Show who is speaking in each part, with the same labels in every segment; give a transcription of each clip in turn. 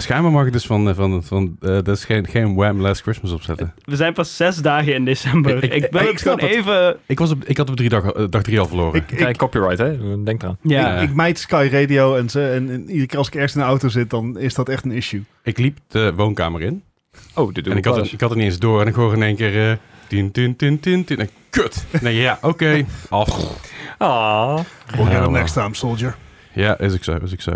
Speaker 1: Schijnbaar mag ik dus van, van, van eh, dat is geen, geen Wham! Last Christmas opzetten.
Speaker 2: We zijn pas zes dagen in december.
Speaker 1: Ik-
Speaker 2: Ik,
Speaker 1: ik-
Speaker 2: wil
Speaker 1: ik
Speaker 2: het
Speaker 1: snap
Speaker 2: gewoon even...
Speaker 1: Ik, was op, ik had op drie dag, eh, dag drie al verloren.
Speaker 3: Ik,
Speaker 4: Kijk,
Speaker 3: ik,
Speaker 4: copyright, hè? Denk eraan.
Speaker 2: Ja.
Speaker 1: Ja.
Speaker 3: ik mijd Sky Radio en, ze, en, en iedere keer als ik ergens in de auto zit, dan is dat echt een issue.
Speaker 1: Ik liep de woonkamer in.
Speaker 4: Oh, dit doe
Speaker 1: en ik had, dus- het, ik had het niet eens door. En ik hoor in één keer... eh tin, tin, tin, tin, tin. En kut! Nee, ja, oké. Af.
Speaker 4: Ah.
Speaker 3: We'll
Speaker 1: Ja,
Speaker 3: get him
Speaker 1: maar-
Speaker 3: next time, soldier.
Speaker 1: Ja, is ik zo, is ik zo.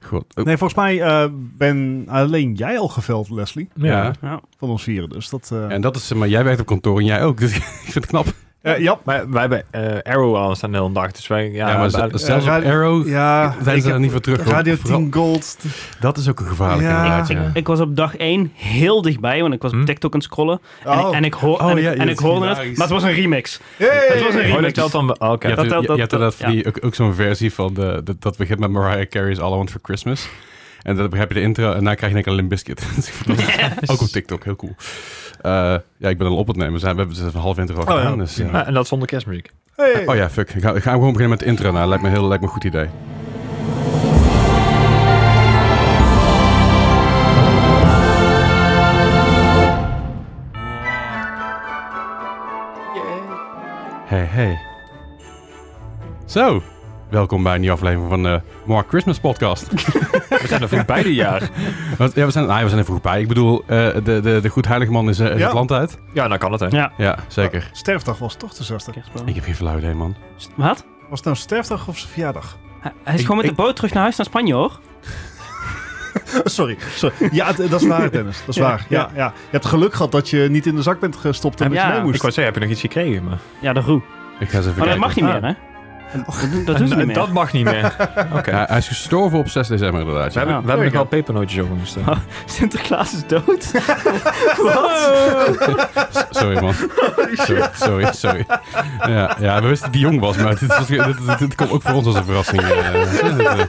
Speaker 1: God. Oh.
Speaker 3: Nee, volgens mij eh, ben alleen jij al geveld, Leslie.
Speaker 1: ja.
Speaker 4: Ja.
Speaker 2: Nou,
Speaker 3: Van ons vieren, dus dat... eh,
Speaker 1: En dat is... eh, Maar jij werkt op kantoor en jij ook. Dus ik vind het knap.
Speaker 3: eh, ja,
Speaker 4: Maar wij hebben eh, Arrow aan staan de hele dag, dus wij... Ja,
Speaker 1: Ja, maar ze-
Speaker 4: wij-
Speaker 1: zelfs op
Speaker 3: radio-
Speaker 1: Arrow...
Speaker 3: ja,
Speaker 1: zijn ze
Speaker 3: ik
Speaker 1: daar
Speaker 3: heb
Speaker 1: niet voor terug. hoor.
Speaker 3: Radio
Speaker 1: Vooral-
Speaker 3: 10 Gold.
Speaker 1: Dat is ook een gevaarlijke
Speaker 3: Ja.
Speaker 1: inderdaad,
Speaker 2: ik,
Speaker 1: ja.
Speaker 2: ik was op dag één heel dichtbij, want ik was op
Speaker 4: Hm?
Speaker 2: TikTok aan het scrollen. En, ik-
Speaker 3: Oh.
Speaker 2: en ik, hoor,
Speaker 1: Oh,
Speaker 2: en, ik-
Speaker 1: ja,
Speaker 2: en
Speaker 1: dat
Speaker 2: ik
Speaker 1: is
Speaker 2: hoorde het,
Speaker 1: hilarisch.
Speaker 2: maar het was een remix.
Speaker 3: Hey!
Speaker 2: Het was een
Speaker 4: Oh,
Speaker 2: remix.
Speaker 4: dat telt dan... wel- oh, Oké.
Speaker 1: Je hebt,
Speaker 2: Dat- dat-
Speaker 1: je- je hebt
Speaker 2: dat-
Speaker 1: inderdaad van
Speaker 2: ja.
Speaker 1: die- ook, ook zo'n versie van de, dat, dat begint met Mariah Carey's All I Want For Christmas. En dan heb je de intro en daarna krijg je een Limp Bizkit. Dus ik vond dat ook op TikTok, heel cool. Eh, ja, ik ben al op het nemen. We, zijn, we hebben dus een half intro al
Speaker 3: Oh, ja.
Speaker 1: gedaan. dus, ja.
Speaker 4: Ah, en dat zonder kerstmuziek.
Speaker 3: Hey!
Speaker 1: Oh ja, fuck. Ik ga, ik ga gewoon beginnen met de intro. Nou, lijkt me, heel, lijkt me een goed idee. Hey, hey. Zo, welkom bij een nieuwe aflevering van de More Christmas Podcast.
Speaker 4: We zijn er voor beide jaar.
Speaker 1: Want, ja, we zijn, nou, we zijn even goed bij. Ik bedoel, eh, de, de, de goed heilige man is, eh, is
Speaker 3: Ja.
Speaker 1: het land uit.
Speaker 4: Ja, nou kan het, hè?
Speaker 2: Ja.
Speaker 1: Ja, zeker.
Speaker 3: Sterfdag was toch de 60?
Speaker 1: Ik heb geen flauw idee, man.
Speaker 2: Wat?
Speaker 3: Was het nou sterfdag of zijn verjaardag?
Speaker 2: Hij hij is
Speaker 1: Ik-
Speaker 2: gewoon met
Speaker 1: ik-
Speaker 2: de boot terug naar huis naar Spanje, hoor.
Speaker 3: sorry, sorry. Ja, d- dat is waar, Dennis. Dat is waar. Ja, ja. Je hebt geluk gehad dat je niet in de zak bent gestopt en dat
Speaker 2: Ja.
Speaker 3: je mee moest.
Speaker 4: Ik wou zeggen, heb je nog iets gekregen? Maar...
Speaker 2: Ja, de roe. Maar
Speaker 1: Ik ga eens even
Speaker 2: dat
Speaker 1: kijken.
Speaker 2: Oh, mag niet
Speaker 4: Ah.
Speaker 2: meer, hè? Dat, dat doen ze
Speaker 4: En-
Speaker 2: niet
Speaker 4: en
Speaker 2: meer.
Speaker 4: Dat mag niet meer. Oké.
Speaker 1: Ja, hij is gestorven op 6 december, inderdaad.
Speaker 4: We
Speaker 1: Ja.
Speaker 4: hebben,
Speaker 2: Ja.
Speaker 4: we hebben nog
Speaker 3: There
Speaker 4: wel pepernootjes over ons. eh.
Speaker 2: Oh. Sinterklaas is dood. Oh.
Speaker 1: Sorry, man. Sorry, sorry. sorry. Ja, ja, we wisten dat die jong was, maar dit, was, dit, dit- dit komt ook voor ons als een verrassing. eh.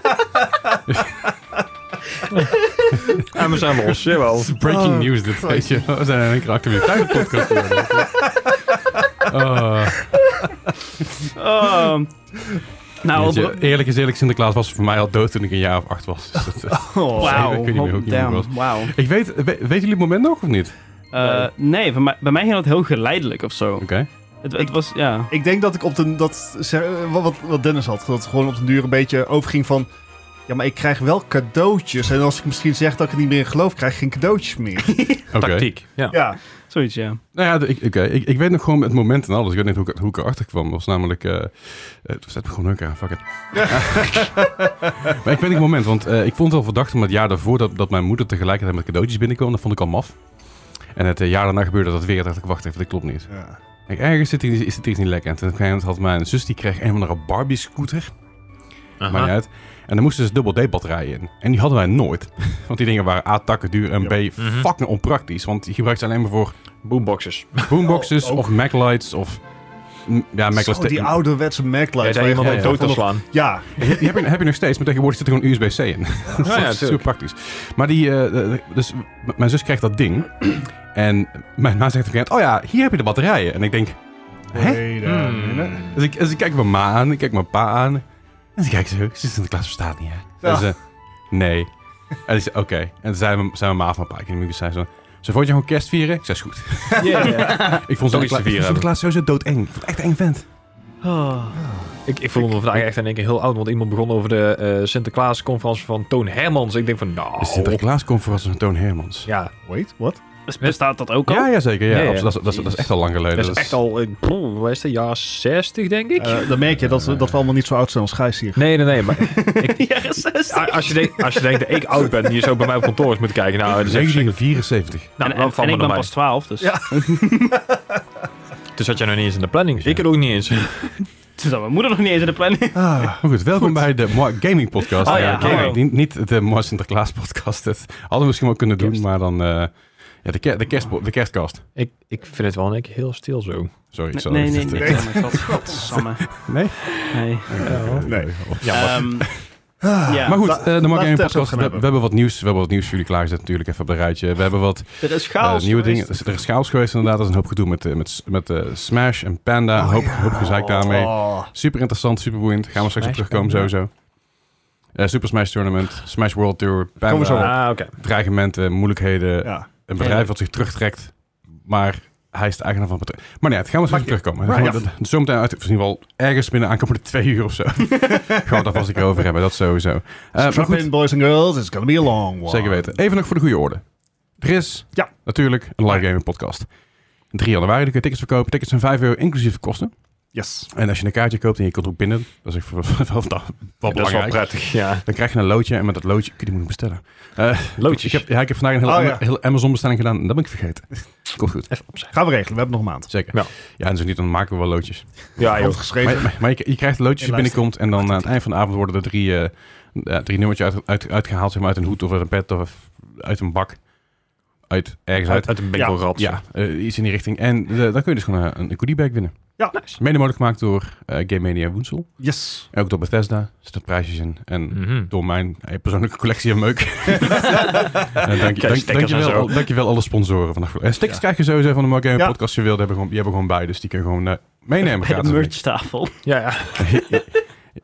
Speaker 4: En we zijn los, jawel.
Speaker 1: Breaking
Speaker 3: Oh,
Speaker 1: news, dit weet
Speaker 3: Christ.
Speaker 1: je. We zijn in één keer achter de tuinpodcast. geworden. Oh,
Speaker 2: Ehm, nou,
Speaker 1: weet je,
Speaker 2: bro-
Speaker 1: eerlijk is eerlijk, Sinterklaas was voor mij al dood toen ik een jaar of acht was. Dus dat, eh,
Speaker 3: Oh.
Speaker 2: wauw.
Speaker 1: Ik weet niet meer hoe ik
Speaker 2: Oh,
Speaker 1: hier
Speaker 2: damn,
Speaker 1: was.
Speaker 2: Wauw.
Speaker 1: ik weet, we- weten jullie het moment nog of niet?
Speaker 2: Eh, nee, bij mij, bij mij ging dat heel geleidelijk of zo.
Speaker 1: Oké.
Speaker 2: Het, het was, ja.
Speaker 3: Ik denk dat ik op de. Dat, ze- eh, wat- wat, wat Dennis had. Dat het gewoon op den duur een beetje overging van. Ja, maar ik krijg wel cadeautjes. En als ik misschien zeg dat ik er niet meer in geloof, krijg ik geen cadeautjes meer.
Speaker 1: Oké.
Speaker 4: Tactiek. Ja.
Speaker 3: Ja.
Speaker 2: Zoiets, ja.
Speaker 1: Nou ja, de- ik, oké, ik, ik weet nog gewoon het moment en alles. Ik weet niet hoe ik, hoe ik erachter kwam. Dat was namelijk... eh eh, toen zet me gewoon leuk aan, fuck it. maar ik weet niet het moment, want eh, ik vond het al verdacht om het jaar daarvoor... Dat, dat mijn moeder tegelijkertijd met cadeautjes binnenkwam. Dat vond ik al maf. En het eh, jaar daarna gebeurde dat weer. dacht ik, wacht even, dit klopt niet.
Speaker 3: ja.
Speaker 1: Ik, ergens zit hier, is dit hier niet lekker. En toen op een gegeven moment had mijn zus, die kreeg een of andere Barbie-scooter. Maakt niet uit. En dan moesten ze dus dubbel D-batterijen in. En die hadden wij nooit. Want die dingen waren A, takken duur en
Speaker 3: Ja.
Speaker 1: B,
Speaker 4: Mhm.
Speaker 1: fucking onpraktisch. Want die gebruikte ze alleen maar voor
Speaker 4: Boomboxes.
Speaker 1: boomboxes
Speaker 3: Oh, ook.
Speaker 1: of Maglights of... m, Ja, Eh,
Speaker 3: Zo,
Speaker 1: Maglights.
Speaker 3: die ouderwetse
Speaker 4: Jij
Speaker 3: Maglight.
Speaker 4: zei iemand
Speaker 1: ja,
Speaker 4: ook
Speaker 1: ja.
Speaker 4: dood te slaan.
Speaker 3: Ja.
Speaker 1: Die heb je, heb je nog steeds, maar tegenwoordig zit er gewoon USB-C in. dat is
Speaker 4: ja, tuurlijk.
Speaker 1: super praktisch. Maar die, eh, eh, dus m- mijn zus krijgt dat ding. En mijn ma zegt op een gegeven moment, oh ja, hier heb je de batterijen. En ik denk, Hè?
Speaker 3: Nee, nee, nee,
Speaker 4: Hmm.
Speaker 3: nee.
Speaker 1: dus ik, dus ik kijk mijn ma aan, ik kijk mijn pa aan. En ze kijken zo, Sinterklaas bestaat niet, hè? En
Speaker 3: Ja.
Speaker 1: ze, nee. En ik zei, oké. En toen zei mijn, zei mijn ma van een paar keer, en zei zo, ze vond je gewoon kerst vieren? Ik zei, is goed. Ik vond
Speaker 4: Toch iets
Speaker 1: Sinterklaas, ik
Speaker 4: te
Speaker 1: vond
Speaker 4: vieren
Speaker 1: Sinterklaas sowieso doodeng. Ik vond het echt een eng vent.
Speaker 2: Oh.
Speaker 4: Ik, ik voelde me vandaag echt in één keer heel oud, want iemand begon over de eh, Sinterklaas-conferentie van Toon Hermans. Ik denk van, nou...
Speaker 1: De Sinterklaas komt voor als een Toon Hermans.
Speaker 4: Ja,
Speaker 3: Wait, what?
Speaker 2: Dus bestaat dat ook al?
Speaker 1: Ja, ja, zeker. Ja.
Speaker 4: Ja, ja.
Speaker 1: Dat, is, dat, is, dat is echt al lang geleden.
Speaker 4: dat is echt al, eh, poeh, wat is het, jaar 60 denk ik?
Speaker 3: Eh, dan merk je dat we, dat we allemaal niet zo oud zijn als Gijs hier.
Speaker 4: nee, nee, nee, maar
Speaker 2: Jaren 60.
Speaker 4: a- als je, denkt, als je denkt dat ik oud ben, die je zo bij mij op kantoor eens moet kijken, nou, dat is echt verschrikkelijk.
Speaker 1: 1974.
Speaker 4: Nou,
Speaker 2: en
Speaker 4: dan
Speaker 2: en, en
Speaker 4: valt me
Speaker 2: ik ben
Speaker 4: nog mee.
Speaker 2: pas 12, dus
Speaker 3: Ja.
Speaker 4: Dus zat jij nog niet eens in de planning? Ik het ook niet eens.
Speaker 2: toen zat mijn moeder nog niet eens in de planning.
Speaker 3: Ah,
Speaker 1: Maar goed, welkom bij de Moa Gaming Podcast.
Speaker 2: Oh ja,
Speaker 1: Eh,
Speaker 2: hallo.
Speaker 1: Niet, niet de Moa Sinterklaas podcast. Dat hadden we misschien wel kunnen doen,
Speaker 4: Kerst.
Speaker 1: maar dan... eh, ja, de, ker- de, kerstpo- de kerstkast.
Speaker 4: Ik, ik vind het wel in één keer heel stil zo.
Speaker 1: Sorry, ik
Speaker 2: Nee,
Speaker 1: zal
Speaker 2: nee, nee.
Speaker 1: even-
Speaker 2: nee, nee, nee, nee. Godsamme.
Speaker 1: Nee?
Speaker 2: Nee.
Speaker 3: Nee.
Speaker 2: Ehm, ja.
Speaker 1: Eh, Maar goed, eh, de Moa
Speaker 3: laten we
Speaker 1: Gaming
Speaker 3: het even
Speaker 1: Podcast.
Speaker 3: gaan
Speaker 1: We, we
Speaker 3: hebben.
Speaker 1: hebben wat nieuws. We hebben wat nieuws voor jullie klaargezet natuurlijk even op het rijtje. We hebben wat
Speaker 2: er is
Speaker 1: eh,
Speaker 2: chaos.
Speaker 1: nieuwe
Speaker 2: geweest.
Speaker 1: dingen. Er is chaos geweest inderdaad. Er is een hoop gedoe met, eh, met, met eh, Smash en Panda. Een hoop, hoop gezeik daarmee.
Speaker 3: Oh.
Speaker 1: Super interessant, super boeiend. Gaan we straks op
Speaker 4: Smash
Speaker 1: terugkomen
Speaker 4: Panda.
Speaker 1: sowieso. Eh, Super Smash Tournament, Smash World Tour,
Speaker 3: Komen we zo
Speaker 1: pijnbaar,
Speaker 4: Ah, oké.
Speaker 1: dreigementen, moeilijkheden.
Speaker 3: Ja.
Speaker 1: Een bedrijf wat zich terugtrekt, maar hij is de eigenaar van het bedrijf. Maar nee, het gaan we zo
Speaker 3: Maakt niet-
Speaker 1: terugkomen.
Speaker 3: Right.
Speaker 1: Right. Dat, dat- zometeen uit, in ieder geval ergens binnen aankomende twee uur of zo. gaan we het daar vast een keer over hebben, dat sowieso. Eh, maar
Speaker 3: Strap
Speaker 1: goed,
Speaker 3: in, boys and girls. It's gonna be a long one.
Speaker 1: Zeker weten. Even nog voor de goede orde. Er is
Speaker 3: Ja.
Speaker 1: natuurlijk een live gaming podcast. 3 januari kun je tickets verkopen. Tickets zijn 5 euro inclusief kosten.
Speaker 3: Yes.
Speaker 1: En als je een kaartje koopt en je komt ook binnen, dat is echt wel, wel, wel
Speaker 4: Dat is wel
Speaker 1: belangrijk.
Speaker 4: prettig, ja.
Speaker 1: dan krijg je een loodje en met dat loodje kun je die moeten bestellen. Ik
Speaker 4: Loodjes.
Speaker 1: heb, ja, ik heb vandaag een heel,
Speaker 3: Oh,
Speaker 1: Ama-
Speaker 3: ja.
Speaker 1: heel Amazon bestelling gedaan en dat ben ik vergeten. Komt goed,
Speaker 4: Even opzij.
Speaker 3: Gaan we regelen. We hebben nog een maand.
Speaker 1: zeker.
Speaker 4: Ja.
Speaker 1: Ja, en zo niet, dan maken we wel loodjes.
Speaker 4: Ja, joh.
Speaker 3: Handgeschreven.
Speaker 1: Maar, maar, maar je, je krijgt loodjes
Speaker 2: En
Speaker 1: die binnenkomt en dan eh, aan het eind van de avond worden er drie, eh, ja, drie nummertjes uit, uit, uitgehaald. Zeg maar uit een hoed of uit een pet of uit een bak. Uit, ergens uit.
Speaker 4: Uit, uit een winkelrat.
Speaker 1: Ja, eh, iets in die richting. En eh, dan kun je dus gewoon eh, een goodiebag winnen.
Speaker 3: Ja.
Speaker 1: Nice. Mede mogelijk gemaakt door eh, Game Mania Woensel.
Speaker 3: Yes.
Speaker 1: En ook door Bethesda. Er zitten prijsjes in. En
Speaker 4: Mhm.
Speaker 1: door mijn eh, persoonlijke collectie aan meuk. En dank, je-
Speaker 4: Kijk,
Speaker 1: dank,
Speaker 4: stickers
Speaker 1: dank je
Speaker 4: en
Speaker 1: wel,
Speaker 4: zo.
Speaker 1: al- dank je wel alle sponsoren vandaag. En stickers krijg je sowieso van de Mark Gaming
Speaker 3: Ja.
Speaker 1: Podcast. Je wilde, hebben gewoon, die hebben gewoon bij. Dus die kun je gewoon eh, meenemen.
Speaker 2: Bij de
Speaker 1: gratis.
Speaker 2: merchtafel.
Speaker 4: Ja, ja.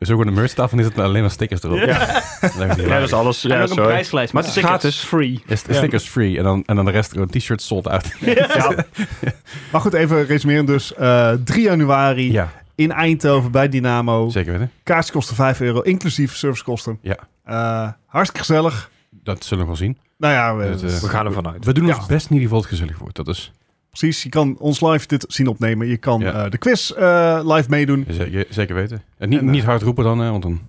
Speaker 1: Zo gewoon de merchtafel is het alleen maar stickers erop.
Speaker 4: Ja.
Speaker 1: Dat is
Speaker 4: Ja, dat is alles.
Speaker 2: En
Speaker 4: Ja,
Speaker 2: ook een
Speaker 4: sorry.
Speaker 2: prijslijst.
Speaker 4: Maar
Speaker 2: met
Speaker 4: het is
Speaker 2: stickers. Free.
Speaker 1: Is is stickers free. En dan, en dan de rest gewoon t-shirt sold out.
Speaker 4: Ja.
Speaker 3: Maar goed, even resumeren. Dus eh, 3 januari
Speaker 1: Ja,
Speaker 3: in Eindhoven bij Dynamo.
Speaker 1: zeker weten.
Speaker 3: Kaartjes kosten 5 euro, inclusief servicekosten.
Speaker 1: Ja.
Speaker 3: Eh, hartstikke gezellig.
Speaker 1: Dat zullen we wel zien.
Speaker 3: Nou ja, we-
Speaker 1: Het, eh,
Speaker 4: We gaan er vanuit.
Speaker 1: We doen
Speaker 3: Ja.
Speaker 1: ons best in ieder geval dat het gezellig wordt. Dat is
Speaker 3: precies. Je kan ons live dit zien opnemen. Je kan
Speaker 1: Ja.
Speaker 3: eh, de quiz eh, live meedoen.
Speaker 1: Zeker, zeker weten. En niet,
Speaker 3: En, eh,
Speaker 1: niet hard roepen dan, hè, want dan,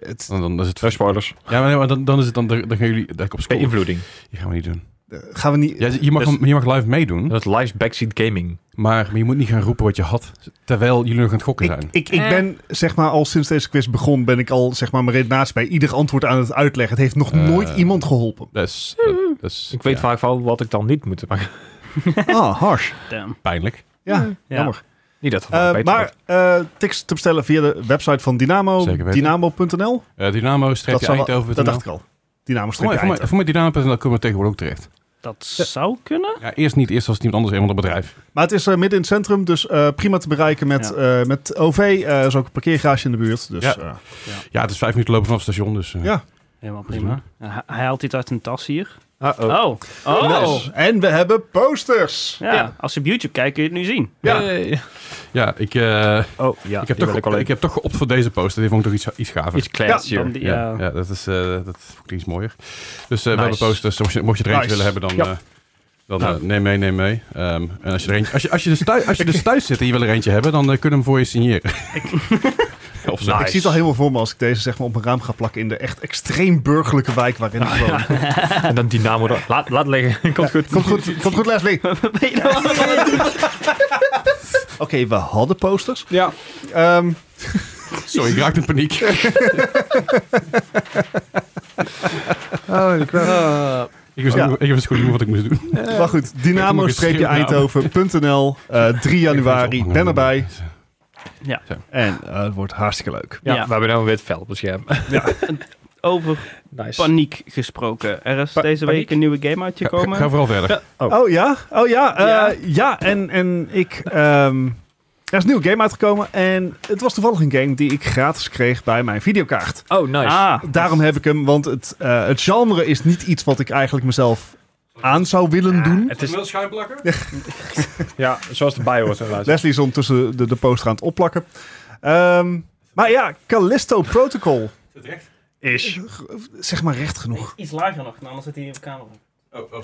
Speaker 3: Het,
Speaker 1: dan, dan is het...
Speaker 4: Eh, spoilers.
Speaker 1: Ja, maar, nee, maar dan, dan is het dan, dan gaan jullie daar op school.
Speaker 4: Beïnvloeding.
Speaker 1: Die gaan we niet doen.
Speaker 3: eh, gaan we niet...
Speaker 1: Ja, je, mag,
Speaker 4: Dus-
Speaker 1: hem- je mag live
Speaker 4: En
Speaker 1: meedoen,
Speaker 4: dat live backseat gaming.
Speaker 1: maar, maar je moet niet gaan roepen wat je had, terwijl jullie nog aan het gokken
Speaker 3: ik,
Speaker 1: zijn.
Speaker 3: ik, ik ben, zeg maar, al sinds deze quiz begon, ben ik al, zeg maar, mijn redenatie bij ieder antwoord aan het uitleggen. Het heeft nog
Speaker 1: Eh.
Speaker 3: nooit iemand geholpen.
Speaker 1: Dat is,
Speaker 3: Mm.
Speaker 1: dat, dat is
Speaker 4: Dus Ik weet
Speaker 1: ja,
Speaker 4: vaak wel wat ik dan niet moet maken.
Speaker 3: Ah, harsh.
Speaker 2: Damn.
Speaker 1: pijnlijk.
Speaker 3: Ja,
Speaker 2: Ja.
Speaker 3: jammer.
Speaker 4: Niet dat het
Speaker 3: Eh,
Speaker 4: beter
Speaker 3: maar
Speaker 4: wordt.
Speaker 3: eh tickets te bestellen via de website van Dynamo.
Speaker 1: Zeker weten.
Speaker 3: Dynamo.nl.
Speaker 1: Eh, Dynamo streepje
Speaker 3: zou wel-
Speaker 1: Eindhoven.
Speaker 3: Dat dacht ik al.
Speaker 1: Voor
Speaker 3: Dynamo
Speaker 1: mij, voor mij,
Speaker 3: Eindhoven.
Speaker 1: voor mij Dynamo.nl komen we tegenwoordig ook terecht.
Speaker 2: Dat zou kunnen.
Speaker 1: Ja, eerst niet, eerst als het iemand anders een van het bedrijf.
Speaker 3: Maar het is eh, midden in het centrum, dus eh, prima te bereiken met, eh, met OV. Eh, er is ook een parkeergarage in de buurt. Dus,
Speaker 1: Ja.
Speaker 3: eh,
Speaker 1: Ja, het is vijf minuten lopen vanaf het station, dus... eh,
Speaker 3: Ja.
Speaker 2: Helemaal prima. Hij- Hij haalt iets uit een tas hier.
Speaker 4: Uh-oh.
Speaker 2: Oh. Oh.
Speaker 3: nice. En we hebben posters.
Speaker 2: Ja.
Speaker 4: Ja.
Speaker 2: Als je op YouTube kijkt kun je het nu zien.
Speaker 4: Ja.
Speaker 1: ja, ik, eh,
Speaker 4: Oh, ja.
Speaker 1: ik, heb
Speaker 4: die
Speaker 1: toch,
Speaker 4: wil
Speaker 1: ik,
Speaker 4: alleen.
Speaker 1: heb toch geopt voor deze poster. Die vond ik toch iets, iets gaver.
Speaker 4: Iets classier.
Speaker 2: Dan die,
Speaker 1: Ja,
Speaker 2: eh,
Speaker 1: ja. dat is eh, dat vond ik iets mooier. Dus eh, we
Speaker 4: Nice.
Speaker 1: hebben posters. Mocht je, mocht je er eentje
Speaker 3: Nice.
Speaker 1: willen hebben, dan,
Speaker 4: Ja.
Speaker 1: eh, dan
Speaker 4: Nou.
Speaker 1: eh, neem mee, neem mee. Ehm, en als je, er eentje, als, je, als, je dus thuis, als je dus thuis zit en je wil er eentje hebben, dan eh, kunnen we hem voor je signeren. of zo.
Speaker 4: Nice.
Speaker 3: Ik zie het al helemaal voor me als ik deze zeg maar, op mijn raam ga plakken in de echt extreem burgerlijke wijk waarin ik woon.
Speaker 4: En dan Dynamo. er- Laat, laat liggen. Komt goed.
Speaker 3: Komt goed, komt goed Leslie. Oké,
Speaker 2: Wat ben je nou aan het doen?
Speaker 3: we hadden posters.
Speaker 1: Ja.
Speaker 3: Ehm,
Speaker 1: Sorry, ik raakte in paniek. ik wist
Speaker 3: Ja.
Speaker 1: niet- ik wist gewoon niet meer wat ik moest doen.
Speaker 3: maar goed, dynamo-eindhoven.nl. eh, 3 januari, ben erbij. En eh, het wordt hartstikke leuk.
Speaker 4: Ja,
Speaker 2: Ja.
Speaker 4: we hebben nou een wit vel op het scherm.
Speaker 2: Over
Speaker 4: Nice.
Speaker 2: paniek gesproken. Er is
Speaker 4: Pa-
Speaker 2: deze
Speaker 4: paniek?
Speaker 2: week een nieuwe game uitgekomen.
Speaker 1: Ga, ga vooral verder.
Speaker 3: Oh ja? Oh ja? eh,
Speaker 2: Ja.
Speaker 3: ja. en, en ik... ehm, er is een nieuwe game uitgekomen en het was toevallig een game die ik gratis kreeg bij mijn videokaart.
Speaker 4: Oh, nice.
Speaker 2: Ah.
Speaker 3: Daarom heb ik hem, want het, eh, het genre is niet iets wat ik eigenlijk mezelf aan zou willen doen.
Speaker 4: Het is,
Speaker 1: schuimplakken?
Speaker 4: ja, zoals de bio was inderdaad.
Speaker 3: Leslie is ondertussen de, de poster aan het opplakken. Ehm, maar ja, Callisto Protocol.
Speaker 4: Is.
Speaker 3: Zeg maar recht genoeg.
Speaker 2: Iets lager nog, anders zit hij niet op camera.
Speaker 1: Oh, oh.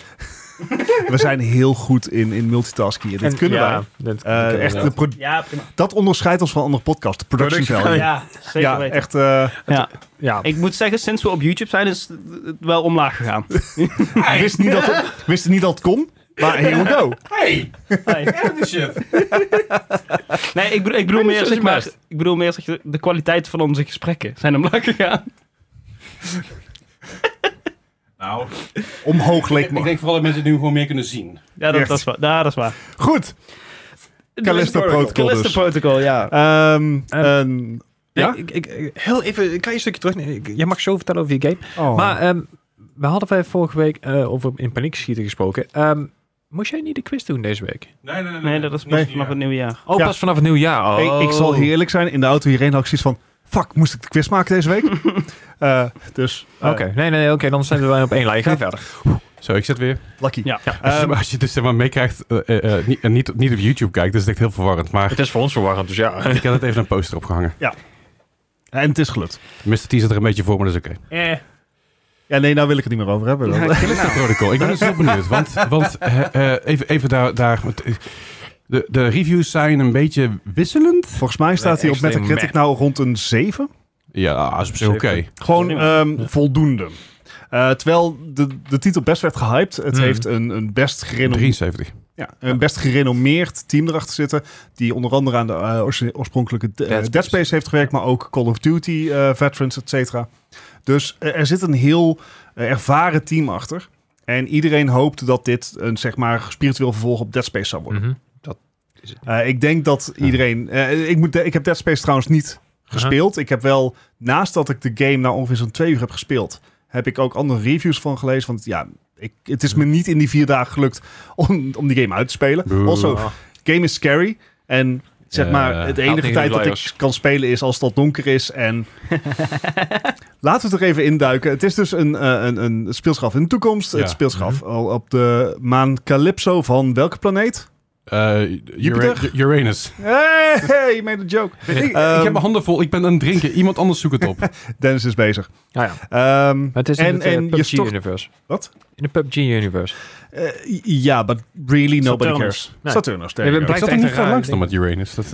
Speaker 3: We zijn heel goed in, in multitasking. en Dit
Speaker 4: En-
Speaker 3: kunnen
Speaker 4: ja,
Speaker 3: wij.
Speaker 4: dit
Speaker 3: Eh,
Speaker 4: kunnen
Speaker 3: echt,
Speaker 4: we
Speaker 3: de
Speaker 4: wel.
Speaker 3: pro-
Speaker 2: Ja, prima.
Speaker 3: dat onderscheidt ons van andere podcasts. de Production
Speaker 4: Production
Speaker 3: value.
Speaker 2: Ja, zeker
Speaker 3: Ja,
Speaker 2: weten.
Speaker 3: echt. eh,
Speaker 2: Ja.
Speaker 4: Ja,
Speaker 2: Ik moet zeggen, sinds we op YouTube zijn, is het wel omlaag gegaan.
Speaker 3: ik wist niet, dat het, wist niet dat het kon. Maar here we go.
Speaker 1: Hey,
Speaker 2: Hey.
Speaker 1: die shit.
Speaker 2: Nee, ik, bedoel- ik bedoel
Speaker 4: Nee,
Speaker 2: meer,
Speaker 4: dat is
Speaker 2: zeg maar,
Speaker 4: best.
Speaker 2: ik bedoel meer zeg, de- de kwaliteit van onze gesprekken zijn omlaag gegaan.
Speaker 1: Nou,
Speaker 3: Omhoog leek me.
Speaker 1: vooral dat mensen het nu gewoon meer kunnen zien.
Speaker 2: Ja, dat,
Speaker 3: Echt.
Speaker 2: dat, is, waar. Ja, dat is waar.
Speaker 3: Goed. Callisto Protocol
Speaker 2: Callisto
Speaker 3: dus.
Speaker 2: Protocol, ja.
Speaker 3: Ehm, ehm, ja?
Speaker 4: Ik, ik- ik- heel even een klein stukje terug. Nee, ik- Jij mag zo vertellen over je game.
Speaker 3: oh.
Speaker 4: Maar ehm, we hadden wij vorige week eh, over in paniek schieten gesproken. Ehm, moest jij niet de quiz doen deze week?
Speaker 1: Nee, nee,
Speaker 2: Nee, dat is pas vanaf het nieuwe jaar.
Speaker 4: Oh,
Speaker 3: Ja.
Speaker 4: pas vanaf het Oh. nieuwe jaar.
Speaker 3: Ik, ik zal
Speaker 4: hier
Speaker 3: heerlijk zijn. In de auto hierheen had ik zoiets van... Fuck, moest ik de quiz maken deze week? Eh, dus, eh,
Speaker 4: Oké, nee, nee, nee, oké, dan zijn we bijna op één lijn. Ga verder.
Speaker 1: Zo, ik zit weer.
Speaker 3: lucky.
Speaker 2: Ja.
Speaker 1: Als je,
Speaker 3: Ehm,
Speaker 1: als je dus zeg maar meekrijgt eh, eh, eh, niet, en niet, niet op YouTube kijkt, is het echt heel verwarrend. Maar
Speaker 4: Het is voor ons verwarrend, dus ja.
Speaker 1: ik had het even een poster opgehangen.
Speaker 3: en het is gelukt.
Speaker 1: Mr. T zit er een beetje voor, maar dat is oké.
Speaker 2: Eh.
Speaker 3: Ja, nee, nou wil ik het niet meer over hebben. Dan.
Speaker 1: Wat is dat protocol? Ik ben dus heel benieuwd. Want, want eh, eh, even, even daar... daar want, eh, de, de reviews zijn een beetje wisselend.
Speaker 3: Volgens mij staat hij op
Speaker 4: Extreem
Speaker 3: Metacritic
Speaker 4: meh.
Speaker 3: nou rond een 7.
Speaker 1: Ja, dat is op zich oké.
Speaker 4: Zeker.
Speaker 3: Gewoon
Speaker 2: Ja.
Speaker 3: ehm, voldoende. Eh, terwijl de, de titel best werd gehyped. Het
Speaker 4: Hmm.
Speaker 3: heeft een, een, best gerenom,
Speaker 1: 73.
Speaker 3: ja, een best gerenommeerd team erachter zitten. Die onder andere aan de eh, orsi- oorspronkelijke eh,
Speaker 4: Dead
Speaker 3: Dead,
Speaker 4: Space.
Speaker 3: Space heeft gewerkt. Maar ook Call of Duty eh, veterans, et cetera. Dus eh, er zit een heel eh, ervaren team achter. En iedereen hoopt dat dit een zeg maar, spiritueel vervolg op Dead Space zou worden.
Speaker 4: Mhm.
Speaker 3: Eh, ik denk dat
Speaker 1: Ja.
Speaker 3: iedereen. eh, ik, moet, ik heb Dead Space trouwens niet gespeeld. Ik heb wel, naast dat ik de game nou ongeveer zo'n twee uur heb gespeeld, heb ik ook andere reviews van gelezen. Want ja, ik, het is me niet in die vier dagen gelukt om, om die game uit te spelen.
Speaker 1: Boe.
Speaker 3: Also,
Speaker 4: Ah.
Speaker 3: game is scary. En zeg
Speaker 1: Eh,
Speaker 3: maar, het
Speaker 1: haalt
Speaker 4: tegen
Speaker 3: enige
Speaker 4: de
Speaker 3: tijd dat ik
Speaker 4: players.
Speaker 3: kan spelen is als het al donker is. En laten we het er even induiken. Het is dus een, eh, een, een speelschap in de toekomst.
Speaker 1: Ja. Mhm.
Speaker 3: Het speelschap al op de maan Calypso van welke planeet?
Speaker 1: Eh, Ura-
Speaker 3: Jupiter?
Speaker 1: Uranus.
Speaker 3: Hey, hey, you made a joke.
Speaker 1: Ik, ik
Speaker 3: Ehm,
Speaker 1: heb mijn handen vol. Ik ben aan het drinken. Iemand anders zoekt het op.
Speaker 3: Dennis is bezig.
Speaker 4: Ah, ja.
Speaker 3: Ehm,
Speaker 4: Maar het is in
Speaker 3: en,
Speaker 4: het eh,
Speaker 3: en je
Speaker 4: PUBG
Speaker 3: stort...
Speaker 4: universe.
Speaker 3: Wat?
Speaker 4: In de PUBG universe.
Speaker 3: Eh, ja, but really nobody
Speaker 2: Saturnus.
Speaker 3: cares.
Speaker 4: Nee.
Speaker 3: Saturnus, there
Speaker 4: Ik
Speaker 3: you
Speaker 4: ben
Speaker 1: Ik
Speaker 3: go.
Speaker 4: blijft
Speaker 1: zat er
Speaker 4: echt
Speaker 1: niet
Speaker 4: een
Speaker 1: veel
Speaker 4: raar
Speaker 1: langs dan
Speaker 4: ding.
Speaker 1: met Uranus. Dat,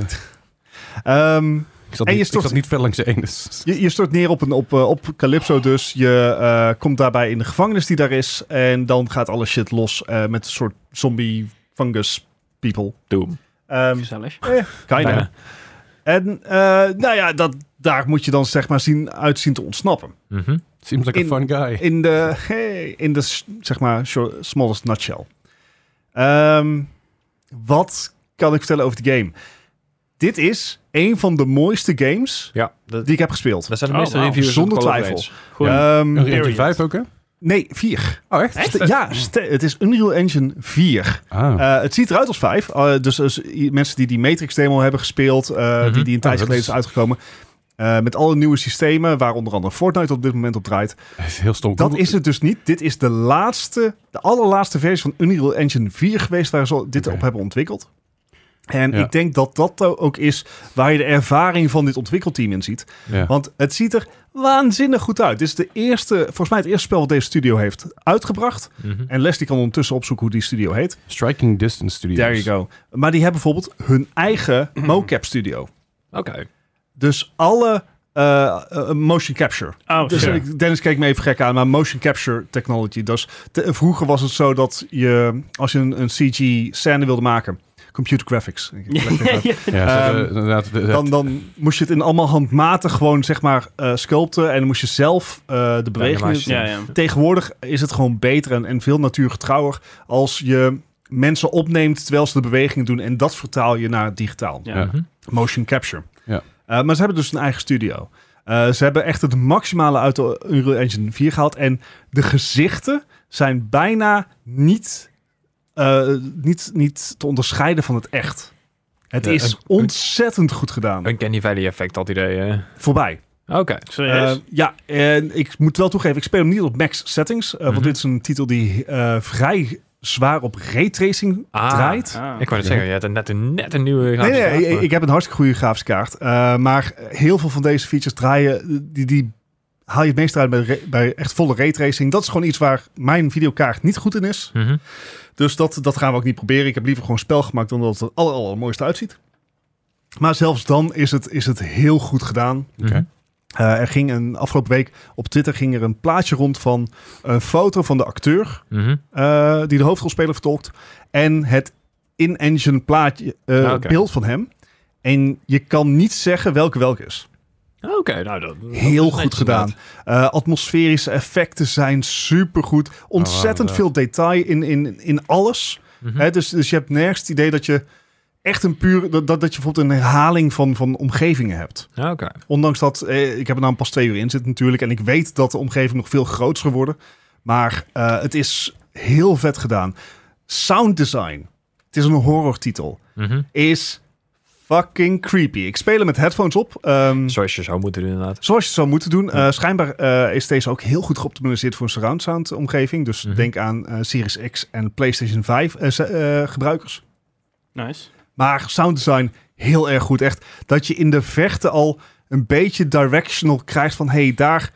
Speaker 1: eh,
Speaker 3: Ehm,
Speaker 1: ik, zat
Speaker 3: En je
Speaker 1: niet, ik
Speaker 3: stort-
Speaker 1: zat niet veel langs de Enus.
Speaker 3: je, je stort neer op, een, op, eh, op Calypso dus. Je eh, komt daarbij in de gevangenis die daar is. En dan gaat alle shit los eh, met een soort zombie fungus people.
Speaker 4: Doom.
Speaker 3: Ehm
Speaker 2: Gezellig.
Speaker 3: kinda.
Speaker 4: Bijna.
Speaker 3: En eh, nou ja, dat, daar moet je dan zeg maar zien, uitzien te ontsnappen.
Speaker 4: Mhm.
Speaker 1: Seems like a
Speaker 3: In-
Speaker 1: fun guy.
Speaker 3: In de, hey, in de s- zeg maar, short- smallest nutshell. Ehm, wat kan ik vertellen over de game? Dit is een van de mooiste games
Speaker 4: Ja, dat,
Speaker 3: die ik heb gespeeld.
Speaker 4: dat zijn de
Speaker 2: Oh,
Speaker 4: meeste
Speaker 2: wauw.
Speaker 4: reviews.
Speaker 3: Zonder
Speaker 4: van Call of
Speaker 3: twijfel.
Speaker 4: Duty.
Speaker 2: Gewoon
Speaker 3: Ehm,
Speaker 1: Een Engine
Speaker 2: period.
Speaker 1: 5 ook, hè?
Speaker 3: nee, 4.
Speaker 1: Oh, echt?
Speaker 3: Ja, ste- het is Unreal Engine 4.
Speaker 1: Ah.
Speaker 3: Eh, het ziet eruit als 5. Eh, dus dus i- mensen die die Matrix demo hebben gespeeld, eh, die
Speaker 4: Mhm.
Speaker 3: die een
Speaker 1: Oh, dat
Speaker 3: tijdje geleden
Speaker 1: is-
Speaker 3: is uitgekomen. eh, met alle nieuwe systemen, waar onder andere Fortnite op dit moment op draait.
Speaker 1: Dat is Heel stom.
Speaker 3: Dat
Speaker 1: Google-
Speaker 3: is het dus niet. Dit is de laatste, de allerlaatste versie van Unreal Engine 4 geweest waar ze dit
Speaker 1: Oké.
Speaker 3: op hebben ontwikkeld. En
Speaker 1: Ja.
Speaker 3: ik denk dat dat ook is waar je de ervaring van dit ontwikkelteam in ziet.
Speaker 1: Ja.
Speaker 3: Want het ziet er waanzinnig goed uit. Dit is de eerste, volgens mij het eerste spel wat deze studio heeft uitgebracht.
Speaker 4: Mhm.
Speaker 3: En Leslie kan ondertussen opzoeken hoe die studio heet.
Speaker 1: Striking Distance Studios.
Speaker 3: There you go. Maar die hebben bijvoorbeeld hun eigen mocap studio.
Speaker 4: Oké.
Speaker 3: Dus alle eh, eh, motion capture.
Speaker 2: Oh,
Speaker 3: Dus
Speaker 2: shit.
Speaker 3: ik- Dennis keek me even gek aan, maar motion capture technology. Dus te- vroeger was het zo dat je, als je een, een CG-scène wilde maken, computer graphics, ik leg het even
Speaker 1: Ja,
Speaker 2: Ja, ja.
Speaker 3: uit,
Speaker 1: ze
Speaker 3: Ehm,
Speaker 1: hebben inderdaad, eh, de- de-
Speaker 3: dan, dan moest je het in allemaal handmatig gewoon, zeg maar, eh sculpten. En dan moest je zelf eh, de bewegingen...
Speaker 4: animatie.
Speaker 2: ja, ja.
Speaker 3: Tegenwoordig is het gewoon beter en, en veel natuurgetrouwer als je mensen opneemt terwijl ze de bewegingen doen. En dat vertaal je naar digitaal
Speaker 2: Ja.
Speaker 1: Ja.
Speaker 4: Mhm.
Speaker 3: motion capture.
Speaker 1: Ja.
Speaker 3: Eh, maar ze hebben dus een eigen studio. Eh, ze hebben echt het maximale uit de Unreal Engine 4 gehaald. En de gezichten zijn bijna niet, eh, niet, niet te onderscheiden van het echt. Het
Speaker 4: Ja,
Speaker 3: is
Speaker 4: een-
Speaker 3: ontzettend goed gedaan.
Speaker 4: Uncanny Valley effect, dat idee. eh.
Speaker 3: Voorbij.
Speaker 4: Oké.
Speaker 2: Serieus?
Speaker 3: Eh, ja, en ik moet wel toegeven, ik speel hem niet op max settings. eh,
Speaker 4: Mhm.
Speaker 3: Want dit is een titel die eh, vrij zwaar op raytracing
Speaker 4: Ah.
Speaker 3: draait.
Speaker 2: Ah.
Speaker 4: Ik wou net zeggen, je hebt net een, net een nieuwe grafische
Speaker 3: Nee, nee,
Speaker 4: kaart, maar-
Speaker 3: ik, ik heb een hartstikke goede grafische kaart. Eh, maar heel veel van deze features draaien, die, die haal je het meest uit bij, re- bij echt volle raytracing. Dat is gewoon iets waar mijn videokaart niet goed in is.
Speaker 4: Mhm.
Speaker 3: Dus dat, dat gaan we ook niet proberen. Ik heb liever gewoon een spel gemaakt dan dat het er aller, allermooiste uitziet. Maar zelfs dan is het, is het heel goed gedaan.
Speaker 4: Mhm.
Speaker 1: Oké.
Speaker 3: Eh, er ging een afgelopen week op Twitter ging er een plaatje rond van een foto van de acteur
Speaker 4: Mhm.
Speaker 3: eh, die de hoofdrolspeler vertolkt. En het in-engine plaatje, eh,
Speaker 4: Ah, oké.
Speaker 3: beeld van hem. En je kan niet zeggen welke welke is.
Speaker 4: Oké, nou dat... dat is
Speaker 3: Heel goed
Speaker 4: netjes
Speaker 3: gedaan.
Speaker 4: inderdaad.
Speaker 3: Eh, atmosferische effecten zijn supergoed.
Speaker 4: Oh,
Speaker 3: Ontzettend
Speaker 1: ja.
Speaker 3: veel detail in, in, in alles.
Speaker 4: Mhm.
Speaker 3: Hè, dus, dus je hebt nergens het idee dat je echt een puur... Dat, dat, dat je bijvoorbeeld een herhaling van, van omgevingen hebt.
Speaker 4: Oké.
Speaker 3: Ondanks dat, eh, ik heb er nou pas twee uur in zitten natuurlijk. En ik weet dat de omgeving nog veel groter geworden. Maar eh, het is heel vet gedaan. Sound design. Het is een horror titel.
Speaker 4: Mhm.
Speaker 3: Is fucking creepy. Ik speel hem met headphones op. ehm,
Speaker 4: Zoals je zou moeten doen, inderdaad.
Speaker 3: Zoals je het zou moeten doen. Eh, schijnbaar eh, is deze ook heel goed geoptimaliseerd voor een surround sound omgeving. Dus
Speaker 4: Mhm.
Speaker 3: denk aan eh, Series X en PlayStation 5 eh, ze- eh, gebruikers.
Speaker 2: Nice.
Speaker 3: Maar sound design heel erg goed. Echt dat je in de verte al een beetje directional krijgt van... hey, daar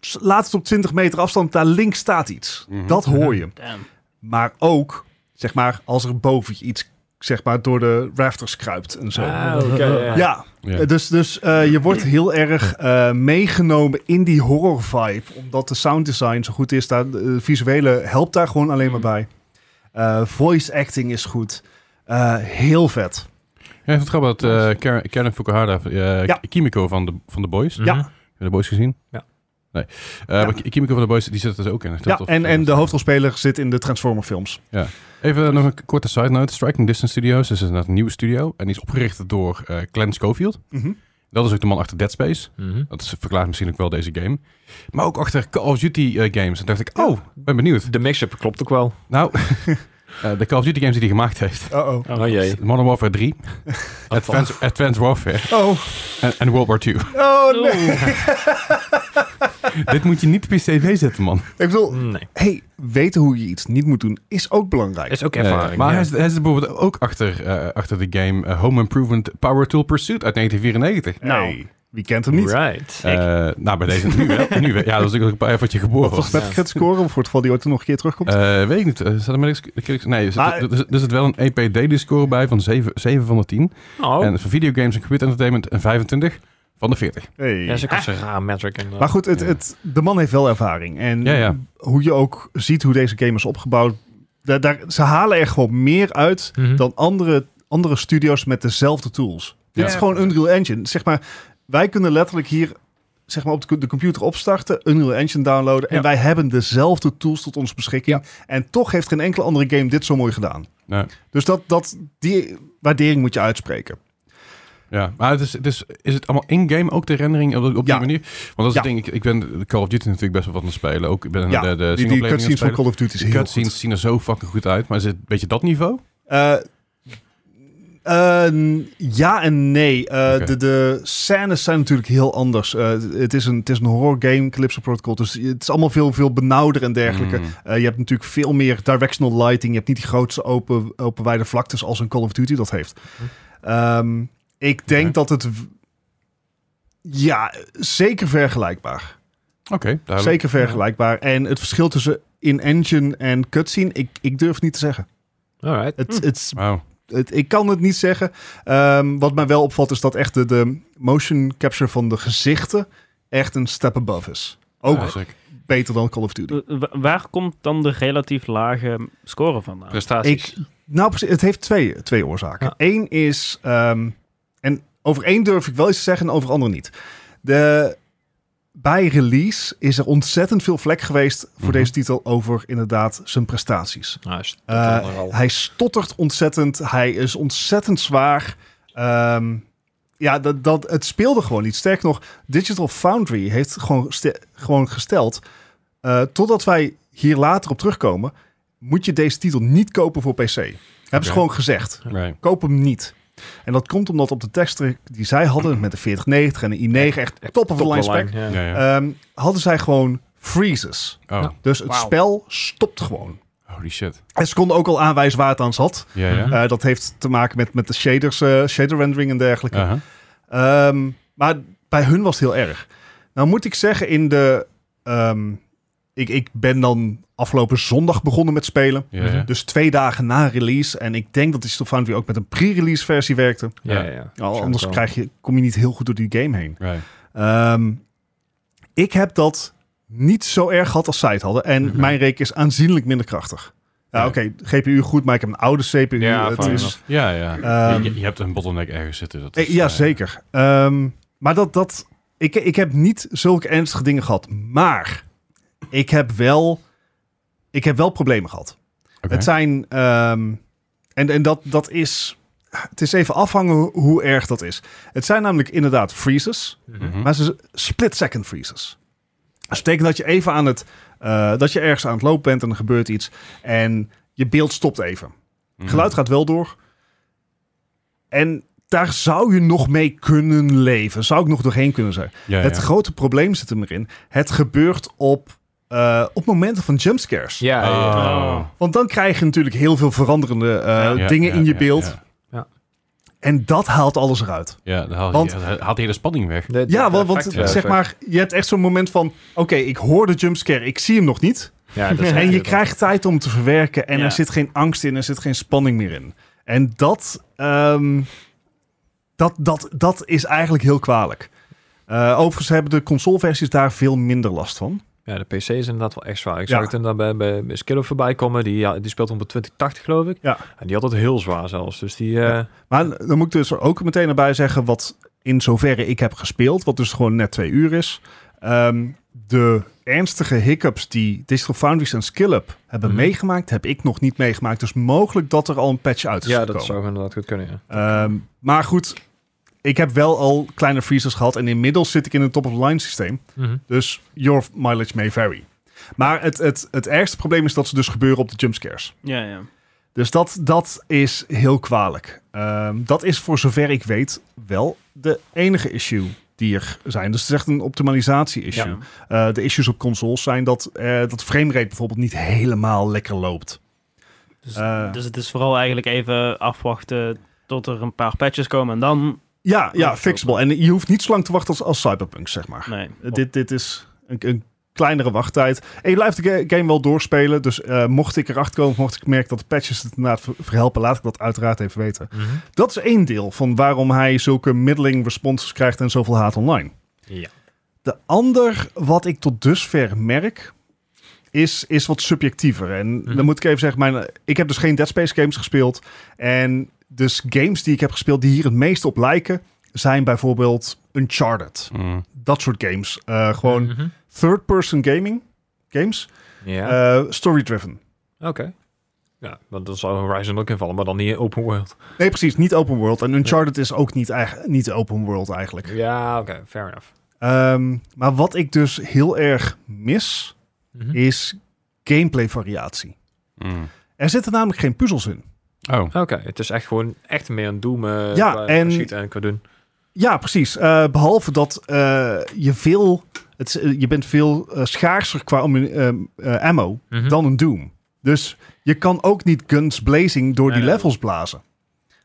Speaker 3: s- laat het op 20 meter afstand, daar links staat iets.
Speaker 1: Mhm.
Speaker 3: Dat hoor je.
Speaker 2: Damn.
Speaker 3: Maar ook, zeg maar, als er boven je iets zeg maar, door de rafters kruipt en zo.
Speaker 4: Ah, ja.
Speaker 3: Ja,
Speaker 1: Ja.
Speaker 3: eh, dus, dus eh, je wordt heel erg eh, meegenomen in die horror vibe. Omdat de sound design zo goed is. Daar, de visuele helpt daar gewoon alleen
Speaker 1: Mhm.
Speaker 3: maar bij. Eh, voice acting is goed. Eh, heel vet.
Speaker 1: Ja, ik vind het grappig dat eh, Karen, Karen Fukuhara, eh,
Speaker 3: Ja.
Speaker 1: Kimiko van de, van de Boys. Heb
Speaker 4: Mhm.
Speaker 3: Ja.
Speaker 1: je de Boys gezien?
Speaker 4: Ja.
Speaker 1: Nee. Eh, maar Ki- Kimiko van de Boys, die zit er dus ook in. Dat is
Speaker 3: Ja,
Speaker 1: tof.
Speaker 3: en, en de hoofdrolspeler zit in de Transformer films.
Speaker 1: Even eh, nog een korte side note. Striking Distance Studios is inderdaad een nieuwe studio. En die is opgericht door eh Glenn Schofield. Dat is ook de man achter Dead Space.
Speaker 4: Mhm.
Speaker 1: Dat is- verklaart misschien ook wel deze game. Maar ook achter Call of Duty eh, games. En dacht ik, oh, ben benieuwd.
Speaker 4: De mix-up klopt ook wel.
Speaker 1: Nou, eh, de Call of Duty games die hij gemaakt heeft.
Speaker 3: Uh-oh.
Speaker 4: Oh, jee.
Speaker 1: Modern Warfare 3, Advanced, Advanced Warfare
Speaker 3: Oh,
Speaker 1: en, en World War 2.
Speaker 3: oh nee.
Speaker 1: Dit moet je niet op je cv zetten, man.
Speaker 3: Ik bedoel,
Speaker 4: Nee.
Speaker 3: hey, weten hoe je iets niet moet doen is ook belangrijk.
Speaker 4: Is ook
Speaker 1: Eh,
Speaker 4: ervaring.
Speaker 1: maar
Speaker 4: ja.
Speaker 1: hij, zit, hij zit bijvoorbeeld ook achter, eh, achter de game eh, Home Improvement Power Tool Pursuit uit 1994.
Speaker 2: Nou.
Speaker 3: Hey, wie kent hem niet?
Speaker 4: Right.
Speaker 1: Eh, nou, bij deze nu wel. nu wel. Ja, dat is ook een paar jaar wat je geboren
Speaker 3: Volgens
Speaker 1: was.
Speaker 3: mij gaat scoren, of voor het geval die ooit nog een keer terugkomt.
Speaker 1: Eh, weet ik niet. Eh, Staat er met Nee, er zit,
Speaker 3: Maar-
Speaker 1: er, zit- er zit wel een E EPD-score bij van 7, 7 van de 10.
Speaker 4: Oh.
Speaker 1: En voor videogames en computer entertainment een 25 van de 40.
Speaker 3: Hey.
Speaker 4: Ja, dat is ook een raar metric. eh, inderdaad.
Speaker 3: Maar goed, het,
Speaker 1: Ja.
Speaker 3: het, de man heeft wel ervaring. En
Speaker 1: Ja, ja.
Speaker 3: hoe je ook ziet hoe deze game is opgebouwd. Daar, daar, ze halen er gewoon meer uit
Speaker 4: Mhm.
Speaker 3: dan andere, andere studios met dezelfde tools. Dit
Speaker 1: Ja.
Speaker 3: is gewoon Unreal Engine. Zeg maar, wij kunnen letterlijk hier zeg maar, op de, co- de computer opstarten, Unreal Engine downloaden. En
Speaker 4: Ja.
Speaker 3: wij hebben dezelfde tools tot onze beschikking. En toch heeft geen enkele andere game dit zo mooi gedaan.
Speaker 1: Nee.
Speaker 3: Dus dat, dat, die waardering moet je uitspreken.
Speaker 1: Eh, Ja, maar het is, het is, is het allemaal in-game ook de rendering op, op die
Speaker 3: Ja.
Speaker 1: manier? Want dat is
Speaker 3: Ja.
Speaker 1: het ding, ik, ik ben de Call of Duty natuurlijk best wel wat aan het spelen. Ook, ik ben eh,
Speaker 3: Ja,
Speaker 1: de, de
Speaker 3: Die, die
Speaker 1: singleplayer aan het
Speaker 3: cutscenes van
Speaker 1: spelen.
Speaker 3: Call of Duty is
Speaker 1: Die
Speaker 3: heel goed.
Speaker 1: cutscenes zien er zo fucking goed uit, maar is het een beetje dat niveau?
Speaker 3: Eh, eh, ja en nee. Eh,
Speaker 1: Oké.
Speaker 3: de, de scènes zijn natuurlijk heel anders. Eh, het, is een, het is een horror game, Calypso Protocol. Dus het is allemaal veel, veel benauwder en dergelijke.
Speaker 1: Mm.
Speaker 3: Eh, je hebt natuurlijk veel meer directional lighting. Je hebt niet die grootste open, open wijde vlaktes als een Call of Duty dat heeft. Ehm, ik denk
Speaker 1: Oké.
Speaker 3: dat het... w- Ja, zeker vergelijkbaar.
Speaker 1: Oké, duidelijk.
Speaker 3: Zeker vergelijkbaar. En het verschil tussen in-engine en cutscene, ik, ik durf niet te zeggen.
Speaker 4: Alright.
Speaker 1: Hm.
Speaker 3: Het, het is
Speaker 1: Wauw.
Speaker 3: het, ik kan het niet zeggen. Ehm, wat mij wel opvalt is dat echt de, de motion capture van de gezichten echt een step above is. Ook
Speaker 1: Ja, zeker.
Speaker 3: beter dan Call of Duty.
Speaker 2: Eh, wa- waar komt dan de relatief lage score vandaan?
Speaker 4: Prestaties.
Speaker 3: Nou, precies, het heeft twee, twee oorzaken.
Speaker 4: Ja.
Speaker 3: Eén is, ehm, en over één durf ik wel iets te zeggen en over andere niet. De, bij release is er ontzettend veel vlek geweest voor
Speaker 1: Mhm.
Speaker 3: deze titel over inderdaad zijn prestaties.
Speaker 4: Nou, is dat
Speaker 3: Eh,
Speaker 4: dan al.
Speaker 3: hij stottert ontzettend. Hij is ontzettend zwaar. Ehm, ja, dat, dat, het speelde gewoon niet. Sterker nog, Digital Foundry heeft gewoon, ste- gewoon gesteld... eh, totdat wij hier later op terugkomen... moet je deze titel niet kopen voor PC. Hebben
Speaker 1: Oké.
Speaker 3: ze gewoon gezegd.
Speaker 1: Right.
Speaker 3: Koop hem niet. En dat komt omdat op de teksten die zij hadden... met de 4090 en de i9, echt top of the line spec...
Speaker 4: Ja.
Speaker 1: Ja, ja.
Speaker 3: ehm, hadden zij gewoon freezes.
Speaker 1: oh,
Speaker 4: ja.
Speaker 3: Dus het
Speaker 2: Wauw.
Speaker 3: spel stopt gewoon.
Speaker 1: holy shit.
Speaker 3: En ze konden ook al aanwijzen waar het aan zat...
Speaker 1: Ja, ja.
Speaker 4: Mhm.
Speaker 3: Eh, dat heeft te maken met, met de shaders, eh, shader rendering en dergelijke.
Speaker 1: Aha.
Speaker 3: Ehm, maar bij hun was het heel erg. Nou moet ik zeggen, in de. ehm, ik, ik ben dan afgelopen zondag begonnen met spelen.
Speaker 1: Ja, ja.
Speaker 3: Dus twee dagen na release. En ik denk dat Digital Foundry ook met een pre-release versie werkte.
Speaker 4: Ja,
Speaker 1: Ja.
Speaker 4: ja.
Speaker 3: Al anders krijg je, kom je niet heel goed door die game heen.
Speaker 1: Right.
Speaker 3: Ehm, ik heb dat niet zo erg gehad als zij het hadden. En
Speaker 1: Oké.
Speaker 3: mijn reken is aanzienlijk minder krachtig. Ja,
Speaker 1: Ja.
Speaker 3: Oké, GPU goed, maar ik heb een oude CPU.
Speaker 4: Ja,
Speaker 3: het
Speaker 4: fine
Speaker 3: is,
Speaker 4: enough.
Speaker 1: Ja, ja.
Speaker 3: Ehm,
Speaker 1: je, je hebt een bottleneck ergens zitten. Dat
Speaker 3: Eh,
Speaker 1: is,
Speaker 3: ja,
Speaker 1: eh,
Speaker 3: zeker. Ehm, maar dat, dat, ik, ik heb niet zulke ernstige dingen gehad. Maar ik heb wel, ik heb wel problemen gehad.
Speaker 1: oké.
Speaker 3: Het zijn, ehm, en, en dat, dat is, het is even afhangen ho- hoe erg dat is. Het zijn namelijk inderdaad freezes,
Speaker 1: Mhm.
Speaker 3: maar ze split second freezes. Dat betekent dat je even aan het, eh, dat je ergens aan het lopen bent en er gebeurt iets. En je beeld stopt even.
Speaker 1: Mhm.
Speaker 3: Geluid gaat wel door. En daar zou je nog mee kunnen leven. Zou ik nog doorheen kunnen zijn.
Speaker 1: Ja,
Speaker 3: Het
Speaker 1: ja.
Speaker 3: grote probleem zit hem erin. Het gebeurt op, eh, op momenten van jumpscares.
Speaker 4: Ja, ja.
Speaker 1: Oh.
Speaker 3: Want dan krijg je natuurlijk heel veel veranderende eh,
Speaker 1: Ja,
Speaker 3: dingen
Speaker 1: ja,
Speaker 3: in je
Speaker 1: ja,
Speaker 3: beeld.
Speaker 1: Ja,
Speaker 3: En dat haalt alles eruit.
Speaker 1: ja dan haal-
Speaker 3: Want-
Speaker 1: ja, dan haalt de hele spanning weg.
Speaker 4: De- de-
Speaker 3: Ja,
Speaker 4: de
Speaker 3: want, want
Speaker 4: effecten.
Speaker 3: zeg maar, je hebt echt zo'n moment van... Oké, ik hoor de jumpscare, ik zie hem nog niet.
Speaker 4: Ja, dat is
Speaker 3: En je
Speaker 4: echt-
Speaker 3: krijgt tijd om te verwerken. En
Speaker 2: Ja.
Speaker 3: er zit geen angst in, er zit geen spanning meer in. En dat, ehm, dat, dat, dat is eigenlijk heel kwalijk. Eh, overigens hebben de consoleversies daar veel minder last van.
Speaker 4: Ja, de PC is inderdaad wel echt zwaar. Ik
Speaker 3: Ja.
Speaker 4: zag het inderdaad bij, bij, bij Skillup voorbij komen. Die, ja, die speelt op de 2080, geloof ik.
Speaker 3: Ja.
Speaker 4: En die had het heel zwaar zelfs. Dus die... eh,
Speaker 3: Maar dan moet ik dus er ook meteen erbij zeggen... wat in zoverre ik heb gespeeld, wat dus gewoon net twee uur is... ehm, de ernstige hiccups die Digital Foundries en Skillup hebben
Speaker 4: Mhm.
Speaker 3: meegemaakt... heb ik nog niet meegemaakt. Dus mogelijk dat er al een patch uit is
Speaker 4: ja, dat
Speaker 3: gekomen.
Speaker 4: zou inderdaad goed kunnen, ja.
Speaker 3: Ehm, maar goed, ik heb wel al kleine freezers gehad. En inmiddels zit ik in een top-of-the-line systeem.
Speaker 4: Mhm,
Speaker 3: Dus your mileage may vary. Maar het, het, het ergste probleem is dat ze dus gebeuren op de jumpscares.
Speaker 2: Ja, ja.
Speaker 3: Dus dat, dat is heel kwalijk. Ehm, dat is voor zover ik weet wel de enige issue die er zijn. Dus het is echt een optimalisatie-issue.
Speaker 2: Ja.
Speaker 3: Eh, de issues op consoles zijn dat, eh dat framerate bijvoorbeeld niet helemaal lekker loopt.
Speaker 2: Dus,
Speaker 3: Eh.
Speaker 2: dus het is vooral eigenlijk even afwachten tot er een paar patches komen en dan...
Speaker 3: Ja, ja,
Speaker 2: Ja,
Speaker 3: fixable. En je hoeft niet zo lang te wachten als, als Cyberpunk, zeg maar.
Speaker 2: Nee.
Speaker 3: Uh, Dit, dit is een, een kleinere wachttijd. En je blijft de ga- game wel doorspelen. Dus eh, mocht ik erachter komen, of mocht ik merken dat de patches het inderdaad ver- verhelpen, laat ik dat uiteraard even weten.
Speaker 4: mhm.
Speaker 3: Dat is één deel van waarom hij zulke middeling responses krijgt en zoveel haat online.
Speaker 4: Ja.
Speaker 3: De ander wat ik tot dusver merk, is, is wat subjectiever. En
Speaker 4: Mhm.
Speaker 3: dan moet ik even zeggen, mijn, ik heb dus geen Dead Space games gespeeld. En dus games die ik heb gespeeld die hier het meest op lijken, zijn bijvoorbeeld Uncharted.
Speaker 1: Mm.
Speaker 3: Dat soort games. Eh, gewoon
Speaker 4: Mhm.
Speaker 3: third-person gaming games,
Speaker 4: Ja,
Speaker 3: eh, story-driven.
Speaker 4: oké. Ja, want dan zou Horizon ook invallen, maar dan niet in open world.
Speaker 3: Nee, precies, niet open world. En Uncharted is ook niet, eigen- niet open world eigenlijk.
Speaker 4: Ja, oké, fair enough.
Speaker 3: Ehm, maar wat ik dus heel erg mis,
Speaker 4: Mhm.
Speaker 3: is gameplay-variatie.
Speaker 1: Mm.
Speaker 3: Er zitten namelijk geen puzzels in.
Speaker 1: Oh,
Speaker 4: Oké, het is echt gewoon echt meer een doem eh
Speaker 3: Ja,
Speaker 4: qua
Speaker 3: en-
Speaker 4: schieten en qua doen.
Speaker 3: Ja, precies. Eh, behalve dat eh, je veel, het, is- eh, je bent veel eh, schaarser qua ammu- ehm, eh, ammo
Speaker 1: Mhm.
Speaker 2: Mhm.
Speaker 3: dan een Doom. Dus je kan ook niet guns blazing door die
Speaker 2: Nee, nee.
Speaker 3: levels blazen.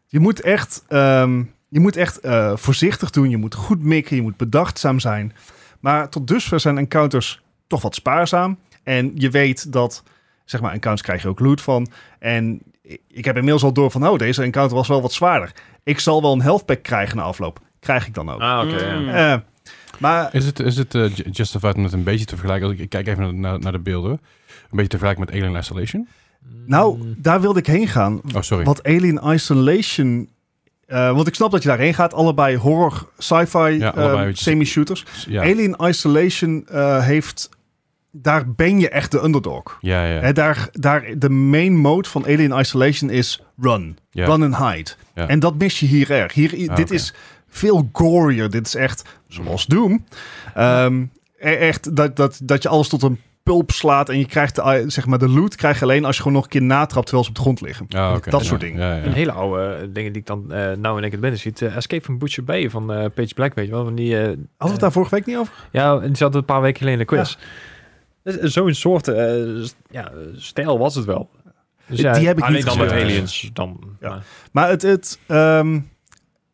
Speaker 3: Je moet echt, ehm, je moet echt eh, voorzichtig doen. Je moet goed mikken. Je moet bedachtzaam zijn. Maar tot dusver zijn encounters toch wat spaarzaam. En je weet dat, zeg maar, encounters krijg je ook loot van. En ik heb inmiddels al door van, oh, deze encounter was wel wat zwaarder. Ik zal wel een health pack krijgen na afloop. Krijg ik dan ook.
Speaker 4: Ah, oké,
Speaker 2: Mm.
Speaker 4: ja.
Speaker 3: Eh, maar
Speaker 1: is het, is het eh, ju- justified om het een beetje te vergelijken? Als ik, ik kijk even naar, naar, naar de beelden. Een beetje te vergelijken met Alien Isolation. Mm.
Speaker 4: Mm.
Speaker 3: nou, daar wilde ik heen gaan.
Speaker 1: Oh, sorry.
Speaker 3: Wat Alien Isolation. eh, want ik snap dat je daarheen gaat. Allebei horror, sci-fi,
Speaker 1: allebei
Speaker 3: eh,
Speaker 1: wat je-
Speaker 3: semi-shooters.
Speaker 1: Ja,
Speaker 3: Alien Isolation eh, heeft. Daar ben je echt de underdog.
Speaker 1: ja, ja.
Speaker 3: Hè, daar, daar, de main mode van Alien Isolation is run.
Speaker 1: Ja.
Speaker 3: Run and hide.
Speaker 1: Ja.
Speaker 3: En dat mis je hier erg. Hier, dit
Speaker 1: Ah, oké.
Speaker 3: is veel gorier. Dit is echt zoals Doom. Ehm, e- echt dat, dat, dat je alles tot een pulp slaat. En je krijgt de, eh, zeg maar, de loot krijg je alleen als je gewoon nog een keer natrapt terwijl ze op de grond liggen.
Speaker 1: Ah, oké,
Speaker 3: dat
Speaker 1: ja,
Speaker 3: soort dingen.
Speaker 1: Ja,
Speaker 4: Een
Speaker 1: ja.
Speaker 4: hele oude eh, dingen die ik dan eh nou in één keer binnen ziet. Eh, Escape from Butcher Bay van eh, Page Black, weet je wel. Van die, eh,
Speaker 3: Hadden we het daar vorige week niet over?
Speaker 4: Ja, die zat een paar weken geleden in de quiz. Dus, eh, Zo'n soort eh, st- ja, eh, stijl was het wel. Dus ja,
Speaker 3: Die heb ik
Speaker 4: alleen
Speaker 3: niet
Speaker 4: dan met
Speaker 1: gespeeld.
Speaker 4: aliens. Dan,
Speaker 3: Ja.
Speaker 4: maar-
Speaker 3: Maar het... het ehm,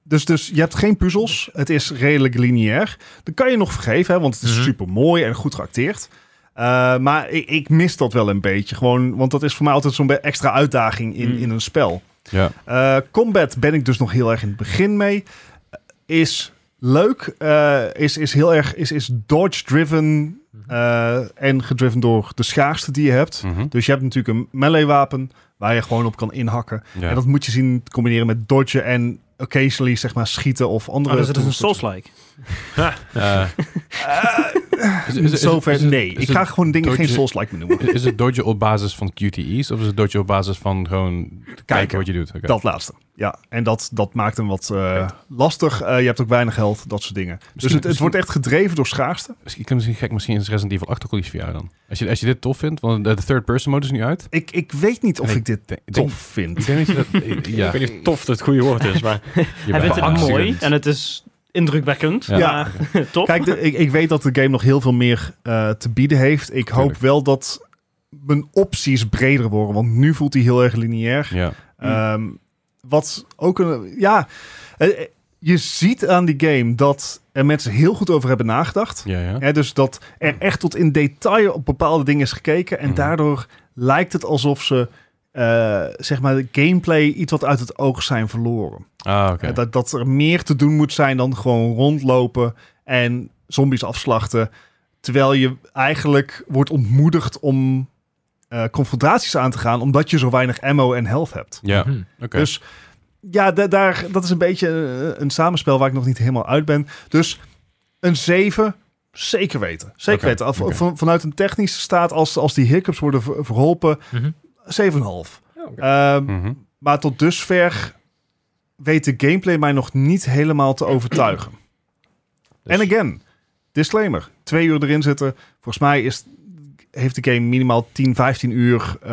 Speaker 3: dus, dus je hebt geen puzzels. Het is redelijk lineair. Dat kan je nog vergeven, hè, want het is
Speaker 4: Mhm.
Speaker 3: super mooi en goed geacteerd. Eh, maar ik, ik mis dat wel een beetje. Gewoon, want dat is voor mij altijd zo'n be- extra uitdaging in,
Speaker 2: Mm.
Speaker 3: in een spel.
Speaker 1: Ja.
Speaker 3: Eh, combat ben ik dus nog heel erg in het begin mee. Eh, Is leuk. eh, is, is heel erg is, is dodge-driven. eh, en gedriven door de schaarste die je hebt.
Speaker 1: Mhm.
Speaker 3: Dus je hebt natuurlijk een melee-wapen waar je gewoon op kan inhakken.
Speaker 1: Ja.
Speaker 3: En dat moet je zien te combineren met dodgen en
Speaker 1: Ah,
Speaker 3: occasionally zeg maar schieten of andere...
Speaker 2: Oh, dus het is een
Speaker 3: tools.
Speaker 2: Souls-like.
Speaker 1: Eh, Is- is- is-
Speaker 3: Zover,
Speaker 1: is Eh. het-
Speaker 3: nee.
Speaker 1: is
Speaker 3: ik
Speaker 1: het
Speaker 3: ga gewoon dingen geen
Speaker 1: doodje-
Speaker 3: Souls-like meer noemen.
Speaker 1: Is- Is het dodgen op basis van QTE's of is het dodgen op basis van gewoon kijken,
Speaker 3: Kijken.
Speaker 1: wat je doet? Oké.
Speaker 3: Dat laatste. Ja, en dat, dat maakt hem wat eh, lastig. Eh, je hebt ook weinig geld, dat soort dingen. dus het, het
Speaker 1: misschien-
Speaker 3: wordt echt gedreven door schaarste.
Speaker 1: Misschien, klinkt misschien gek, misschien is Resident Evil 8 ook wel iets voor jou dan. Als je, als je dit tof vindt, want de third-person mode is nu uit.
Speaker 3: Ik, ik weet niet of
Speaker 1: Nee,
Speaker 3: ik dit
Speaker 1: Denk- denk-
Speaker 3: tof vind.
Speaker 1: Ik denk dat je dat... eh,
Speaker 4: Ik
Speaker 1: ja.
Speaker 4: weet niet of tof het goede woord is, maar
Speaker 2: Hij vindt
Speaker 1: bent-
Speaker 2: het mooi
Speaker 1: accident.
Speaker 2: en het is indrukwekkend.
Speaker 1: Ja.
Speaker 3: Ja.
Speaker 2: Maar top.
Speaker 3: Kijk, de- ik, ik weet dat de game nog heel veel meer eh, te bieden heeft. Ik hoop
Speaker 1: Tuurlijk.
Speaker 3: wel dat mijn opties breder worden. Want nu voelt hij heel erg lineair.
Speaker 1: Ja.
Speaker 3: Ehm, wat ook een. Ja, eh, eh, je ziet aan die game dat er mensen heel goed over hebben nagedacht.
Speaker 1: Ja, ja.
Speaker 3: Hè, dus dat er echt tot in detail op bepaalde dingen is gekeken. En
Speaker 1: Mhm.
Speaker 3: daardoor lijkt het alsof ze. eh, zeg maar de gameplay iets wat uit het oog zijn verloren.
Speaker 1: Ah, oké.
Speaker 3: Hè, Dat, dat er meer te doen moet zijn dan gewoon rondlopen en zombies afslachten. Terwijl je eigenlijk wordt ontmoedigd om eh, confrontaties aan te gaan, omdat je zo weinig ammo en health hebt.
Speaker 1: Ja, oké.
Speaker 4: Hm.
Speaker 3: Dus ja, da- daar, dat is een beetje eh, een samenspel waar ik nog niet helemaal uit ben. Dus een 7, zeker weten. Zeker
Speaker 1: Oké,
Speaker 3: weten. Af-
Speaker 1: oké.
Speaker 3: van- vanuit een technische staat, als, als die hiccups worden ver- verholpen, 7,5.
Speaker 4: Mhm. Ja, oké.
Speaker 3: Ehm,
Speaker 1: Mhm.
Speaker 3: Maar tot dusver weet de gameplay mij nog niet helemaal te overtuigen.
Speaker 4: Dus-
Speaker 3: En again, disclaimer. Twee uur erin zitten. Volgens mij is, heeft de game minimaal 10, 15 uur eh,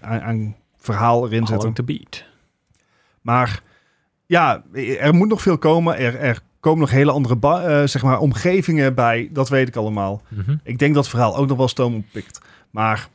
Speaker 3: aan, aan verhaal erin
Speaker 4: How
Speaker 3: zitten.
Speaker 4: long to beat.
Speaker 3: Maar ja, er moet nog veel komen. Er, er komen nog hele andere ba- eh, zeg maar, omgevingen bij. Dat weet ik allemaal.
Speaker 4: Mhm.
Speaker 3: Ik denk dat het verhaal ook nog wel stoom oppikt. Maar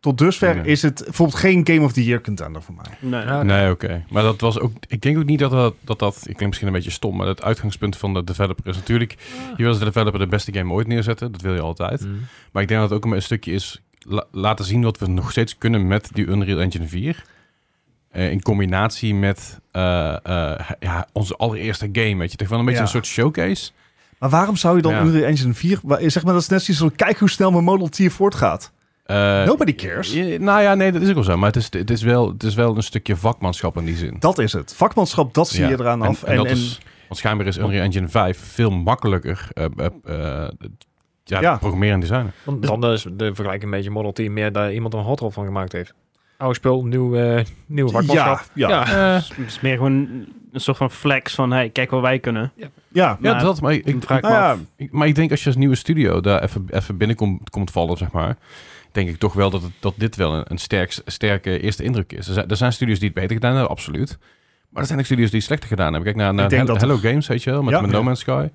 Speaker 3: tot dusver
Speaker 1: Ja.
Speaker 3: is het bijvoorbeeld geen Game of the Year contender voor mij.
Speaker 2: Nee.
Speaker 4: Ja.
Speaker 1: Nee, oké. Maar dat was ook... Ik denk ook niet dat dat... dat, dat ik klink misschien een beetje stom, maar het uitgangspunt van de developer is natuurlijk... Je wil als developer de beste game ooit neerzetten. Dat wil je altijd.
Speaker 4: Mhm.
Speaker 1: Maar ik denk dat het ook een stukje is la- laten zien wat we nog steeds kunnen met die Unreal Engine 4. Eh, in combinatie met eh, eh, ja, onze allereerste game. Weet je, toch wel een beetje
Speaker 3: Ja.
Speaker 1: een soort showcase.
Speaker 3: Maar waarom zou je dan
Speaker 1: Ja.
Speaker 3: Unreal Engine 4... wa- eh, Zeg maar, dat is net zoiets van... Kijk hoe snel mijn Model T voortgaat.
Speaker 1: Eh,
Speaker 3: Nobody cares.
Speaker 1: eh, nou ja, nee, dat is ook wel zo. Maar het is, het is, wel, het is wel een stukje vakmanschap in die zin.
Speaker 3: Dat is het. Vakmanschap, dat zie
Speaker 1: Ja.
Speaker 3: je eraan
Speaker 1: En-
Speaker 3: af.
Speaker 1: En, dat is, want schijnbaar is Unreal Engine 5 veel makkelijker eh, eh, eh, ja,
Speaker 3: Ja.
Speaker 1: programmeren en designen.
Speaker 4: Want dan is de vergelijking met je Model T meer dat iemand er een hot rod van gemaakt heeft. Oude spul, nieuw, eh nieuw
Speaker 3: ja,
Speaker 4: vakmanschap.
Speaker 3: ja, ja.
Speaker 1: Eh,
Speaker 2: Het is meer gewoon een soort van flex van, hey, kijk wat wij kunnen.
Speaker 1: ja,
Speaker 2: Maar-
Speaker 1: dat. Maar ik, ik,
Speaker 2: Dan vraag ik
Speaker 3: Nou
Speaker 2: me
Speaker 3: ja,
Speaker 2: af.
Speaker 1: Ik- maar ik denk als je als nieuwe studio daar even, even binnenkomt komt vallen, zeg maar. Denk ik toch wel dat, het, dat dit wel een, een sterk, sterke eerste indruk is. Er zijn, er zijn studios die het beter gedaan hebben, absoluut. Maar er zijn ook studios die het slechter gedaan hebben. Kijk naar, naar
Speaker 3: denk
Speaker 1: Hello,
Speaker 3: dat
Speaker 1: Hello Games, weet je wel, met,
Speaker 3: Ja.
Speaker 1: met No Man's Sky.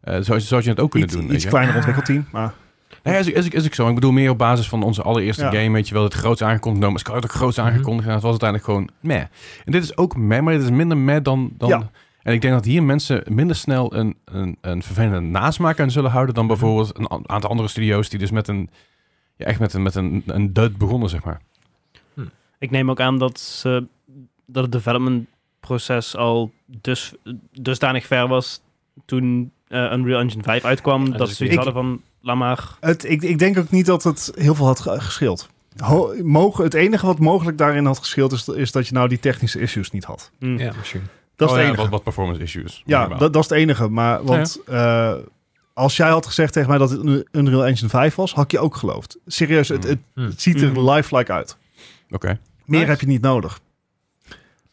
Speaker 1: Eh, zo zou je het ook kunnen
Speaker 3: Iets,
Speaker 1: doen. weet
Speaker 3: iets
Speaker 1: je.
Speaker 3: kleiner ontwikkelteam. Maar
Speaker 1: Nee, is, is, is ik zo. Ik bedoel meer op basis van onze allereerste
Speaker 3: Ja.
Speaker 1: game, weet je wel, het groots aangekondigd. No Man's Sky had ook groots
Speaker 4: Mhm.
Speaker 1: aangekondigd en het was uiteindelijk gewoon meh. En dit is ook meh, maar dit is minder meh dan... dan
Speaker 3: Ja.
Speaker 1: En ik denk dat hier mensen minder snel een, een, een vervelende nasmaak aan zullen houden
Speaker 3: Mhm.
Speaker 1: dan bijvoorbeeld een a- aantal andere studio's die dus met een... Ja, echt met een, met een, een dud begonnen, zeg maar.
Speaker 2: Ik neem ook aan dat, ze, dat het development proces al dus, dusdanig ver was toen eh, Unreal Engine 5 uitkwam,
Speaker 4: dat
Speaker 2: dat ze
Speaker 4: is
Speaker 2: zoiets
Speaker 3: ik-
Speaker 2: hadden van, laat maar.
Speaker 3: Het, ik, ik denk ook niet dat het heel veel had ge- gescheeld. Ho- mogen, het enige wat mogelijk daarin had gescheeld is, is dat je nou die technische issues niet had.
Speaker 2: hm.
Speaker 4: Ja, misschien.
Speaker 3: Dat
Speaker 1: Oh
Speaker 3: is
Speaker 1: ja,
Speaker 3: het
Speaker 1: Wat,
Speaker 3: enige.
Speaker 1: wat performance issues.
Speaker 3: Ja,
Speaker 1: minimaal.
Speaker 3: dat, dat is het enige. Maar want eh, als jij had gezegd tegen mij dat het een Unreal Engine 5 was, had ik je ook geloofd. Serieus, het, het,
Speaker 4: Hmm.
Speaker 3: het ziet er
Speaker 2: Mhm.
Speaker 3: lifelike uit.
Speaker 1: Oké,
Speaker 3: Meer
Speaker 4: Nice.
Speaker 3: heb je niet nodig.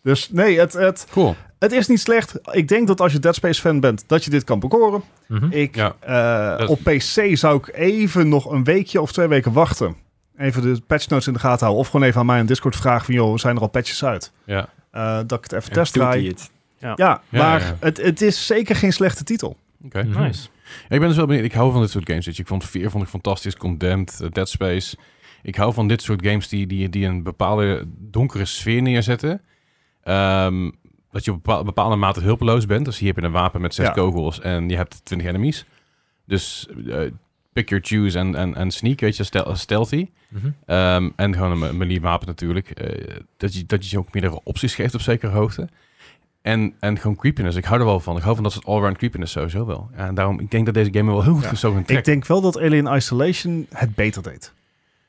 Speaker 3: Dus nee, het, het,
Speaker 1: cool.
Speaker 3: het is niet slecht. Ik denk dat als je Dead Space fan bent, dat je dit kan bekoren.
Speaker 4: Mhm.
Speaker 3: Ik,
Speaker 1: Ja.
Speaker 3: eh,
Speaker 1: Dat-
Speaker 3: Op PC zou ik even nog een weekje of twee weken wachten. Even de patch notes in de gaten houden. Of gewoon even aan mij in Discord vragen van... joh, zijn er al patches uit?
Speaker 1: Ja.
Speaker 3: Eh, dat ik het even
Speaker 4: En
Speaker 3: test
Speaker 4: doet hij
Speaker 3: draai.
Speaker 4: het?
Speaker 3: Ja,
Speaker 1: Ja,
Speaker 3: maar
Speaker 1: ja, ja.
Speaker 3: Het, het is zeker geen slechte titel.
Speaker 1: Oké.
Speaker 4: Mhm.
Speaker 2: Nice.
Speaker 1: Ja, Ik ben dus wel benieuwd. Ik hou van dit soort games. weet je. Ik vond 4 vond ik fantastisch. Condemned, eh, Dead Space. Ik hou van dit soort games die, die, die een bepaalde donkere sfeer neerzetten. Ehm, dat je op bepaal- bepaalde mate hulpeloos bent. Dus hier heb je een wapen met zes
Speaker 3: Ja.
Speaker 1: kogels en je hebt 20 enemies. Dus eh, pick your choose en- en en sneak, weet je, stel- stealthy.
Speaker 4: Mhm.
Speaker 1: Ehm, en gewoon een me- melee-wapen natuurlijk. Eh, dat, je, dat je ze ook meerdere opties geeft op zekere hoogte. En, en gewoon creepiness. Ik hou er wel van. Ik hou van dat soort all-round creepiness sowieso wel. Ja, en daarom, ik denk dat deze game me wel heel goed
Speaker 3: Ja.
Speaker 1: zo in
Speaker 3: Ik
Speaker 1: trekt.
Speaker 3: denk wel dat Alien Isolation het beter deed.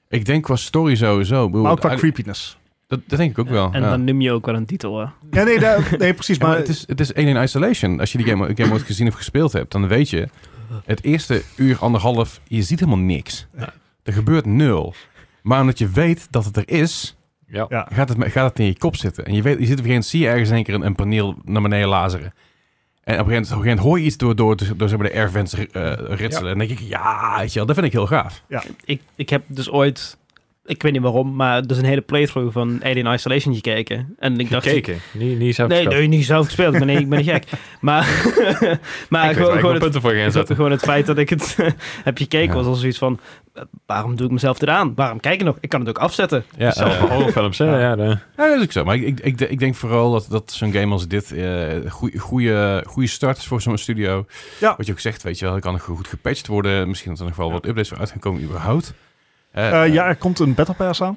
Speaker 1: Ik denk qua story sowieso. Ik bedoel,
Speaker 3: Maar ook qua
Speaker 1: ah,
Speaker 3: creepiness.
Speaker 1: dat, dat denk ik ook wel.
Speaker 2: En
Speaker 1: ja.
Speaker 2: dan noem je ook wel een titel. hè.
Speaker 3: Ja, nee, daar- nee precies.
Speaker 1: Ja,
Speaker 3: maar
Speaker 1: maar het is, het is Alien Isolation. Als je die game, game ooit gezien of gespeeld hebt, dan weet je... het eerste uur, anderhalf, je ziet helemaal niks.
Speaker 3: Ja.
Speaker 1: Er gebeurt nul. Maar omdat je weet dat het er is,
Speaker 4: Ja.
Speaker 3: Ja.
Speaker 1: gaat het, gaat het in je kop zitten. En je, weet, je zit op een gegeven moment, zie je ergens een keer een, een paneel naar beneden lazeren. En op een gegeven moment, op een gegeven moment hoor je iets door, door, door, door zeg maar de airvents eh, ritselen. En dan denk ik, ja, weet je wel, dat vind ik heel gaaf.
Speaker 2: ik, ik heb dus ooit, ik weet niet waarom, maar dus een hele playthrough van Alien Isolation gekeken. En ik dacht,
Speaker 4: Gekeken. Niet, niet zelf
Speaker 2: nee,
Speaker 4: gespeeld.
Speaker 2: nee, niet zelf gespeeld. Ik ben, ik ben niet gek. Maar, maar
Speaker 4: ik weet
Speaker 2: gewoon,
Speaker 4: waar ik
Speaker 2: gewoon,
Speaker 4: mijn
Speaker 2: het,
Speaker 4: punten voor ging
Speaker 2: gewoon,
Speaker 4: zetten.
Speaker 2: gewoon het feit dat ik het heb gekeken
Speaker 1: Ja.
Speaker 2: was al zoiets van, eh, waarom doe ik mezelf dit aan? Waarom kijk ik nog? Ik kan het ook afzetten.
Speaker 1: Ja,
Speaker 4: Zelf
Speaker 1: eh,
Speaker 4: horrorfilms, hè?
Speaker 3: Ja.
Speaker 4: Ja, de-
Speaker 1: Ja, dat is ook zo. Maar ik, ik, ik, ik denk vooral dat, dat zo'n game als dit eh goede start is voor zo'n studio.
Speaker 3: Ja.
Speaker 1: Wat je ook zegt, weet je wel, kan nog goed gepatcht worden. Misschien dat er nog wel wat updates voor uitgekomen überhaupt. Eh,
Speaker 3: Eh,
Speaker 1: eh,
Speaker 3: ja, er komt een Battle Pass aan.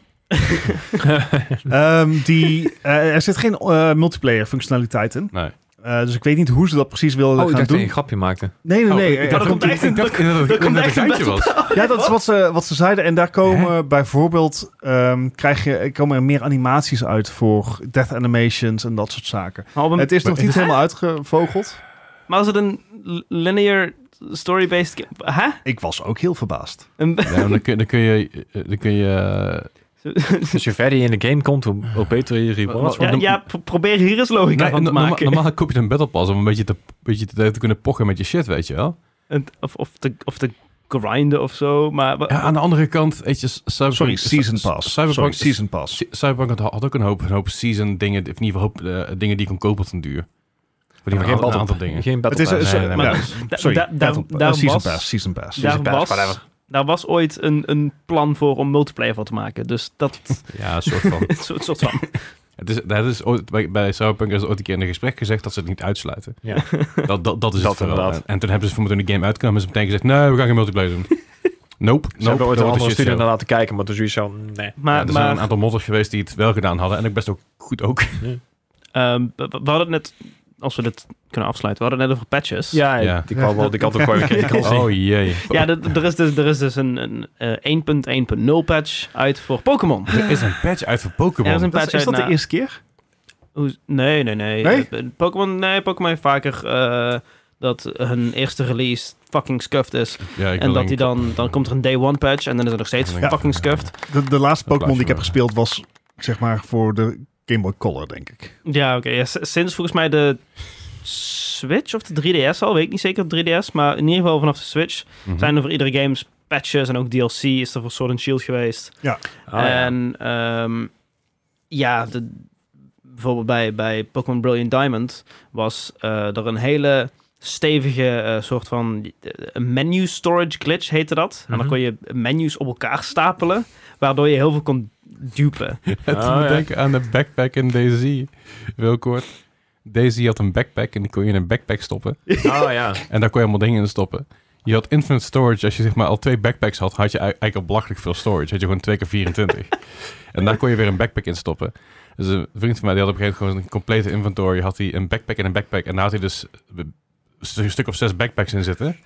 Speaker 3: Ehm, die, eh, er zit geen eh, multiplayer functionaliteit in.
Speaker 1: Nee.
Speaker 3: Eh, dus ik weet niet hoe ze dat precies wilden
Speaker 4: Oh, ik
Speaker 3: gaan
Speaker 4: dacht dat je
Speaker 3: doen.
Speaker 4: een grapje maakte.
Speaker 3: Nee, nee,
Speaker 1: Oh,
Speaker 3: nee.
Speaker 1: ik
Speaker 3: eh,
Speaker 1: dacht
Speaker 2: dat
Speaker 1: ook-
Speaker 2: komt echt
Speaker 1: ik dacht inderdaad dat
Speaker 2: dat
Speaker 1: het
Speaker 2: komt
Speaker 1: een
Speaker 2: echt een
Speaker 1: geintje was.
Speaker 3: Ja, dat is wat ze, wat ze zeiden. En daar komen bijvoorbeeld ehm, krijg je, komen er meer animaties uit voor death animations en dat soort zaken.
Speaker 2: Maar, op een-
Speaker 3: het is nog
Speaker 1: maar-
Speaker 3: niet helemaal uitgevogeld.
Speaker 2: maar als het een l- linear story-based game... Hè?
Speaker 3: Ik was ook heel verbaasd.
Speaker 2: Een-
Speaker 1: Ja, maar dan kun, dan kun je... eh, Dan kun je eh,
Speaker 4: Dus je verder je in de game komt, hoe, hoe beter je rewards
Speaker 1: Wat-
Speaker 2: ja,
Speaker 1: wat-
Speaker 2: ja, pro- probeer hier eens logica
Speaker 1: nee,
Speaker 2: van te
Speaker 1: no- norma-
Speaker 2: maken.
Speaker 1: normaal koop je een battle pass om een beetje te, beetje te, te kunnen pochen met je shit, weet je wel.
Speaker 2: En- of, of, te, of te grinden of zo, maar... wa-
Speaker 1: Ja, aan de andere kant, weet je, Cyberpunk...
Speaker 3: Sorry, Season Pass.
Speaker 1: Cyberpunk,
Speaker 3: Sorry, Season Pass.
Speaker 1: Cy- Cyberpunk had, had ook een hoop, een hoop season dingen, of in ieder geval hoop, eh, dingen die ik kon kopen op den duur. Voor die
Speaker 4: Maar geen
Speaker 1: een
Speaker 4: battle,
Speaker 1: aantal dingen.
Speaker 4: Geen battle
Speaker 3: Het is- eh,
Speaker 4: pass.
Speaker 3: is-
Speaker 4: Nee, nee,
Speaker 1: maar-
Speaker 4: maar-
Speaker 3: ja,
Speaker 2: da-
Speaker 3: Sorry,
Speaker 2: da- daar-
Speaker 3: Battle Pass.
Speaker 2: daarom
Speaker 3: Season
Speaker 2: was-
Speaker 3: Pass. Season Pass.
Speaker 2: Daar
Speaker 4: Season pass,
Speaker 2: was,
Speaker 4: whatever.
Speaker 2: daar was ooit een, een plan voor om multiplayer van te maken. Dus dat
Speaker 1: Ja, een soort van.
Speaker 2: is een soort van.
Speaker 1: het is, dat is ooit, bij, bij Cyberpunk is ooit een keer in een gesprek gezegd dat ze het niet uitsluiten.
Speaker 4: Ja.
Speaker 1: Dat, dat, dat is
Speaker 4: Dat
Speaker 1: het vooral.
Speaker 4: inderdaad.
Speaker 1: En, en toen hebben ze voor toen de game uitkwam, hebben ze meteen gezegd, nee, we gaan geen multiplayer doen. Nope,
Speaker 4: Ze hebben
Speaker 1: nope, dat
Speaker 4: ooit een
Speaker 1: wordt
Speaker 4: andere
Speaker 1: shit
Speaker 4: studio
Speaker 1: show.
Speaker 4: naar laten kijken, maar toen zoiets zo, nee.
Speaker 1: Ja,
Speaker 2: Maar,
Speaker 1: er zijn
Speaker 2: maar
Speaker 1: een aantal modders geweest die het wel gedaan hadden. En ook best ook goed ook.
Speaker 2: ehm, we, we hadden het net, als we dit kunnen afsluiten, we hadden het net over patches.
Speaker 4: Ja,
Speaker 1: Ja.
Speaker 4: die kwam wel die kant op gewoon een kritiek al zien.
Speaker 1: Oh jee.
Speaker 2: Ja, d- d- er is dus, er is dus een, een eh, 1.1.0 patch uit voor Pokémon.
Speaker 1: Oh, Er is een patch uit voor Pokémon.
Speaker 2: Er is een
Speaker 3: Dat
Speaker 2: patch
Speaker 3: is, is
Speaker 2: uit
Speaker 3: dat de
Speaker 2: na-
Speaker 3: eerste keer?
Speaker 2: Hoe- Nee, nee, nee.
Speaker 3: Nee?
Speaker 2: Eh, Pokémon nee, Pokémon heeft vaker eh, dat hun eerste release fucking scuffed is.
Speaker 1: Ja, ik
Speaker 2: en
Speaker 1: wil
Speaker 2: dat die
Speaker 1: denk-
Speaker 2: dan, dan komt er een day one patch en dan is het nog steeds
Speaker 1: Ja.
Speaker 2: fucking scuffed.
Speaker 3: De, de laatste
Speaker 1: Dat
Speaker 3: Pokémon die ik heb
Speaker 1: plaatje
Speaker 3: gespeeld was, zeg maar, voor de Game Boy Color, denk ik.
Speaker 2: Ja, oké. ja, s- sinds volgens mij de Switch of de 3DS al, weet ik niet zeker, 3DS. Maar in ieder geval vanaf de Switch
Speaker 1: Mhm.
Speaker 2: zijn er voor iedere games patches en ook DLC is er voor Sword and Shield geweest.
Speaker 4: Ah, ja.
Speaker 2: en ehm, ja, de- bijvoorbeeld bij, bij Pokémon Brilliant Diamond was eh, er een hele stevige eh, soort van eh, menu storage glitch heette dat. En dan
Speaker 4: Mhm.
Speaker 2: kon je menus op elkaar stapelen, waardoor je heel veel kon dupen.
Speaker 1: Het
Speaker 2: Ah,
Speaker 4: Oh,
Speaker 1: moet
Speaker 4: ja.
Speaker 1: denken aan de backpack in Daisy. Heel kort. Daisy had een backpack en die kon je in een backpack stoppen.
Speaker 4: Oh ja.
Speaker 1: En daar kon je allemaal dingen in stoppen. Je had infinite storage. Als je zeg maar al twee backpacks had, had je ei- eigenlijk al belachelijk veel storage. Had je gewoon twee keer 24. en daar kon je weer een backpack in stoppen. Dus een vriend van mij die had op een gegeven moment gewoon een complete inventory. Had hij een backpack en een backpack. En daar had hij dus een stu- een stuk of zes backpacks in zitten.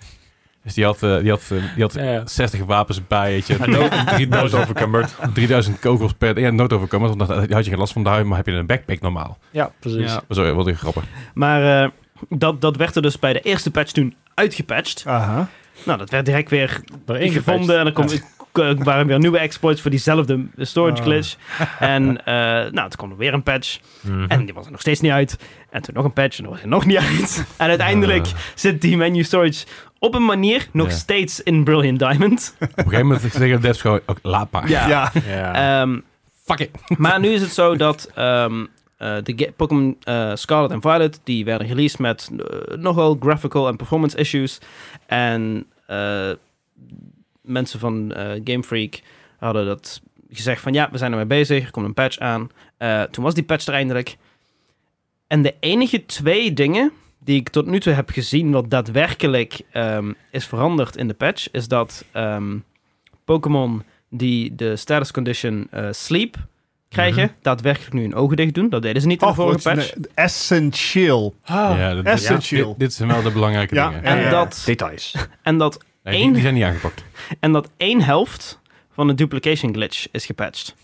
Speaker 1: Dus die had, eh, die had, eh, die had
Speaker 4: Ja, ja.
Speaker 1: 60 wapens bij. weet je.
Speaker 4: En dood- dood overcomerd.
Speaker 1: 3000 kogels per... Ja, noodoverkomen, want daar had je geen last van. Daar maar heb je een backpack normaal.
Speaker 4: Ja, precies.
Speaker 2: Ja.
Speaker 1: Sorry, wat een grappig.
Speaker 2: Maar eh, dat, dat werd er dus bij de eerste patch toen uitgepatcht.
Speaker 3: Aha.
Speaker 2: Nou, dat werd direct weer
Speaker 4: Er één
Speaker 2: gevonden. En dan kom, k- waren weer nieuwe exploits voor diezelfde storage
Speaker 4: Oh.
Speaker 3: Ah.
Speaker 2: glitch. En eh, nou, toen kwam er weer een patch.
Speaker 4: Mhm.
Speaker 2: En die was er nog steeds niet uit. En toen nog een patch en dan was hij nog niet uit. En uiteindelijk
Speaker 1: Eh.
Speaker 2: zit die menu storage op een manier nog
Speaker 1: Ja.
Speaker 2: steeds in Brilliant Diamond.
Speaker 1: Op een gegeven moment zeggen de devs gewoon... ook laat maar.
Speaker 2: Ja.
Speaker 3: Ja.
Speaker 4: Ja.
Speaker 2: Ehm,
Speaker 1: Ah. Fuck it.
Speaker 2: maar nu is het zo dat ehm, eh, de ga- Pokémon eh, Scarlet en Violet, die werden released met eh, nogal graphical en performance issues. En eh, mensen van eh, Game Freak hadden dat gezegd van ja, we zijn ermee bezig, er komt een patch aan. Eh, toen was die patch er eindelijk. En de enige twee dingen die ik tot nu toe heb gezien wat daadwerkelijk ehm, is veranderd in de patch, is dat ehm, Pokémon die de status condition eh, sleep krijgen, daadwerkelijk nu hun ogen dicht doen. Dat deden ze niet in de vorige
Speaker 3: wat
Speaker 2: patch.
Speaker 3: Oh, een- essentieel.
Speaker 1: ja, dit-
Speaker 3: essentieel.
Speaker 1: Dit, dit zijn wel de belangrijke
Speaker 3: Ja,
Speaker 1: dingen.
Speaker 3: ja.
Speaker 2: En, dat,
Speaker 4: Details.
Speaker 2: en, dat,
Speaker 1: Nee, die,
Speaker 2: Eén-
Speaker 1: die zijn niet aangepakt.
Speaker 2: en dat één helft van de duplication glitch is gepatcht.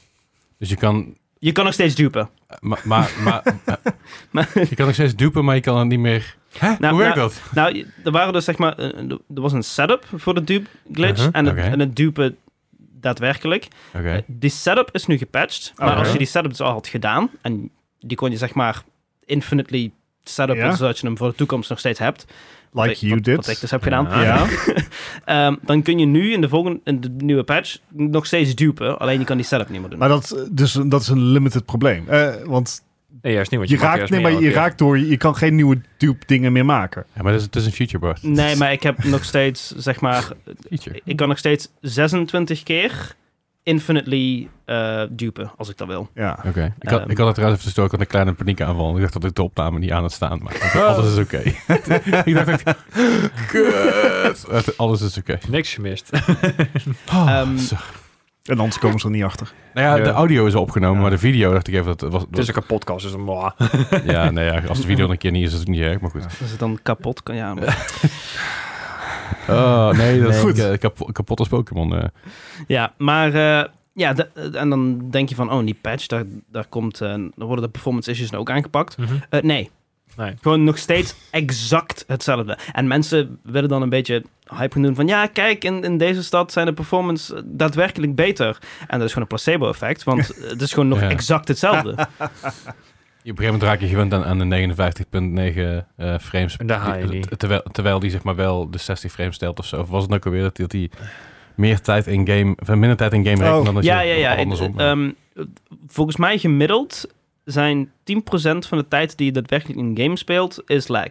Speaker 1: Dus je kan...
Speaker 2: Je kan nog steeds dupen.
Speaker 1: Maar, maar, maar,
Speaker 2: Maar-
Speaker 1: je kan nog steeds dupen, maar je kan het niet meer... Hè?
Speaker 2: Nou,
Speaker 1: Hoe werkt
Speaker 2: nou-
Speaker 1: dat?
Speaker 2: Nou, je- er waren dus zeg maar, eh, er was een setup voor de dupe glitch
Speaker 1: Uh-huh,
Speaker 2: en, het,
Speaker 1: oké.
Speaker 2: en het dupe daadwerkelijk.
Speaker 1: Oké.
Speaker 2: Eh, Die setup is nu gepatcht, maar
Speaker 1: Oké.
Speaker 2: als je die setup dus al had gedaan en die kon je zeg maar infinitely setupen
Speaker 3: Ja.
Speaker 2: zodat je hem voor de toekomst nog steeds hebt.
Speaker 3: Like
Speaker 2: Wat-
Speaker 3: you
Speaker 2: wat,
Speaker 3: did.
Speaker 2: Wat ik dus heb gedaan.
Speaker 4: Ja.
Speaker 3: Ja.
Speaker 2: Ehm, dan kun je nu in de, volgende, in de nieuwe patch nog steeds dupen, alleen je kan die setup niet meer doen.
Speaker 3: Maar dat, eh, dus, dat is een limited probleem. Eh, want
Speaker 4: Nee, juist niet, want
Speaker 3: je,
Speaker 4: je, maakt
Speaker 3: raakt,
Speaker 4: juist
Speaker 3: nee,
Speaker 4: meer
Speaker 3: maar je
Speaker 4: elke keer.
Speaker 3: raakt door, je kan geen nieuwe dupe dingen meer maken.
Speaker 1: Ja, maar dat is, het is een future bar.
Speaker 2: Nee, maar ik heb nog steeds, zeg maar,
Speaker 1: Future.
Speaker 2: ik kan nog steeds 26 keer infinitely eh, dupen, als ik dat wil.
Speaker 3: Ja.
Speaker 1: Oké. Ik, had,
Speaker 2: Ehm.
Speaker 1: ik had het trouwens even verstoord. Ik had een kleine paniekaanval. Ik dacht dat ik de opname niet aan het staan. Maar ik dacht, alles is oké. ik dacht echt... Kut. Het- Alles is oké.
Speaker 4: Niks gemist.
Speaker 1: Oh,
Speaker 2: Ehm,
Speaker 1: zo.
Speaker 3: En anders komen ze er niet achter.
Speaker 1: Nou ja,
Speaker 4: Ja.
Speaker 1: de audio is al opgenomen,
Speaker 3: Ja.
Speaker 1: maar de video dacht ik even dat het was.
Speaker 4: het is ook een podcast, dus mwah.
Speaker 1: Ja, nee, ja, als de video er een keer niet is, is het niet erg, maar goed.
Speaker 2: Is het dan kapot? Kan- Ja, maar-
Speaker 1: Oh, nee, dat is
Speaker 3: Goed.
Speaker 1: goed. kapot, kapot als Pokémon. eh.
Speaker 2: ja maar eh, ja, de- en dan denk je van, oh, die patch, daar, daar, komt, eh, dan worden de performance issues nou ook aangepakt.
Speaker 4: Mhm.
Speaker 2: Eh, nee.
Speaker 4: Nee.
Speaker 2: Gewoon nog steeds exact hetzelfde. En mensen willen dan een beetje hype gaan doen van... ja, kijk, in, in deze stad zijn de performance eh, daadwerkelijk beter. En dat is gewoon een placebo-effect, want eh, het is gewoon nog
Speaker 1: Ja.
Speaker 2: exact hetzelfde.
Speaker 1: Op een gegeven moment raak je gewend aan, aan de 59.9 eh, frames.
Speaker 4: En daar haal je
Speaker 1: Die-
Speaker 4: niet.
Speaker 1: t- terwijl, terwijl die zeg maar wel de 60 frames stelt of zo. Of was het ook alweer dat dat hij meer tijd in game, of minder tijd in game rekent
Speaker 3: Oh.
Speaker 1: dan dat
Speaker 2: ja,
Speaker 1: je
Speaker 2: ja, ja.
Speaker 1: of andersom.
Speaker 2: Eh, ehm, volgens mij gemiddeld zijn 10% van de tijd die je daadwerkelijk in een game speelt, is lag.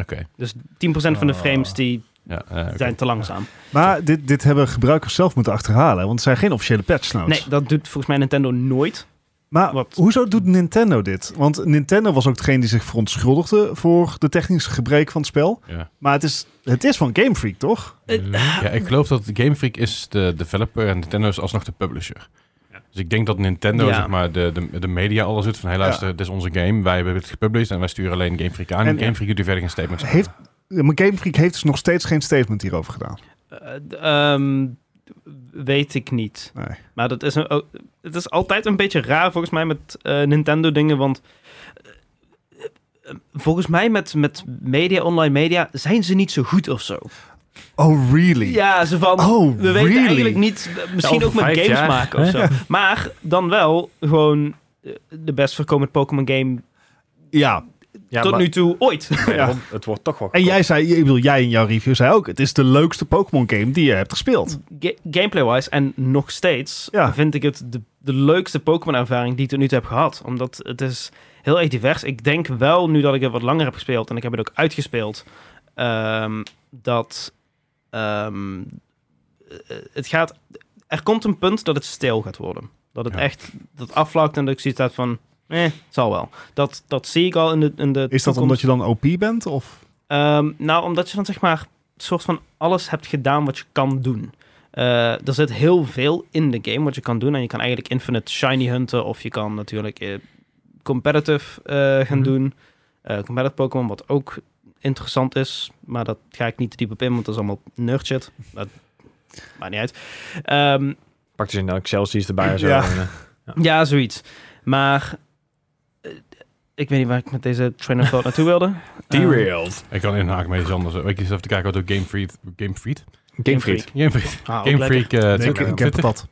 Speaker 1: Oké.
Speaker 2: Dus 10% van de
Speaker 4: Ah.
Speaker 2: frames die
Speaker 1: Ja, eh, oké.
Speaker 2: zijn te langzaam.
Speaker 3: Maar dit, dit hebben gebruikers zelf moeten achterhalen, want het zijn geen officiële patch notes.
Speaker 2: Nee, dat doet volgens mij Nintendo nooit.
Speaker 3: Maar
Speaker 2: Wat?
Speaker 3: hoezo doet Nintendo dit? Want Nintendo was ook degene die zich verontschuldigde voor de technische gebreken van het spel.
Speaker 1: Ja.
Speaker 3: Maar het is, het is van Game Freak, toch?
Speaker 1: Ja, ik geloof dat Game Freak is de developer en Nintendo is alsnog de publisher. Dus ik denk dat Nintendo
Speaker 2: Ja.
Speaker 1: zeg maar, de, de, de media alles doet van... hé, luister, dit is onze game. Wij hebben het gepublished en wij sturen alleen Game Freak aan.
Speaker 3: En-
Speaker 1: En, Game Freak doet hier verder geen statements over.
Speaker 3: Heeft, maar Game Freak heeft dus nog steeds geen statement hierover gedaan.
Speaker 2: Eh, d- ehm, weet ik niet.
Speaker 3: Nee.
Speaker 2: Maar dat is een, oh, het is altijd een beetje raar volgens mij met eh, Nintendo dingen, want eh, eh, volgens mij met, met media, online media, zijn ze niet zo goed of zo.
Speaker 3: Oh, really?
Speaker 2: Ja, ze van,
Speaker 3: Oh,
Speaker 2: we weten
Speaker 3: really?
Speaker 2: eigenlijk niet, eh, misschien
Speaker 4: Ja, over
Speaker 2: ook met
Speaker 4: vijf
Speaker 2: games
Speaker 4: jaar,
Speaker 2: maken of zo. Maar dan wel gewoon eh, de best verkomend Pokémon game
Speaker 3: Ja.
Speaker 4: Ja,
Speaker 2: tot
Speaker 4: maar-
Speaker 2: nu toe ooit.
Speaker 4: Ja,
Speaker 3: Ja.
Speaker 4: want Het wordt toch wel...
Speaker 3: En jij zei, ik bedoel, jij in jouw review zei ook, het is de leukste Pokémon game die je hebt gespeeld.
Speaker 2: Ga- Gameplay-wise en nog steeds
Speaker 3: Ja.
Speaker 2: vind ik het de, de leukste Pokémon-ervaring die ik tot nu toe heb gehad. Omdat het is heel erg divers. Ik denk wel, nu dat ik het wat langer heb gespeeld en ik heb het ook uitgespeeld, ehm, dat ehm, eh, het gaat... Er komt een punt dat het stil gaat worden. Dat het
Speaker 1: Ja.
Speaker 2: echt dat afvlakt en dat ik zoiets had van... Eh, het zal wel. Dat, dat zie ik al in de, in de
Speaker 3: Is dat
Speaker 2: toekomst.
Speaker 3: omdat je dan OP bent? Of?
Speaker 2: Ehm, nou, omdat je dan zeg maar soort van alles hebt gedaan wat je kan doen. Eh, er zit heel veel in de game wat je kan doen. En je kan eigenlijk infinite shiny hunten. Of je kan natuurlijk eh, competitive eh, gaan
Speaker 4: Mhm.
Speaker 2: doen. Eh competitive Pokémon, wat ook interessant is. Maar dat ga ik niet te diep op in, want dat is allemaal nerd shit. Dat maakt niet uit. Ehm,
Speaker 4: Pakt dus in Excelsior erbij en zo.
Speaker 3: Ja.
Speaker 4: En, eh,
Speaker 2: ja, zoiets. Maar eh, ik weet niet waar ik met deze train of thought naartoe wilde. Ehm,
Speaker 4: Derailed.
Speaker 1: Ik kan inhaken met iets anders. Ik zit even te kijken wat ook Game Freak... Game Freak?
Speaker 4: Game Freak.
Speaker 1: Game Freak,
Speaker 2: ah, ook
Speaker 1: Game
Speaker 2: lekker.
Speaker 1: Freak eh,
Speaker 3: Nee, ik,
Speaker 1: Twitter.
Speaker 3: ik heb het dat.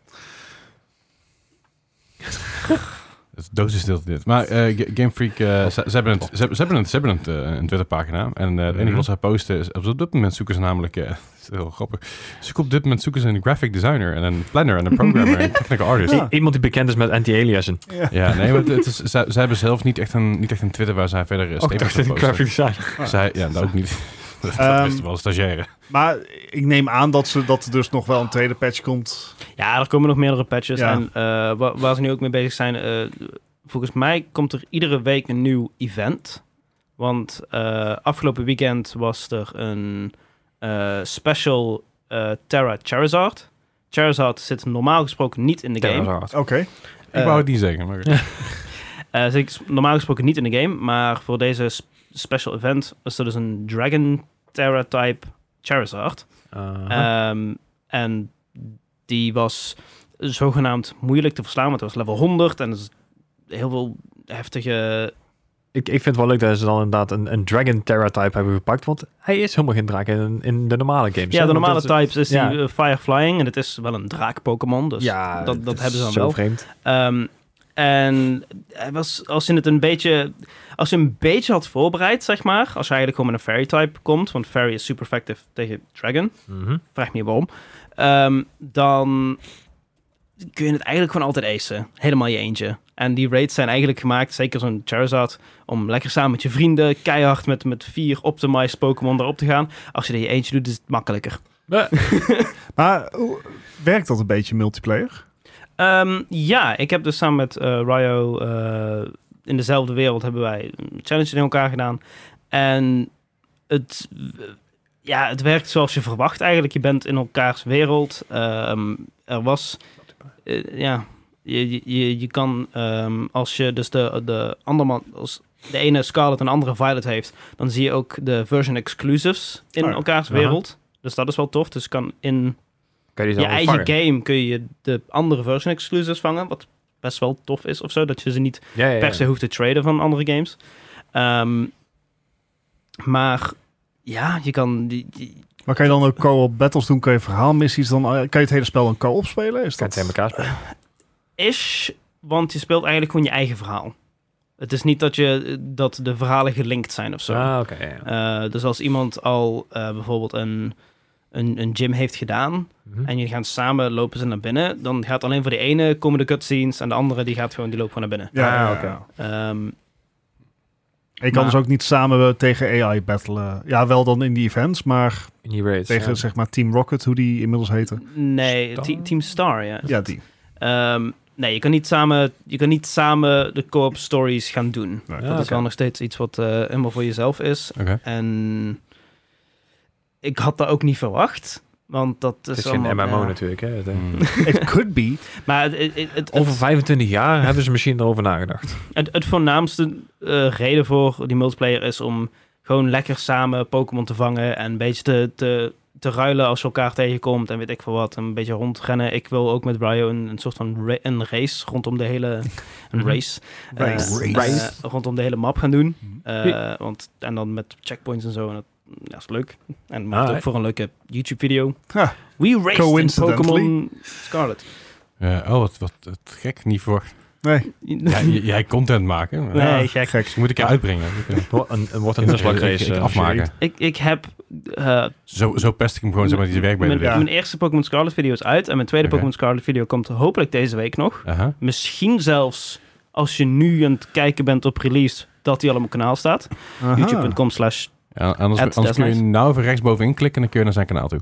Speaker 1: Het doos is deel dit. Maar eh, Ga- Game Freak, eh, ze, ze hebben het, ze, hebben- ze hebben het, ze hebben het, eh, een Twitterpagina. En eh, het enige wat zij posten is, op dit moment zoeken ze namelijk, eh, het is heel grappig, ze zoeken op dit moment zoeken ze een graphic designer en een planner en een programmer en een technical artist.
Speaker 3: Ja.
Speaker 1: Ja,
Speaker 4: I- Iemand die bekend is met anti-aliasen.
Speaker 1: nee, maar het, het is, zij, zij hebben zelf niet echt, een, niet echt een Twitter waar zij verder eh, is.
Speaker 4: Ook dacht Oh, ik een graphic design.
Speaker 1: Zij, ja, dat ook niet. Dat
Speaker 3: Ehm,
Speaker 1: is wel een stagiaire.
Speaker 3: Maar ik neem aan dat, ze, dat er dus nog wel een tweede patch komt.
Speaker 2: Ja, er komen nog meerdere patches.
Speaker 3: Ja.
Speaker 2: En eh, wa- waar, ze nu ook mee bezig zijn, eh, volgens mij komt er iedere week een nieuw event. Want eh, afgelopen weekend was er een eh, special eh, Terra Charizard. Charizard zit normaal gesproken niet in de game.
Speaker 3: Oké.
Speaker 1: Ik wou het niet zeggen, maar
Speaker 2: Eh, zit s- normaal gesproken niet in de game, maar voor deze sp- special event is er dus een Dragon Terra type Charizard.
Speaker 4: Eh,
Speaker 2: Ehm, en die was zogenaamd moeilijk te verslaan, want het was level 100 en er is heel veel heftige
Speaker 4: ik, ik vind het wel leuk dat ze dan inderdaad een, een Dragon Terra type hebben gepakt. Want hij is helemaal geen draak in, in de normale games.
Speaker 2: Ja,
Speaker 4: hè,
Speaker 2: de
Speaker 4: want
Speaker 2: normale
Speaker 4: dat is-
Speaker 2: types is
Speaker 4: ja.
Speaker 2: die eh, Fireflying. En het is wel een draak-Pokémon. Dus
Speaker 4: ja,
Speaker 2: dat,
Speaker 4: het
Speaker 2: dat
Speaker 4: is
Speaker 2: hebben ze dan
Speaker 4: zo
Speaker 2: wel.
Speaker 4: vreemd.
Speaker 2: Ehm, en hij was, als je het een beetje. Als je een beetje had voorbereid, zeg maar. Als je eigenlijk gewoon met een fairy type komt. Want fairy is super effective tegen dragon.
Speaker 4: Mhm.
Speaker 2: Vraag me niet waarom. Ehm, dan kun je het eigenlijk gewoon altijd acen. Helemaal je eentje. En die raids zijn eigenlijk gemaakt, zeker zo'n Charizard, om lekker samen met je vrienden, keihard met, met vier optimized Pokémon erop te gaan. Als je dat je eentje doet, is het makkelijker.
Speaker 3: Maar hoe- werkt dat een beetje multiplayer?
Speaker 2: Ehm, ja, ik heb dus samen met eh Ryo eh, in dezelfde wereld hebben wij een challenge in elkaar gedaan. En het, ja, het werkt zoals je verwacht eigenlijk. Je bent in elkaars wereld. Ehm, er was, eh, ja, je, je- je, je kan ehm, als je dus de, de andere man, als de ene Scarlet en de andere Violet heeft, dan zie je ook de version exclusives in
Speaker 3: Oh ja.
Speaker 2: elkaars
Speaker 4: Aha.
Speaker 2: wereld. Dus dat is wel tof. Dus je kan in
Speaker 4: Kan je die
Speaker 2: je
Speaker 4: dan
Speaker 2: eigen
Speaker 4: wel vangen?
Speaker 2: game kun je de andere version exclusives vangen. Wat best wel tof is of zo. Dat je ze niet
Speaker 4: Ja, ja, ja.
Speaker 2: per se hoeft te traden van andere games. Ehm, maar ja, je kan. Die, die-
Speaker 3: Maar kan je dan ook co-op battles doen? Kan je verhaalmissies dan? eh, Kan je het hele spel dan co-op spelen? Is
Speaker 4: Kan je
Speaker 3: dat...
Speaker 4: tegen elkaar spelen.
Speaker 2: is, want je speelt eigenlijk gewoon je eigen verhaal. Het is niet dat, je, dat de verhalen gelinkt zijn of zo.
Speaker 4: Ah, oké. ja, ja.
Speaker 2: Eh, dus als iemand al eh, bijvoorbeeld een, een, een gym heeft gedaan.
Speaker 4: Mhm.
Speaker 2: en jullie gaan samen lopen ze naar binnen. dan gaat alleen voor de ene komen de cutscenes. en de andere die gaat gewoon, die loopt gewoon naar binnen.
Speaker 3: Ja,
Speaker 4: Ah,
Speaker 3: ja,
Speaker 4: oké.
Speaker 3: ja.
Speaker 2: Ehm,
Speaker 3: En je kan
Speaker 2: Maar-
Speaker 3: dus ook niet samen eh, tegen AI battlen. Ja, wel dan in die events, maar
Speaker 4: In die raids.
Speaker 3: tegen
Speaker 4: ja.
Speaker 3: zeg maar Team Rocket, hoe die inmiddels heten.
Speaker 2: Nee,
Speaker 4: Star?
Speaker 2: Te- Team Star, ja.
Speaker 3: Ja, die.
Speaker 2: Ehm, nee, je kan niet samen, je kan niet samen de co-op stories gaan doen.
Speaker 3: Ja,
Speaker 4: Ja,
Speaker 2: Dat is
Speaker 4: oké.
Speaker 2: wel nog steeds iets wat eh, helemaal voor jezelf is.
Speaker 1: Oké.
Speaker 2: En ik had dat ook niet verwacht, want dat is,
Speaker 4: Het is
Speaker 2: allemaal...
Speaker 4: geen MMO
Speaker 2: ja.
Speaker 4: natuurlijk. Hè. Het, eh,
Speaker 1: Hmm.
Speaker 3: It could be.
Speaker 2: Maar het, het, het, het,
Speaker 4: Over 25 jaar hebben ze misschien erover nagedacht.
Speaker 2: het- het voornaamste eh, reden voor die multiplayer is om gewoon lekker samen Pokémon te vangen en een beetje te, te, te ruilen als je elkaar tegenkomt en weet ik veel wat. En een beetje rondrennen. Ik wil ook met Ryo een, een soort van ra- een race rondom de hele... Een
Speaker 4: Mhm.
Speaker 2: race. eh,
Speaker 3: Race.
Speaker 2: eh,
Speaker 4: Race.
Speaker 2: rondom de hele map gaan doen.
Speaker 3: Mhm.
Speaker 2: Eh,
Speaker 4: Ja.
Speaker 2: want, en dan met checkpoints en zo. En dat ja, is leuk. En maakt ook
Speaker 4: Alright.
Speaker 2: voor een leuke YouTube-video.
Speaker 3: Ha.
Speaker 2: We raced in
Speaker 3: Coincidentally.
Speaker 2: Pokémon Scarlet.
Speaker 1: Ja, oh, wat, wat, wat gek. Niet voor.
Speaker 3: Nee.
Speaker 1: Ja, j- jij content maken. maar-
Speaker 2: Nee,
Speaker 3: Ja,
Speaker 2: gek.
Speaker 1: Dus moet ik je uitbrengen. Ik, eh,
Speaker 4: Wordt een, een, wordt een
Speaker 1: ik-
Speaker 4: Nuzlocke
Speaker 1: ik-
Speaker 4: race.
Speaker 1: ik- ik
Speaker 4: eh,
Speaker 1: afmaken.
Speaker 2: Ik, ik heb... eh,
Speaker 1: Zo, zo pest ik hem gewoon, zeg maar, die werk bij de
Speaker 2: mijn,
Speaker 3: ja.
Speaker 2: mijn eerste Pokémon Scarlet video is uit. En mijn tweede
Speaker 1: Oké.
Speaker 2: Pokémon Scarlet video komt hopelijk deze week nog.
Speaker 1: Aha.
Speaker 2: Misschien zelfs als je nu aan het kijken bent op release, dat die al op mijn kanaal staat.
Speaker 3: Aha.
Speaker 2: YouTube.com slash...
Speaker 1: Ja, anders,
Speaker 2: At
Speaker 1: anders kun je
Speaker 2: Desnice.
Speaker 1: nou even rechtsbovenin klikken en dan kun je naar zijn kanaal toe.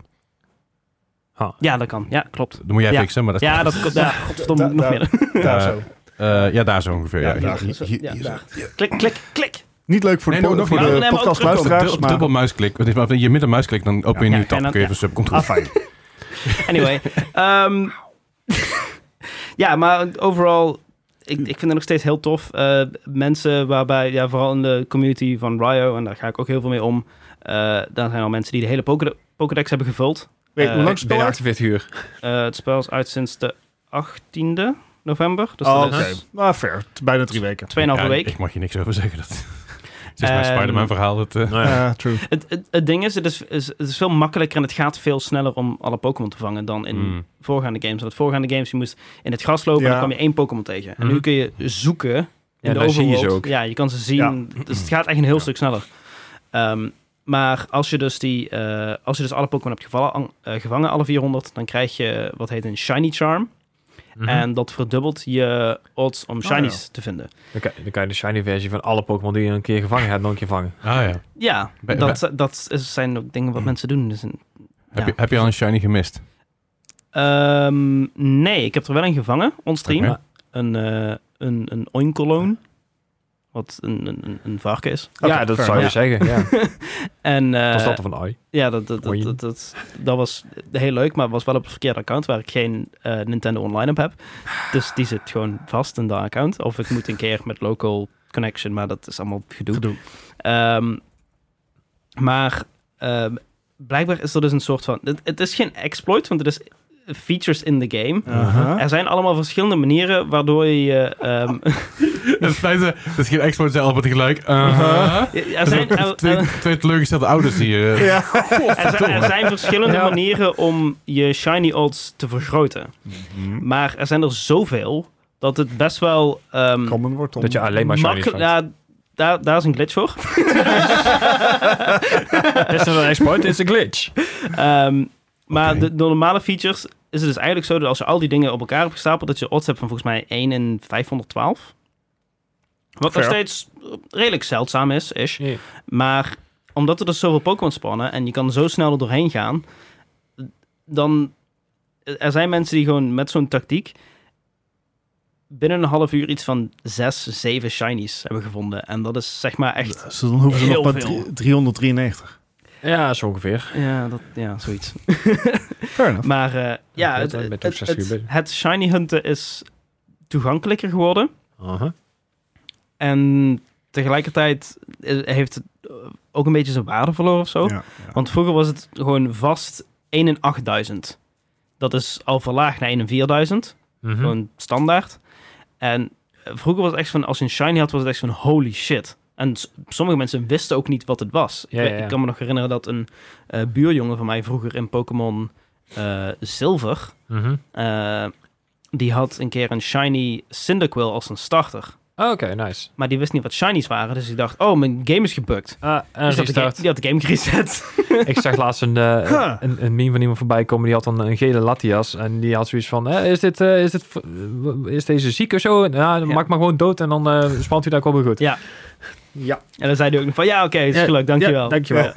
Speaker 2: Ja, dat kan. Ja, klopt.
Speaker 1: Dan moet jij
Speaker 2: Ja.
Speaker 1: fixen, maar dat
Speaker 2: Ja, dat komt. Ja, godverdomme,
Speaker 3: Da-
Speaker 2: nog
Speaker 3: da-
Speaker 2: meer.
Speaker 3: Daar
Speaker 1: Eh,
Speaker 3: zo.
Speaker 1: Eh, ja, daar zo ongeveer.
Speaker 3: Ja,
Speaker 1: Ja,
Speaker 3: daar.
Speaker 1: Hier- hier-
Speaker 2: Ja,
Speaker 1: hier-
Speaker 2: daar. Klik, klik, klik.
Speaker 3: Niet leuk voor de,
Speaker 1: Nee,
Speaker 3: po-
Speaker 1: nog
Speaker 3: voor
Speaker 1: niet.
Speaker 3: de
Speaker 1: Nee,
Speaker 2: nee, maar ook
Speaker 1: Dubbel-
Speaker 3: podcastluisteraars,
Speaker 1: dubbel,
Speaker 3: maar...
Speaker 1: muisklik. Want als je midden muisklik, dan open je nu
Speaker 2: Ja. Ja, en
Speaker 1: tab.
Speaker 2: dan-
Speaker 1: Kun je
Speaker 2: ja.
Speaker 1: even subcontrole.
Speaker 3: Afijn.
Speaker 2: Anyway. ehm, ja, maar overal, ik, ik vind het nog steeds heel tof. Eh, mensen waarbij, ja, vooral in de community van Ryo, en daar ga ik ook heel veel mee om. eh, daar zijn al mensen die de hele Pokéde- Pokédex hebben gevuld.
Speaker 3: Weet je hoe
Speaker 2: Eh,
Speaker 3: lang
Speaker 4: Binnen
Speaker 3: spel
Speaker 4: 48 uur.
Speaker 2: Eh, het spel is uit sinds de 18e november. Dus
Speaker 3: Oh,
Speaker 2: dat
Speaker 3: oké.
Speaker 2: is
Speaker 3: Nou, fair. T- Bijna drie weken.
Speaker 2: 2,5
Speaker 1: Ja,
Speaker 2: week.
Speaker 1: Ik mag je niks over zeggen. Dat het is mijn
Speaker 2: nou Ehm,
Speaker 1: Spider-Man verhaal. Dat, eh,
Speaker 4: Nou ja.
Speaker 3: Eh, true.
Speaker 2: Het, het, het ding is het is, is, het is veel makkelijker en het gaat veel sneller om alle Pokémon te vangen dan in
Speaker 3: Hmm.
Speaker 1: Mm.
Speaker 2: voorgaande games. Want voorgaande games, je moest in het gras lopen en
Speaker 3: Ja.
Speaker 2: dan kwam je één Pokémon tegen. En
Speaker 4: Mhm.
Speaker 2: nu kun je zoeken in
Speaker 4: Ja,
Speaker 2: de
Speaker 4: dan zie je
Speaker 2: overworld.
Speaker 4: ze ook.
Speaker 2: Ja, je kan ze zien. Dus het gaat echt een heel stuk sneller. Ehm, maar als je dus, die, eh, als je dus alle Pokémon hebt gevallen, eh, gevangen, alle 400, dan krijg je wat heet een Shiny Charm.
Speaker 4: Mhm. Oh,
Speaker 2: En dat verdubbelt je odds om
Speaker 3: ja.
Speaker 2: Shinies te vinden.
Speaker 4: Dan, kan, dan kan je de shiny versie van alle Pokémon die je een keer gevangen hebt, nog een keer vangen.
Speaker 1: ah, ja.
Speaker 2: Ja,
Speaker 1: Bij-
Speaker 2: dat, dat is- zijn ook dingen wat
Speaker 4: Mhm.
Speaker 2: mensen doen. Dus een-
Speaker 1: Heb,
Speaker 2: Ja.
Speaker 1: je, heb je al een shiny gemist?
Speaker 2: Ehm, nee, ik heb er wel een gevangen, onstream.
Speaker 1: Oké.
Speaker 2: Een, eh een, een oinkoloon, wat een, een, een- een varken is.
Speaker 4: ja, dat
Speaker 3: fair.
Speaker 4: zou je
Speaker 2: Ja.
Speaker 4: zeggen. Ja.
Speaker 2: En eh,
Speaker 4: Als dat er van ai.
Speaker 2: ja, dat, dat, dat,
Speaker 4: Oin.
Speaker 2: dat, dat, dat was heel leuk, maar was wel op het verkeerde account waar ik geen eh, Nintendo Online op heb. Dus die zit gewoon vast in dat account. Of ik moet een keer met local connection, maar dat is allemaal gedoe. Ehm, maar ehm, blijkbaar is er dus een soort van... Het, het is geen exploit, want het is features in the game.
Speaker 3: Aha.
Speaker 2: Er zijn allemaal verschillende manieren waardoor je ehm,
Speaker 1: Het feit dat het is geen exploit zijn, allemaal tegelijk. Uh-huh.
Speaker 2: Ja, Er zijn, er,
Speaker 1: Twee,
Speaker 2: er-
Speaker 1: twee teleurgestelde ouders hier. eh.
Speaker 2: er zijn- er zijn verschillende
Speaker 4: Ja.
Speaker 2: manieren om je shiny odds te vergroten. Maar er zijn er zoveel dat het best wel... ehm,
Speaker 3: Common wordt om...
Speaker 4: Dat je alleen maar shiny
Speaker 2: makkel- ja, daar, daar is een glitch voor.
Speaker 4: Is dat een exploit? Is een glitch.
Speaker 2: Ehm, maar
Speaker 1: Oké.
Speaker 2: de, de normale features is het dus eigenlijk zo dat als je al die dingen op elkaar hebt gestapeld, dat je odds hebt van volgens mij 1 in 512. Wat nog
Speaker 4: Fair.
Speaker 2: steeds redelijk zeldzaam is, ish.
Speaker 4: Ja.
Speaker 2: Maar omdat er dus zoveel Pokémon spannen en je kan zo snel er doorheen gaan, dan... Er zijn mensen die gewoon met zo'n tactiek binnen een half uur iets van 6, 7 shinies hebben gevonden. En dat is zeg maar echt...
Speaker 3: Dus dan hoeven ze
Speaker 2: Heel
Speaker 3: nog maar
Speaker 2: veel.
Speaker 3: drie- 393.
Speaker 4: Ja, zo ongeveer.
Speaker 2: Ja, dat, ja zoiets.
Speaker 3: Fair enough.
Speaker 2: Maar eh, ja,
Speaker 4: dat
Speaker 2: het,
Speaker 4: ben ik met
Speaker 2: het-
Speaker 4: obsessie
Speaker 2: het-
Speaker 4: bezig.
Speaker 2: het shiny hunten is toegankelijker geworden.
Speaker 4: Aha.
Speaker 2: En tegelijkertijd eh, heeft het eh, ook een beetje zijn waarde verloren of zo.
Speaker 3: Ja, ja.
Speaker 2: Want vroeger was het gewoon vast 1 in 8000. Dat is al verlaagd naar 1 in 4000.
Speaker 4: Mhm.
Speaker 2: Gewoon standaard. En eh, vroeger was het echt van, als je een shiny had, was het echt van holy shit. En s- sommige mensen wisten ook niet wat het was.
Speaker 4: Ja,
Speaker 2: ik,
Speaker 4: ja,
Speaker 2: weet-
Speaker 4: ja.
Speaker 2: ik kan me nog herinneren dat een eh, buurjongen van mij vroeger in Pokémon eh, Zilver...
Speaker 4: Mhm.
Speaker 2: Eh, die had een keer een shiny Cyndaquil als een starter.
Speaker 4: Oh, Oké, nice.
Speaker 2: Maar die wist niet wat shinies waren, dus ik dacht, oh, mijn game is gebukt.
Speaker 4: Ah, en
Speaker 2: Dus dat de ga-
Speaker 4: restart.
Speaker 2: die had de game gereset.
Speaker 4: Ik zag laatst een, eh,
Speaker 3: Huh.
Speaker 4: een, een meme van iemand voorbij komen. Die had dan een gele latias. En die had zoiets van: eh, is, dit, eh, is, dit, v- eh, is deze ziek of zo? En, Ja, dan
Speaker 2: Ja.
Speaker 4: maak maar gewoon dood. En dan eh, spant u daar komen goed.
Speaker 2: Ja.
Speaker 4: ja.
Speaker 2: en dan zei hij ook nog van, ja, oké, het is
Speaker 4: Ja,
Speaker 2: gelukt, dankjewel. Ja,
Speaker 4: dankjewel.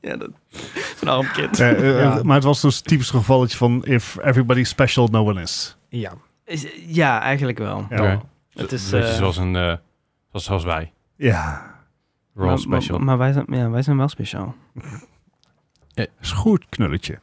Speaker 2: dat is een arm kind.
Speaker 3: Eh, eh,
Speaker 4: Ja.
Speaker 3: Maar het was dus typisch gevalletje van if everybody's special, no one is.
Speaker 4: Ja.
Speaker 2: Is- Ja, eigenlijk wel.
Speaker 3: Ja.
Speaker 1: Oké.
Speaker 2: Het is,
Speaker 1: Beetje
Speaker 2: eh,
Speaker 1: zoals, een, eh, zoals, zoals wij.
Speaker 3: Ja,
Speaker 1: We're all
Speaker 2: maar, maar-
Speaker 1: special.
Speaker 2: Maar, wij, zijn, ja, wij zijn wel speciaal.
Speaker 3: is goed, knulletje.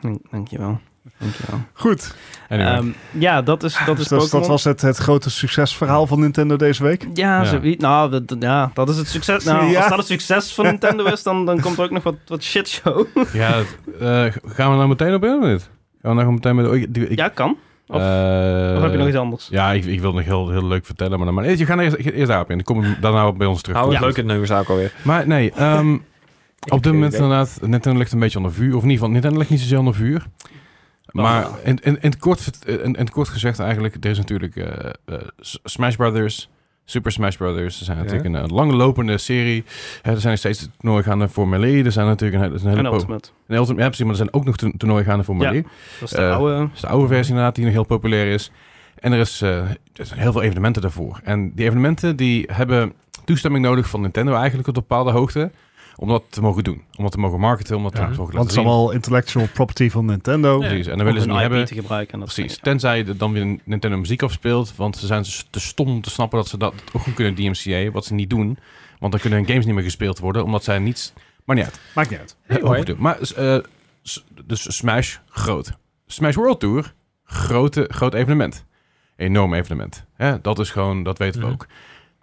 Speaker 2: Dank- Dankjewel. Dankjewel.
Speaker 3: Goed,
Speaker 1: Anyway.
Speaker 2: Ehm, ja, dat is, dat is
Speaker 3: dus dat, dat
Speaker 2: Pokémon.
Speaker 3: was het, het grote succesverhaal van Nintendo deze week.
Speaker 2: Ja,
Speaker 1: Ja.
Speaker 2: zoiets. nou, dat, dat- ja, dat is het succes. Nou,
Speaker 3: Ja.
Speaker 2: als dat het succes van Nintendo is, dan, dan komt er ook nog wat, wat shitshow.
Speaker 1: ja, het- eh, gaan we nou meteen op in of niet? Gaan we nou gewoon meteen met... oh, ik- die- ik-
Speaker 2: ja, kan. Of,
Speaker 1: eh,
Speaker 2: of heb je nog iets anders?
Speaker 1: Ja, ik, ik wil nog heel, heel leuk vertellen, maar, dan- maar eerst, je gaat eerst, eerst daarop in. Dan kom ik daarna bij ons terug.
Speaker 4: Hou het
Speaker 2: Ja.
Speaker 4: leuk in de nummers ook alweer.
Speaker 1: Maar nee, ehm, op
Speaker 4: eh,
Speaker 1: dit moment inderdaad, Nintendo ligt een beetje onder vuur. Of in ieder geval, Nintendo ligt niet zozeer onder vuur. Maar in, in, in, het kort, vert- in, in het kort gezegd eigenlijk, er is natuurlijk eh, eh, S- Smash Brothers, Super Smash Brothers. Er zijn
Speaker 4: Ja.
Speaker 1: natuurlijk een, eh, langlopende serie. Hè, er zijn nog steeds toernooien gaande voor Melee. Er zijn natuurlijk een, hele- er zijn een
Speaker 2: En
Speaker 1: hele... po-
Speaker 2: Ultimate.
Speaker 1: Een Ultimate, ja, precies, maar er zijn ook nog to- toernooien gaande voor
Speaker 2: Ja.
Speaker 1: Melee.
Speaker 2: Dat is de
Speaker 1: Eh,
Speaker 2: oude.
Speaker 1: Dat is de oude versie inderdaad, die nog heel populair is. En er, is, eh, er zijn heel veel evenementen daarvoor. En die evenementen die hebben toestemming nodig van Nintendo eigenlijk op een bepaalde hoogte. Om dat te mogen doen. Om dat te mogen marketen, om dat te
Speaker 3: Ja,
Speaker 1: mogen laten
Speaker 3: want het is
Speaker 1: zien.
Speaker 3: allemaal intellectual property van Nintendo.
Speaker 1: Precies. En dan willen ze
Speaker 2: om
Speaker 1: niet
Speaker 2: hun IP
Speaker 1: hebben.
Speaker 2: te gebruiken. En dat soort
Speaker 1: Precies. Tenzij er dan weer Nintendo muziek afspeelt. Want ze zijn dus te stom om te snappen dat ze dat ook goed kunnen DMCA. Wat ze niet doen. Want dan kunnen hun games niet meer gespeeld worden. Omdat zij niets... Maar niet uit.
Speaker 3: Maakt niet uit.
Speaker 1: Heel
Speaker 4: Anyway.
Speaker 1: goed doen. Maar eh, s- dus Smash groot. Smash World Tour, grote, groot evenement. Enorm evenement. Hè, dat is gewoon, dat weten we
Speaker 4: Mhm.
Speaker 1: ook.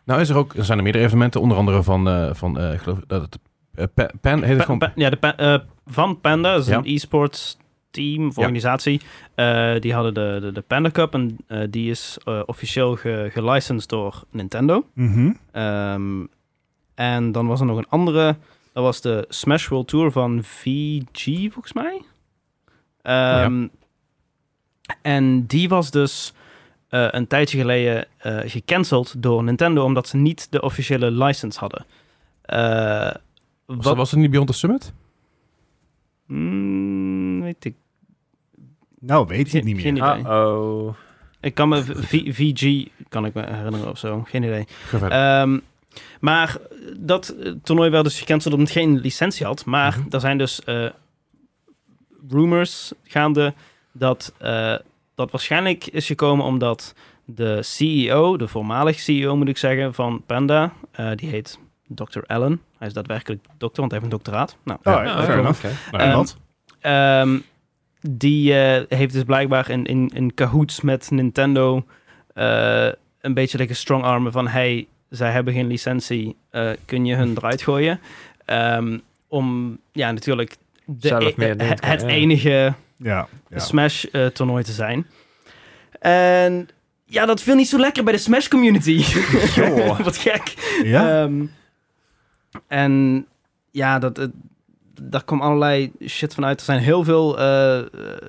Speaker 1: Nou is er ook, er zijn er meerdere evenementen, onder andere van, eh, van eh, ik geloof dat het eh, Pa- Pan, heet het
Speaker 2: dingen.
Speaker 1: gewoon
Speaker 2: Pa- pa- ja, de pa- eh, van Panda, dat is
Speaker 1: Ja.
Speaker 2: een e-sports team of
Speaker 1: Ja.
Speaker 2: organisatie. Eh, die hadden de, de, de Panda Cup en eh, die is eh, officieel ge, gelicensed door Nintendo.
Speaker 3: Mhm.
Speaker 2: Ehm, en dan was er nog een andere. Dat was de Smash World Tour van VG, volgens mij. Ehm, En die was dus eh, een tijdje geleden eh, gecanceld door Nintendo... omdat ze niet de officiële license hadden. Eh,
Speaker 1: was,
Speaker 2: wat-
Speaker 1: was het niet Beyond the Summit?
Speaker 2: Hmm, weet ik
Speaker 3: Nou, weet je het
Speaker 2: Geen-
Speaker 3: niet
Speaker 2: geen
Speaker 3: meer.
Speaker 2: idee.
Speaker 4: Uh-oh.
Speaker 2: Ik kan me v- VG kan ik me herinneren of zo, geen idee.
Speaker 1: Ga verder.
Speaker 2: Ehm, maar dat eh, toernooi werd dus gecanceld omdat het geen licentie had. Maar er zijn dus eh, rumors gaande dat eh, dat waarschijnlijk is gekomen omdat de CEO, de voormalig CEO moet ik zeggen, van Panda, eh, die heet Dr. Allen. Hij is daadwerkelijk dokter, want hij heeft een doctoraat. Nou,
Speaker 3: Oh,
Speaker 4: Ja,
Speaker 3: fair
Speaker 4: oké.
Speaker 3: enough.
Speaker 4: Oké.
Speaker 1: Nou,
Speaker 2: ehm,
Speaker 3: wat?
Speaker 2: Ehm, die eh, heeft dus blijkbaar in, in, in cahoots met Nintendo eh, een beetje lekker strong armen van hey, zij hebben geen licentie, eh, kun je hun eruit gooien? Ehm, om ja, natuurlijk de
Speaker 4: Zelf
Speaker 2: e-
Speaker 4: meer
Speaker 2: eh,
Speaker 4: dingen te
Speaker 2: het,
Speaker 4: krijgen, ja.
Speaker 2: enige
Speaker 3: Ja, ja.
Speaker 2: Smash eh, toernooi te zijn. En Ja, dat viel niet zo lekker bij de Smash community.
Speaker 3: Joh.
Speaker 2: Wat gek.
Speaker 3: Ja?
Speaker 2: Ehm, en ja, dat, eh, daar kwam allerlei shit van uit. Er zijn heel veel eh, eh,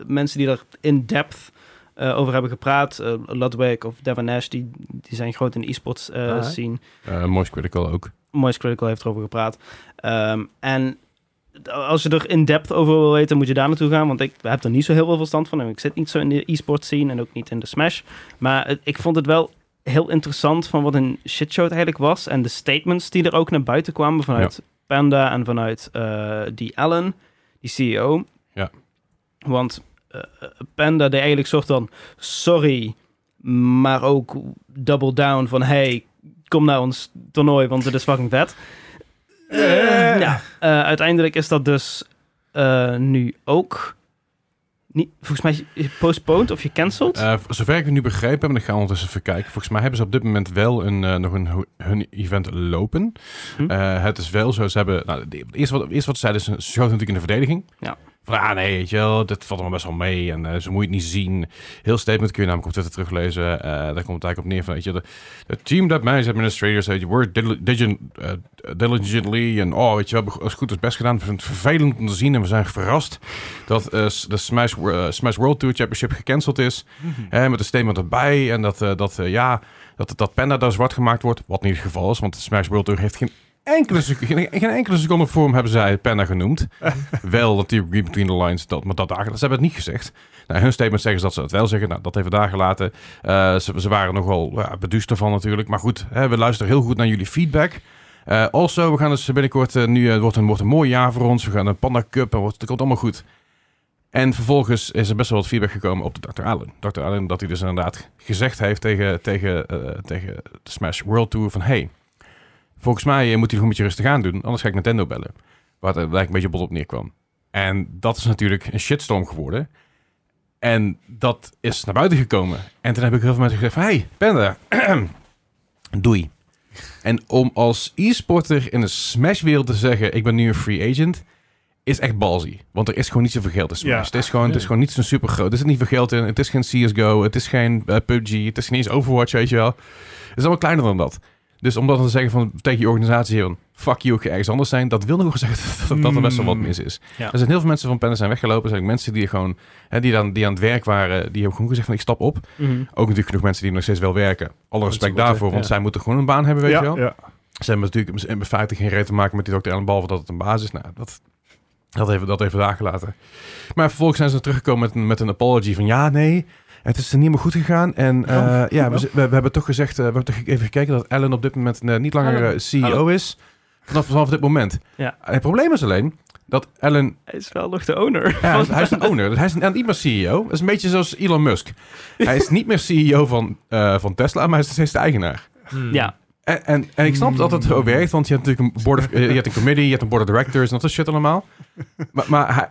Speaker 2: mensen die daar in-depth eh, over hebben gepraat. Eh, Ludwig of Devin Nash, die, die zijn groot in de e-sports eh,
Speaker 4: Ah, hè?
Speaker 2: scene.
Speaker 1: Eh Moist Critical ook.
Speaker 2: Moist Critical heeft erover gepraat. Ehm, en als je er in-depth over wil weten, moet je daar naartoe gaan. Want ik heb er niet zo heel veel verstand van. En ik zit niet zo in de e-sport scene en ook niet in de Smash. Maar het- ik vond het wel heel interessant van wat een shitshow het eigenlijk was. En de statements die er ook naar buiten kwamen vanuit Panda en vanuit eh, die Allen, die CEO.
Speaker 1: Ja.
Speaker 2: Want eh, Panda deed eigenlijk soort van sorry, maar ook double down van hey, kom naar ons toernooi, want het is fucking vet.
Speaker 3: Eh.
Speaker 2: Ja, eh, uiteindelijk is dat dus eh, nu ook niet, volgens mij postponed of gecanceld.
Speaker 1: Eh, v- zover ik het nu begrepen heb, en ik ga ondertussen even kijken. Volgens mij hebben ze op dit moment wel een, eh, nog een, ho- hun event lopen.
Speaker 2: Hm.
Speaker 1: Eh, het is wel zo, ze hebben... Nou, de- het eerste wat, het eerste wat ze zeiden is, ze schoten natuurlijk in de verdediging.
Speaker 2: Ja.
Speaker 1: Van, ah nee, weet je wel, dit valt allemaal best wel mee en eh, zo moet je het niet zien. Heel statement kun je namelijk op Twitter teruglezen. Eh, daar komt het eigenlijk op neer van, weet je, de, de team dat managed administrators, eh, worked dil- diligent- eh, diligently en oh, weet je wel, als goed is best gedaan. We vinden het vervelend om te zien en we zijn verrast dat eh, s- de Smash, Wo- eh, Smash World Tour Championship gecanceld is. Hè, met een statement erbij. En dat, eh, dat, eh, ja, dat, dat Panda daar zwart gemaakt wordt. Wat niet het geval is, want Smash World Tour heeft geen enkele, sec- geen, geen enkele seconde vorm hebben zij Panda genoemd. wel natuurlijk Read Between the Lines, dat, maar dat daar, ze hebben het niet gezegd. Nou, hun statement zeggen ze dat ze dat wel zeggen. Nou, dat hebben we daar gelaten. Eh, ze, ze waren nogal ja, beduusd ervan natuurlijk. Maar goed, hè, we luisteren heel goed naar jullie feedback. Eh also, we gaan dus binnenkort, eh, nu eh, het wordt, een, wordt een mooi jaar voor ons. We gaan een Panda Cup en wordt, het komt allemaal goed. En vervolgens is er best wel wat feedback gekomen op de Dr. Allen. Dr. Allen dat hij dus inderdaad gezegd heeft tegen, tegen, eh, tegen de Smash World Tour van... Hey, volgens mij eh, moet hij nog een beetje rustig aan doen, anders ga ik Nintendo bellen. Waar het eigenlijk een beetje bot op neerkwam. En dat is natuurlijk een shitstorm geworden. En dat is naar buiten gekomen. En toen heb ik heel veel mensen gezegd van... Hey, Panda, doei. En om als e-sporter in de Smash-wereld te zeggen... Ik ben nu een free agent... Is echt balzy. Want er is gewoon niet zoveel geld in Smash.
Speaker 3: Ja.
Speaker 1: Het, is gewoon, het is gewoon niet zo'n super groot. Er zit niet veel geld in. Het is geen CSGO. Het is geen eh, PUBG. Het is niet eens Overwatch, weet je wel. Het is allemaal kleiner dan dat. Dus om dat dan te zeggen van, tegen je organisatie... Van, fuck you, ik ga ergens anders zijn. Dat wil nog wel zeggen dat, dat er best wel wat
Speaker 3: Mm.
Speaker 1: mis is.
Speaker 2: Ja.
Speaker 1: Er zijn heel veel mensen van Pennen zijn weggelopen. Er zijn ook mensen die gewoon hè, die, dan, die aan het werk waren. Die hebben gewoon gezegd van, ik stap op. Ook natuurlijk genoeg mensen die nog steeds wel werken. Alle respect
Speaker 4: ze moeten,
Speaker 1: daarvoor, want
Speaker 4: ja.
Speaker 1: zij moeten gewoon een baan hebben, weet
Speaker 3: ja,
Speaker 1: je wel.
Speaker 3: ja.
Speaker 1: Ze hebben natuurlijk in feite geen reet te maken met die dokter Allen, behalve dat het een basis is. Nou, dat, dat even, dat even daar gelaten. Maar vervolgens zijn ze teruggekomen met, een- met een apology van ja, nee, het is niet helemaal goed gegaan. En eh, ja, we, z- we, we hebben toch gezegd, eh, we hebben toch even gekeken dat Allen op dit moment eh, niet langer
Speaker 2: Allen.
Speaker 1: eh, CEO
Speaker 2: Allen.
Speaker 1: is. Vanaf, vanaf dit moment.
Speaker 2: Ja.
Speaker 1: En het probleem is alleen dat Allen
Speaker 2: Hij is wel nog de owner.
Speaker 1: ja, hij is- hij is een owner. dus Hij is een- niet meer CEO. Dat is een beetje zoals Elon Musk. Hij is niet meer CEO van, eh, van Tesla, maar hij is nog steeds de eigenaar.
Speaker 4: Hmm.
Speaker 2: Ja,
Speaker 1: En, en, en ik snap dat het zo werkt, want je hebt natuurlijk een board of, eh, je hebt een committee, je hebt een board of directors en dat soort shit allemaal. Maar, maar hij,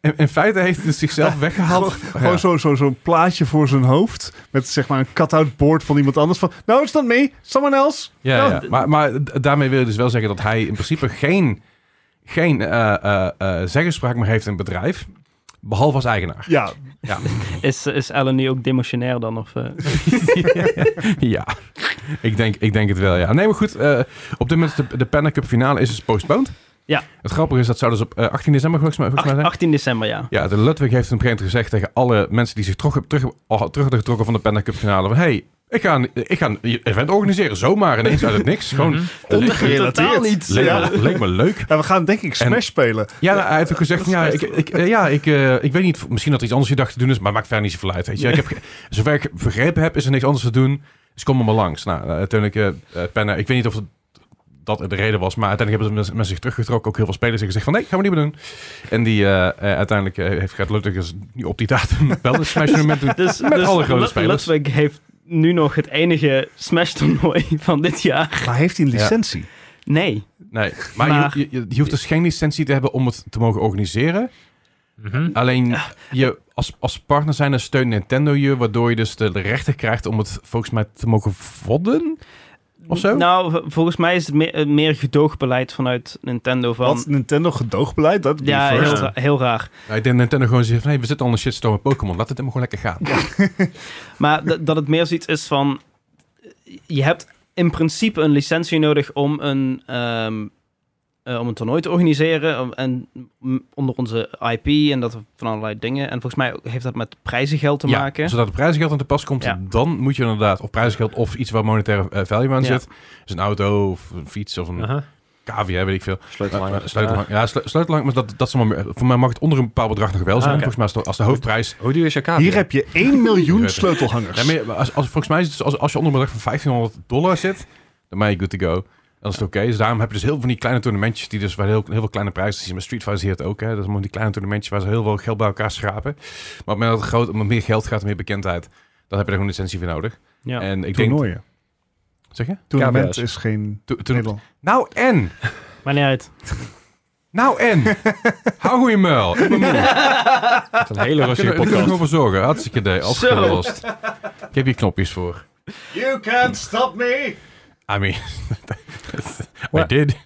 Speaker 1: in, in feite heeft hij zichzelf weggehaald.
Speaker 3: Gewoon zo'n zo, zo'n plaatje voor zijn hoofd. Met zeg maar een cut-out board van iemand anders. Van, "Nou, no, it's not me. Someone else.
Speaker 1: Ja, ja. Maar, maar d- daarmee wil je dus wel zeggen dat hij in principe geen, geen eh, eh, eh, zeggenspraak meer heeft in het bedrijf, behalve als eigenaar.
Speaker 3: Ja,
Speaker 2: is, is Ellen nu ook demotionair dan? Of, eh?
Speaker 1: Ja, ik denk, ik denk het wel, ja. Nee, maar goed, eh, op dit moment is de, de Panda Cup finale is dus postponed.
Speaker 2: Ja.
Speaker 1: Het grappige is, dat zou dus op eh, 18 december volgens mij, volgens mij zijn.
Speaker 2: 18 december, ja.
Speaker 1: Ja, de Ludwig heeft op een gegeven moment gezegd tegen alle mensen die zich terug, terug, al- terug hadden getrokken van de Panda Cup finale. Van, hey, ik ga, een, ik ga een event organiseren, zomaar ineens uit het niks. Gewoon,
Speaker 3: Ongerelateerd.
Speaker 2: Totaal niet.
Speaker 1: leek,
Speaker 3: Ja.
Speaker 1: me, leek me leuk.
Speaker 3: En we gaan denk ik Smash
Speaker 1: En-
Speaker 3: spelen.
Speaker 1: Ja, nou, hij heeft ook gezegd, van, ja, ik, ik, eh, ja ik, eh, ik weet niet, misschien dat er iets anders je dag te doen is, maar maakt verder niet zoveel uit. Weet je. Ik heb, ge- zover ik begrepen heb, is er niks anders te doen, dus kom er maar langs. Nou, eh, uiteindelijk, eh, eh, Penna, ik weet niet of het- dat de reden was, maar uiteindelijk hebben ze mensen- mensen zich teruggetrokken. Ook heel veel spelers hebben gezegd van, nee, gaan we niet meer doen. En die eh, eh, uiteindelijk eh, heeft Gert Ludwig dus nu op die datum wel een Smash Tournament doen.
Speaker 2: Dus,
Speaker 1: Met
Speaker 2: dus
Speaker 1: alle grote
Speaker 2: Lud-
Speaker 1: spelers.
Speaker 2: Ludwig heeft nu nog het enige Smash-toernooi van dit jaar.
Speaker 3: Maar heeft hij een
Speaker 1: Ja.
Speaker 3: licentie?
Speaker 2: Nee.
Speaker 1: Nee, maar, je-
Speaker 2: Maar-
Speaker 1: Je, je, je hoeft dus geen licentie te hebben om het te mogen organiseren.
Speaker 4: Mhm.
Speaker 1: Alleen je, als, als partner zijn dan steunt Nintendo je, waardoor je dus de rechten krijgt om het volgens mij te mogen vodden. of zo?
Speaker 2: Nou, v- volgens mij is het me- eh, meer gedoogbeleid vanuit Nintendo van...
Speaker 3: Wat Nintendo gedoogbeleid, dat
Speaker 2: Ja,
Speaker 3: be
Speaker 2: heel,
Speaker 3: first.
Speaker 2: ra- heel raar.
Speaker 1: Nou, ik denk Nintendo gewoon zegt, nee, we zitten al een shitstorm met Pokémon. Laat het hem gewoon lekker gaan.
Speaker 2: Maar d- dat het meer zoiets is van... Je hebt in principe een licentie nodig om een, ehm, eh, om een toernooi te organiseren. om- En m- onder onze IP en dat van allerlei dingen. En volgens mij ook- heeft dat met prijzengeld te
Speaker 1: Ja,
Speaker 2: maken.
Speaker 1: Zodat het prijzengeld aan te pas komt,
Speaker 2: Ja.
Speaker 1: dan moet je inderdaad, of prijzengeld of iets waar monetaire eh, value aan
Speaker 2: Ja.
Speaker 1: zit. Dus een auto of een fiets of een
Speaker 4: Aha.
Speaker 1: cavia, weet ik veel.
Speaker 4: Uh-huh. Sleutelhanger.
Speaker 1: Eh, Sleutelhang. Ja, slu- sleutelhang, maar dat, dat is allemaal, voor mij mag het onder een bepaald bedrag nog wel zijn.
Speaker 4: Ah, oké.
Speaker 1: Volgens mij als de, als de hoofdprijs...
Speaker 4: Ja. Hoe duur is je kaart?
Speaker 3: Hier heb je 1 miljoen
Speaker 1: Ja,
Speaker 3: sleutelhangers.
Speaker 1: maar je- als, als, volgens mij is het, dus als, als je onder een bedrag van 1500 dollar zit, dan ben je good to go. Dat is het oké. Dus daarom heb je dus heel veel van die kleine toernamentjes die dus waar heel, heel veel kleine prijzen zien. Met Street Fighter zie je het ook. Hè. Dat is allemaal die kleine toernamentjes waar ze heel veel geld bij elkaar schrapen. Maar op het moment dat het groot, om meer geld gaat, om meer bekendheid, dan heb je er gewoon een licentie voor nodig.
Speaker 2: Ja.
Speaker 1: En ik denk,
Speaker 3: Toernooien.
Speaker 1: Zeg je?
Speaker 3: Toernooi
Speaker 4: KBS.
Speaker 3: is geen
Speaker 1: To- to-
Speaker 3: middel.
Speaker 1: nou en,
Speaker 2: Maar niet uit.
Speaker 1: nou en. Hou goeie muil. Ik ben moe.
Speaker 4: Dat is een hele
Speaker 1: Kunnen-
Speaker 4: rustige
Speaker 1: Daar kunnen we
Speaker 4: podcast.
Speaker 1: gewoon voor zorgen. Hartstikke idee. Afgelost. Ik heb hier knopjes voor.
Speaker 3: You can't stop me!
Speaker 1: I mean, I
Speaker 4: Ja.
Speaker 1: did.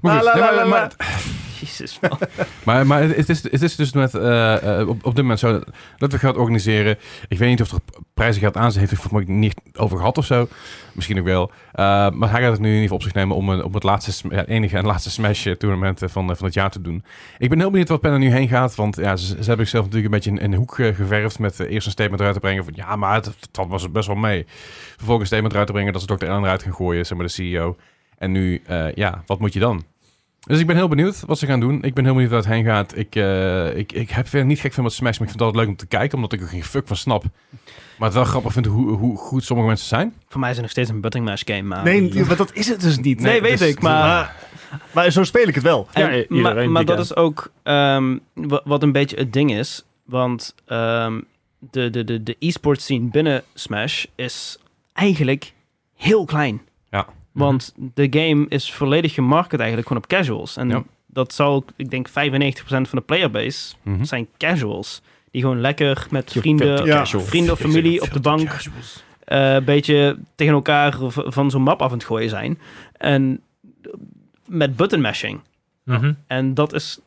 Speaker 1: Maar,
Speaker 3: La,
Speaker 1: goed,
Speaker 3: la,
Speaker 1: nee,
Speaker 3: la,
Speaker 1: maar-
Speaker 3: la, la.
Speaker 1: maar-
Speaker 2: Jezus. man.
Speaker 1: Maar, maar het, is, het is dus met, eh, eh, op, op dit moment zo dat we gaan organiseren. Ik weet niet of er prijzengeld aan zit. Heeft hij volgens mij niet over gehad of zo. Misschien ook wel. Eh, maar hij gaat het nu in ieder geval op zich nemen om, een- om het laatste, sm- ja, enige en laatste Smash eh, tournament eh, van, eh, van het jaar te doen. Ik ben heel benieuwd wat Penn er nu heen gaat. Want ja, ze, ze hebben zichzelf natuurlijk een beetje in in een hoek eh, geverfd. Met eh, eerst een statement eruit te brengen van ja, maar het, het was best wel mee. Vervolgens een statement eruit te brengen dat ze Dr. Allen eruit gaan gooien. Zeg maar de CEO. En nu, eh, ja, wat moet je dan? Dus ik ben heel benieuwd wat ze gaan doen. Ik ben heel benieuwd waar het heen gaat. Ik, eh, ik, ik heb verder niet gek van wat Smash, maar ik vind het altijd leuk om te kijken, omdat ik er geen fuck van snap. Maar het wel grappig vind hoe, hoe goed sommige mensen zijn.
Speaker 2: Voor mij is het nog steeds een butting mash game. Maar...
Speaker 3: Nee, maar dat is het dus niet.
Speaker 2: Nee, weet
Speaker 1: dus-
Speaker 2: ik. Maar
Speaker 3: Maar zo speel ik het wel.
Speaker 4: Ja,
Speaker 2: En-
Speaker 4: iedereen
Speaker 2: maar
Speaker 4: die
Speaker 2: maar dat
Speaker 4: kan.
Speaker 2: is ook ehm, wa- wat een beetje het ding is. Want ehm, de, de, de, de e-sport scene binnen Smash is eigenlijk heel klein.
Speaker 1: Ja.
Speaker 4: Mhm.
Speaker 2: Want de game is volledig gemarket eigenlijk gewoon op casuals. En
Speaker 1: Ja.
Speaker 2: dat zal, ik denk, 95% van de playerbase
Speaker 1: Mhm.
Speaker 2: zijn casuals. Die gewoon lekker met
Speaker 4: Hm? Je
Speaker 2: vrienden,
Speaker 4: filter
Speaker 3: Ja.
Speaker 4: casual.
Speaker 2: vrienden of familie op de bank eh, een beetje tegen elkaar v- van zo'n map af aan het gooien zijn. En met button mashing.
Speaker 4: Mhm.
Speaker 2: En dat is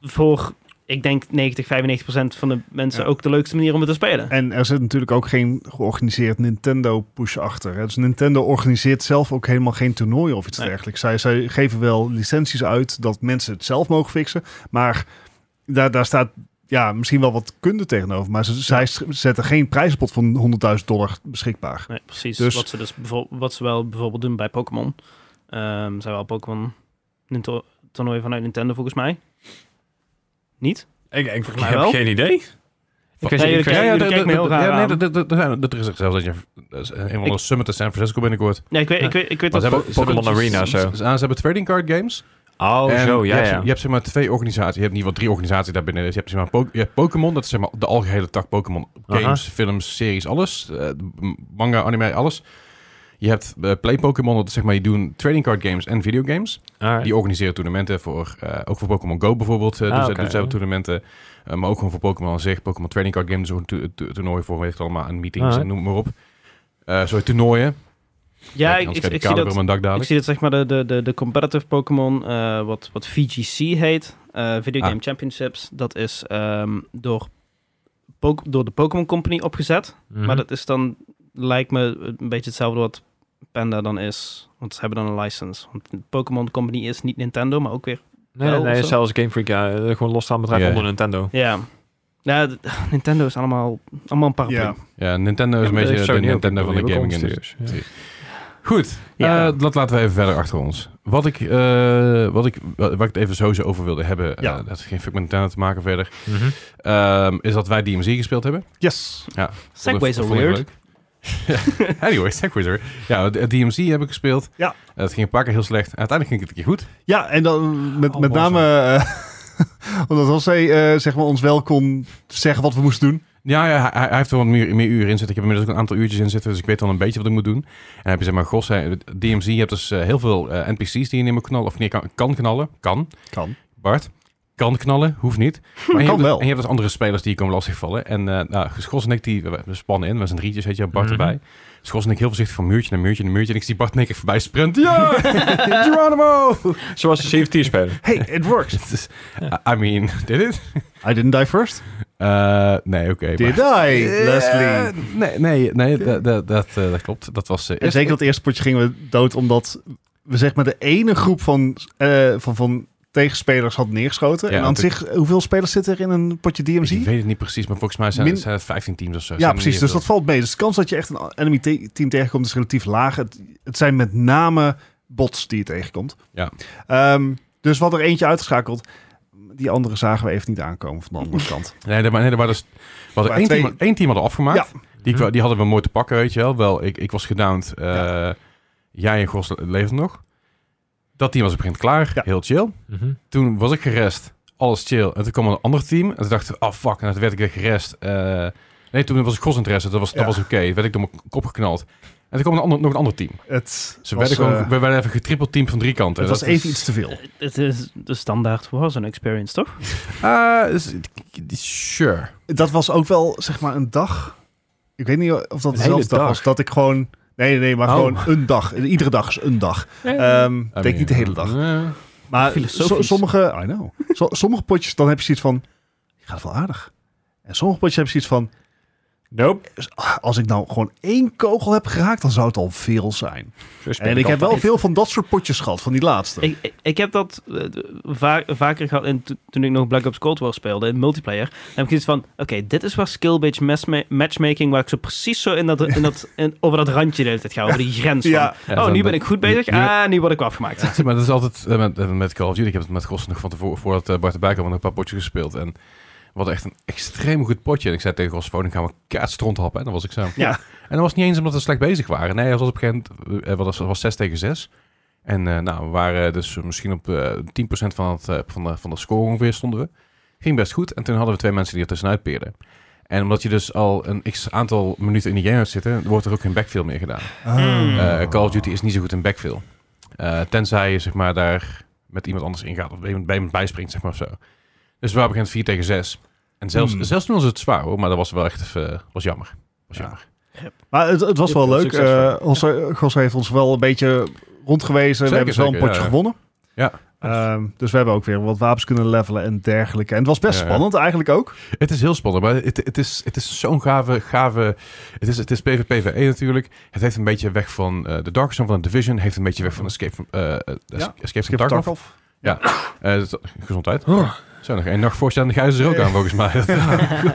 Speaker 2: voor, ik denk, 90, 95 procent van de mensen ook de leukste manier om het te spelen.
Speaker 3: En er zit natuurlijk ook geen georganiseerd Nintendo push achter. hè. Dus Nintendo organiseert zelf ook helemaal geen toernooien of iets
Speaker 2: Nee.
Speaker 3: dergelijks. Zij, zij geven wel licenties uit dat mensen het zelf mogen fixen. Maar daar, daar staat ja, misschien wel wat kunde tegenover. Maar ze, zij s- zetten geen prijzenpot van 100.000 dollar beschikbaar.
Speaker 2: Nee, precies.
Speaker 3: Dus-
Speaker 2: Wat, ze dus bijvo- wat ze wel bijvoorbeeld doen bij Pokémon. Ehm zijn wel Pokémon Ninto- toernooien vanuit Nintendo volgens mij. Niet?
Speaker 4: Ik, ik, ik
Speaker 2: mij
Speaker 4: heb
Speaker 2: wel.
Speaker 4: geen idee. Ik weet
Speaker 2: Nee,
Speaker 4: niet-
Speaker 2: jullie-
Speaker 4: ik weet-
Speaker 2: jullie
Speaker 1: dat-
Speaker 2: kijken me heel
Speaker 1: dat-
Speaker 2: raar
Speaker 1: ja, nee,
Speaker 2: aan.
Speaker 1: dat- dat- dat- dat zijn- nou, dat is er zelfs dat je dat is een van de
Speaker 2: Ik-
Speaker 1: summit in San Francisco binnenkort.
Speaker 2: Nee, ik weet, ik weet, ik weet
Speaker 1: Maar
Speaker 2: dat...
Speaker 1: ze hebben-
Speaker 4: Po-
Speaker 1: ze hebben-
Speaker 4: Pokémon Arena,
Speaker 1: ze-
Speaker 4: zo.
Speaker 1: Ze, ze hebben trading card games.
Speaker 4: Oh,
Speaker 1: En
Speaker 4: zo, ja,
Speaker 1: je hebt,
Speaker 4: ja.
Speaker 1: Je hebt zeg maar twee organisaties. Je hebt niet wat drie organisaties daarbinnen. Dus je hebt zeg maar Po- je hebt Pokémon, dat is zeg maar de algehele tak Pokémon. Games,
Speaker 4: Aha.
Speaker 1: films, series, alles. Eh, m- manga, anime, alles. Je hebt eh, Play Pokémon, dat is zeg maar je doen trading card games en videogames.
Speaker 4: Alright.
Speaker 1: Die organiseren toernooien voor, eh, ook voor Pokémon Go bijvoorbeeld. eh
Speaker 4: Ah,
Speaker 1: doen ze-
Speaker 4: oké.
Speaker 1: doen ze ook toernooien. Eh, maar ook gewoon voor Pokémon aan zich. Pokémon Trading Card Game, zo'n to- to- toernooi voor, weet ik het allemaal, aan meetings
Speaker 4: Alright.
Speaker 1: en noem maar op. Eh sorry, toernooien.
Speaker 2: ja,
Speaker 1: Kijk, anders
Speaker 2: ik, ik,
Speaker 1: krijg
Speaker 2: ik
Speaker 1: je
Speaker 2: zie
Speaker 1: kader
Speaker 2: dat...
Speaker 1: op mijn dak
Speaker 2: Ik
Speaker 1: dadelijk.
Speaker 2: zie dat zeg maar de, de, de, de competitive Pokémon, eh, wat, wat VGC heet, eh, Video Game
Speaker 1: Ah.
Speaker 2: Championships, dat is ehm, door, Pok- door de Pokémon Company opgezet.
Speaker 4: Mhm.
Speaker 2: Maar dat is dan, lijkt me, een beetje hetzelfde wat Panda dan is. Want ze hebben dan een license. Want de Pokémon Company is niet Nintendo, maar ook weer...
Speaker 4: Nee, nee,
Speaker 2: wel,
Speaker 4: nee,
Speaker 2: of zo?
Speaker 4: zelfs Game Freak, ja. eh, Gewoon losstaan bedrijf
Speaker 1: Ja.
Speaker 4: onder Nintendo.
Speaker 2: Ja. Ja, d- Nintendo is allemaal, allemaal een paraplu.
Speaker 3: Ja.
Speaker 1: Ja, Nintendo is
Speaker 4: Ja,
Speaker 1: een
Speaker 4: maar dat
Speaker 1: beetje
Speaker 4: heeft
Speaker 1: de
Speaker 4: Sony ook.
Speaker 1: Nintendo
Speaker 4: Ik
Speaker 1: van
Speaker 4: bedoel,
Speaker 1: de
Speaker 4: ook
Speaker 1: gaming
Speaker 4: ons
Speaker 1: industrie.
Speaker 4: dus,
Speaker 1: Goed,
Speaker 2: Ja.
Speaker 1: eh, dat laten we even verder achter ons. Wat ik, eh, wat ik, waar ik het even sowieso over wilde hebben, eh,
Speaker 3: Ja.
Speaker 1: dat heeft geen fuck met Nintendo te maken verder,
Speaker 4: Mhm.
Speaker 1: ehm, is dat wij DMZ gespeeld hebben.
Speaker 3: Yes.
Speaker 2: Segways
Speaker 1: Dat
Speaker 2: are
Speaker 1: vond ik
Speaker 2: weird.
Speaker 1: leuk. anyway, segways are weird. Ja, de- DMZ heb ik gespeeld. Eh,
Speaker 3: Ja.
Speaker 1: Het ging een paar keer heel slecht. Uiteindelijk ging het een keer goed.
Speaker 3: Ja, en dan met,
Speaker 1: Oh,
Speaker 3: met
Speaker 1: boze.
Speaker 3: name eh, omdat José eh, zeg maar, ons wel kon zeggen wat we moesten doen.
Speaker 1: Ja, ja hij- hij, hij heeft er wat meer, meer uren in zitten. Ik heb inmiddels ook een aantal uurtjes in zitten, dus ik weet al een beetje wat ik moet doen. En dan heb je zeg maar, gos, hè, DMZ, je hebt dus eh, heel veel eh, NPC's die je niet meer knallen, of nee, kan, kan knallen, kan.
Speaker 3: Kan.
Speaker 1: Bart. Kan knallen, hoeft niet. Maar je
Speaker 3: Kan
Speaker 1: hebt,
Speaker 3: wel.
Speaker 1: En je hebt dus andere spelers die je komen lastigvallen. En eh nou, Schos en ik, die, we we spannen in. We zijn drietjes, heet je, Bart
Speaker 4: Mhm.
Speaker 1: erbij. Schors en ik heel voorzichtig van muurtje naar muurtje naar muurtje. En ik zie Bart in één keer voorbij sprinten. Ja! Geronimo!
Speaker 4: Zoals de CFT-speler.
Speaker 3: Hey, it works.
Speaker 1: Het is- eh, I mean, did it?
Speaker 3: I didn't die first.
Speaker 1: Eh, nee, oké.
Speaker 3: Did I,
Speaker 1: maar- Eh,
Speaker 3: Leslie?
Speaker 1: Nee, nee, nee dat, dat, dat, eh, dat klopt. Dat was eh,
Speaker 3: En
Speaker 1: eerst-
Speaker 3: zeker dat eerste potje gingen we dood omdat we zeg maar de ene groep van, eh, van, van tegenspelers had neergeschoten.
Speaker 1: Ja,
Speaker 3: en aan
Speaker 1: want ik-
Speaker 3: zich, hoeveel spelers zitten er in een potje
Speaker 1: Ik
Speaker 3: DMZ?
Speaker 1: weet het niet precies, maar volgens mij zijn,
Speaker 3: Min-
Speaker 1: zijn het 15 teams of zo.
Speaker 3: Ja,
Speaker 1: Zijn
Speaker 3: precies.
Speaker 1: er
Speaker 3: Dus
Speaker 1: niet
Speaker 3: dat valt mee. Dus de kans dat je echt een enemy te- team tegenkomt is relatief laag. Het, het zijn met name bots die je tegenkomt.
Speaker 1: Ja.
Speaker 3: Ehm, dus wat er eentje uitgeschakeld. Die andere zagen we even niet aankomen van de andere kant.
Speaker 1: heel veel. Nee, er, maar- nee, er waren dus... we hadden
Speaker 3: Maar
Speaker 1: één,
Speaker 3: twee- Mhm.
Speaker 1: team, één team hadden afgemaakt. Die, kwa- die hadden we mooi te pakken, weet je wel. Wel, ik, ik was gedowned. eh, Jij en Gos leefden nog. Dat team was op een gegeven moment klaar.
Speaker 3: Ja.
Speaker 1: Heel chill.
Speaker 4: Mhm.
Speaker 1: Toen was ik gerest. Alles chill. En toen kwam een ander team. En toen dacht ik, ah fuck. En toen werd ik weer gerest. Eh, nee, toen was ik Gos interesse. Dat was,
Speaker 3: Ja.
Speaker 1: dat was oké. Toen werd ik door mijn kop geknald. En toen kwam een ander, nog een ander team.
Speaker 3: Het
Speaker 1: Ze
Speaker 3: was,
Speaker 1: werden gewoon,
Speaker 3: eh,
Speaker 1: we werden even getrippeld team van drie kanten.
Speaker 3: het was
Speaker 1: Dat
Speaker 3: even
Speaker 1: is-
Speaker 3: iets te veel.
Speaker 2: Eh, Het is de standaard Warzone experience, toch?
Speaker 1: Ah, is- sure.
Speaker 3: dat was ook wel zeg maar een dag. Ik weet niet of dat
Speaker 4: Een
Speaker 3: dezelfde
Speaker 4: hele
Speaker 3: dag,
Speaker 4: dag.
Speaker 3: was. Dat ik gewoon. Nee, nee, nee, maar
Speaker 1: Oh.
Speaker 3: gewoon een dag. Iedere dag is een dag. Ehm
Speaker 1: Ik
Speaker 3: denk niet de hele dag. Maar
Speaker 2: Filosofisch.
Speaker 3: so- sommige, I know. So- sommige potjes, dan heb je zoiets van. Gaat wel aardig. En sommige potjes heb je zoiets van.
Speaker 4: Nope.
Speaker 3: Als ik nou gewoon één kogel heb geraakt, dan zou het al veel zijn.
Speaker 4: Zo speel
Speaker 3: En ik heb wel
Speaker 2: altijd.
Speaker 3: veel van dat soort potjes gehad, van die laatste.
Speaker 2: Ik, ik, ik heb dat eh, va- vaker gehad in, to- toen ik nog Black Ops Cold War speelde in multiplayer. Dan heb ik iets van, oké, dit is waar skill-based masma- matchmaking, waar ik zo precies zo in dat, in dat, in, over dat randje de hele tijd ga, over die grens van,
Speaker 3: Ja.
Speaker 1: Ja,
Speaker 2: oh,
Speaker 1: dan-
Speaker 2: nu ben ik goed bezig,
Speaker 1: nu-
Speaker 2: ah, nu word ik wel afgemaakt.
Speaker 1: Ja, maar dat is altijd eh, met, eh, met Call of Duty. Ik heb het met Gos nog van tevoren, voordat eh, Bart erbij kwam, nog een paar potjes gespeeld. En we hadden echt een extreem goed potje. En ik zei tegen Gos, "Volgende gaan we kaartstront happen. En dan was ik zo.
Speaker 3: Ja.
Speaker 1: En dat was niet eens omdat we slecht bezig waren. Nee, het was op een gegeven moment, eh, wat was, was 6 tegen 6. En eh, nou, we waren dus misschien op eh 10% van, het, eh, van, de, van de score ongeveer stonden we. Ging best goed. En toen hadden we twee mensen die er tussenuit peerden. En omdat je dus al een x aantal minuten in die game hebt zitten, wordt er ook geen backfill meer gedaan.
Speaker 3: Ah.
Speaker 1: Eh, Call of Duty is niet zo goed in backfill. Eh, tenzij je zeg maar, daar met iemand anders ingaat of bij iemand, bij iemand bijspringt, zeg maar of zo. Dus we begint 4 tegen 6. En zelfs,
Speaker 3: Hmm.
Speaker 1: zelfs toen was het zwaar hoor, maar dat was wel echt eh, was jammer. Was
Speaker 3: Ja.
Speaker 1: jammer.
Speaker 3: Maar het, het was wel
Speaker 2: Heel veel
Speaker 3: leuk.
Speaker 2: succes
Speaker 3: Eh, ons, Gos heeft ons wel een beetje rondgewezen. we
Speaker 1: Zeker,
Speaker 3: hebben wel een
Speaker 1: zeker,
Speaker 3: potje
Speaker 1: ja.
Speaker 3: gewonnen.
Speaker 1: Ja.
Speaker 3: Ehm, dus we hebben ook weer wat wapens kunnen levelen en dergelijke. En het was best
Speaker 1: Ja, ja.
Speaker 3: spannend eigenlijk ook.
Speaker 1: Het is heel spannend, maar het, het is, het is zo'n gave, gave... Het is, het is PvPvE E natuurlijk. Het heeft een beetje weg van eh The Dark Zone van The Division. heeft een beetje weg van Escape from, eh, eh, Escape from
Speaker 3: Skip
Speaker 1: Tarkov.
Speaker 3: Tarkov.
Speaker 1: Eh, dat- gezondheid.
Speaker 3: Oh.
Speaker 1: Zo, nog één nacht voorstaan, dan is er ook aan volgens mij.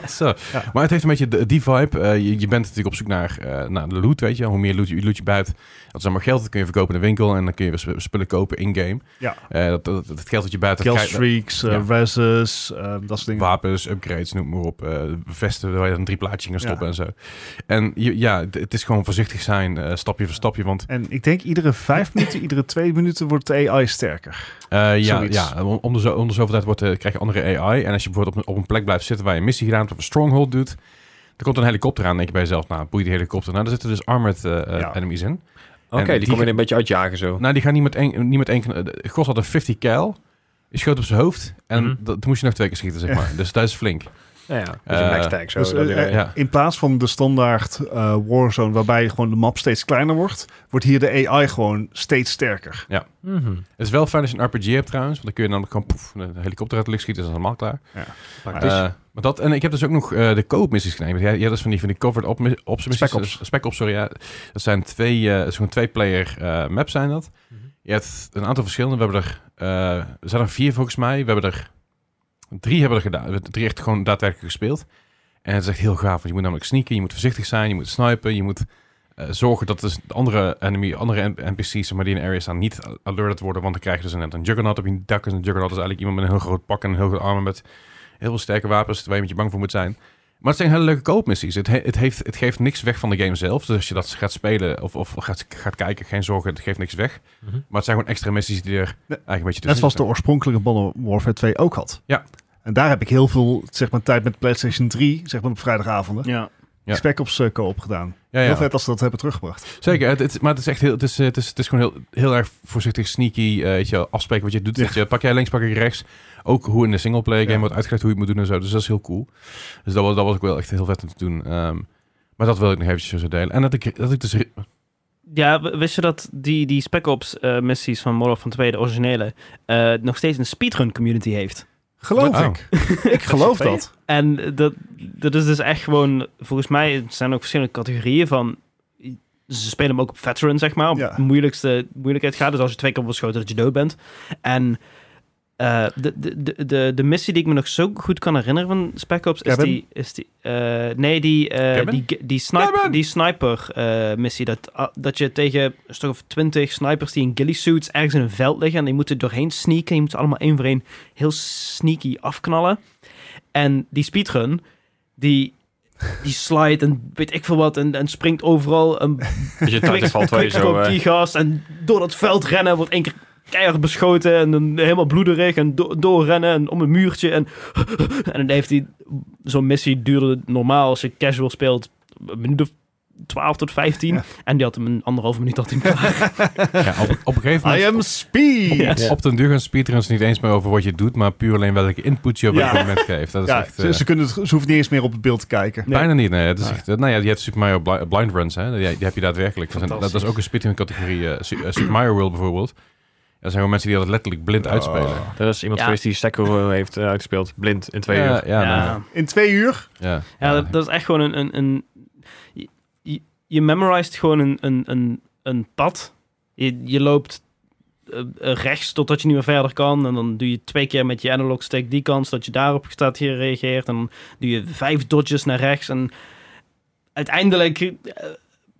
Speaker 1: Zo. Maar het heeft een beetje de- die vibe. Eh, je, je bent natuurlijk op zoek naar, eh, naar de loot, weet je. wel. Hoe meer loot je, loot je bij hebt, dat is allemaal geld. Dat kun je verkopen in de winkel en dan kun je weer sp- spullen kopen in-game.
Speaker 3: Ja.
Speaker 1: Eh, dat, dat, dat geld dat je buiten
Speaker 3: Killstreaks, eh,
Speaker 1: Ja.
Speaker 3: Rezzes, eh, dat soort dingen.
Speaker 1: wapens, upgrades, noem maar op. eh, vesten waar je dan drie plaatjes in kan
Speaker 3: Ja.
Speaker 1: stoppen en zo. En je, ja, d- het is gewoon voorzichtig zijn, eh, stapje voor stapje. Want
Speaker 3: En ik denk iedere vijf minuten, iedere twee minuten wordt de AI sterker.
Speaker 1: Eh, ja,
Speaker 3: Zoiets.
Speaker 1: ja, om om de, zo, om de zoveel tijd wordt, eh, krijg je andere AI. En als je bijvoorbeeld op een, op een plek blijft zitten waar je een missie gedaan hebt of een stronghold doet, dan komt er een helikopter aan. Dan denk je bij jezelf, nou, boeit die helikopter. Nou, daar zitten dus armored eh, eh,
Speaker 3: Ja.
Speaker 1: enemies in.
Speaker 4: Oké,
Speaker 1: En
Speaker 4: die
Speaker 1: die
Speaker 4: kom je
Speaker 1: ge-
Speaker 4: een beetje uitjagen zo.
Speaker 1: Nou, die gaan niet met één... Niet met één kn- eh, Gos had een 50 cal. Die schoot op zijn hoofd. En
Speaker 4: Mhm.
Speaker 1: dat, toen moest je nog twee keer schieten, zeg maar. Dus dat is flink.
Speaker 4: Ja, ja. Dus
Speaker 1: Eh,
Speaker 4: een backstack zo.
Speaker 3: dus,
Speaker 4: dat
Speaker 3: eh,
Speaker 4: weer-
Speaker 1: Ja.
Speaker 3: In plaats van de standaard eh, Warzone, waarbij gewoon de map steeds kleiner wordt, wordt hier de AI gewoon steeds sterker.
Speaker 4: Mhm.
Speaker 1: Het is wel fijn als je een RPG hebt trouwens. Want dan kun je namelijk gewoon poef, een helikopter uit de lucht schieten. Dus dat is helemaal klaar.
Speaker 4: Praktisch.
Speaker 1: Eh, maar dat, en ik heb dus ook nog eh, de co-op-missies gedaan. Want Jij, jij dat is dus van die, van die covered op, ops missies.
Speaker 3: Spec ops.
Speaker 1: Eh, Spec ops, sorry. Ja. Dat zijn twee, eh, het is gewoon twee-player eh maps zijn dat.
Speaker 4: Mhm.
Speaker 1: Je hebt een aantal verschillende. We hebben er, eh, er zijn er vier volgens mij. We hebben er drie hebben we er gedaan. We hebben drie echt gewoon daadwerkelijk gespeeld. En het is echt heel gaaf. Want je moet namelijk sneaken, je moet voorzichtig zijn, je moet snipen, je moet... eh, zorgen dat dus de andere enemy, andere N- NPC's zeg maar, die in areas staan niet alerted worden. Want dan krijg je dus een, een juggernaut op je dak. En een juggernaut is eigenlijk iemand met een heel groot pak en een heel groot armen met heel veel sterke wapens waar je met je bang voor moet zijn. Maar het zijn hele leuke koopmissies. Het, he- het, heeft, het geeft niks weg van de game zelf. Dus als je dat gaat spelen of, of gaat, gaat kijken, geen zorgen, het geeft niks weg.
Speaker 4: Mhm.
Speaker 1: Maar het zijn gewoon extra missies die er
Speaker 3: Nee,
Speaker 1: eigenlijk een beetje tussen
Speaker 3: Net zoals de oorspronkelijke Modern Warfare 2 ook had.
Speaker 1: Ja.
Speaker 3: En daar heb ik heel veel zeg maar, tijd met PlayStation 3, zeg maar op vrijdagavonden,
Speaker 2: Ja.
Speaker 1: Ja.
Speaker 3: Spec Ops eh, co-op gedaan.
Speaker 1: Ja,
Speaker 3: Heel
Speaker 1: ja.
Speaker 3: vet als ze dat hebben teruggebracht.
Speaker 1: Zeker, het, het- maar het is echt heel, het is, eh, het is, het is gewoon heel, heel erg voorzichtig, sneaky, eh, weet je, wel, afspreken wat je doet. Weet je, pak jij links, pak ik rechts. Ook hoe in de singleplayer game
Speaker 3: Ja.
Speaker 1: wordt uitgelegd hoe je het moet doen en zo. Dus dat is heel cool. Dus dat was, dat was ook wel echt heel vet om te doen. Ehm, Maar dat wil ik nog eventjes zo delen. En dat ik, dat ik dus...
Speaker 2: Ja, w- wist je dat die, die Spec Ops eh, missies van Modern van 2, de originele, eh, nog steeds een speedrun community heeft?
Speaker 3: Geloof
Speaker 1: Oh.
Speaker 3: ik. Ik geloof dat.
Speaker 2: En dat, dat is dus echt gewoon, volgens mij zijn er ook verschillende categorieën van. Ze spelen hem ook op veteran, zeg maar. Op
Speaker 3: Ja.
Speaker 2: de moeilijkste moeilijkheid gaat. Dus als je twee keer wordt geschoten, dat je dood bent. En eh, de, de, de, de, de missie die ik me nog zo goed kan herinneren van Spec Ops is
Speaker 3: Cabin?
Speaker 2: die. Is die eh, nee, die, eh,
Speaker 1: Cabin?
Speaker 2: die, die, sniper,
Speaker 1: Cabin!
Speaker 2: die sniper eh, missie. Dat, ah, dat je tegen een stuk of twintig snipers die in ghillie suits ergens in een veld liggen. En die moeten doorheen sneaken. Die moeten ze allemaal één voor één heel sneaky afknallen. En die speedrun, die, die slide en weet ik veel wat. En, en springt overal. En
Speaker 4: Dat je
Speaker 2: quick-
Speaker 4: Titanfall 2 zo...
Speaker 2: quickscope
Speaker 4: eh,
Speaker 2: die gast. En door dat veld rennen wordt één keer keihard beschoten. En dan helemaal bloederig. En do- doorrennen en om een muurtje. En, en dan heeft hij... Zo'n missie duurde normaal als je casual speelt... Een minuut of 12 tot 15.
Speaker 3: Ja.
Speaker 2: En die had hem een anderhalve minuut had hij hem klaar.
Speaker 1: Ja, op, op een gegeven moment...
Speaker 3: I am speed.
Speaker 2: Ja.
Speaker 1: Op den duur gaan speedruns niet eens meer over wat je doet, maar puur alleen welke input je op
Speaker 3: Ja.
Speaker 1: het moment geeft. Dat is
Speaker 3: Ja,
Speaker 1: echt... eh,
Speaker 3: ze, ze kunnen het, ze hoeft niet eens meer op het beeld te kijken.
Speaker 2: Nee.
Speaker 1: Bijna niet, nee. Het is
Speaker 3: Nee. Ah.
Speaker 1: echt, eh, nou ja, je hebt Super Mario Bli- Blind Runs, hè. Die, die heb je daadwerkelijk. Dat, zijn- dat- dat is ook een speedrun categorie. eh, Su- eh, Super Mario World bijvoorbeeld. Er zijn gewoon mensen die dat letterlijk blind uitspelen.
Speaker 3: Oh.
Speaker 4: Er is iemand
Speaker 2: Ja.
Speaker 4: geweest die Sekiro heeft eh, uitgespeeld, blind, in twee
Speaker 1: ja,
Speaker 4: uur.
Speaker 1: Ja, nou,
Speaker 2: Ja.
Speaker 3: In twee uur?
Speaker 1: ja.
Speaker 2: Ja,
Speaker 1: Ja.
Speaker 2: dat, dat is echt gewoon een... een, een je- je, je memorized gewoon een, een, een, een pad. Je, je loopt eh, eh, rechts totdat je niet meer verder kan. En dan doe je twee keer met je analog stick die kans dat je daarop staat hier reageert. En dan doe je vijf dodges naar rechts. En uiteindelijk eh,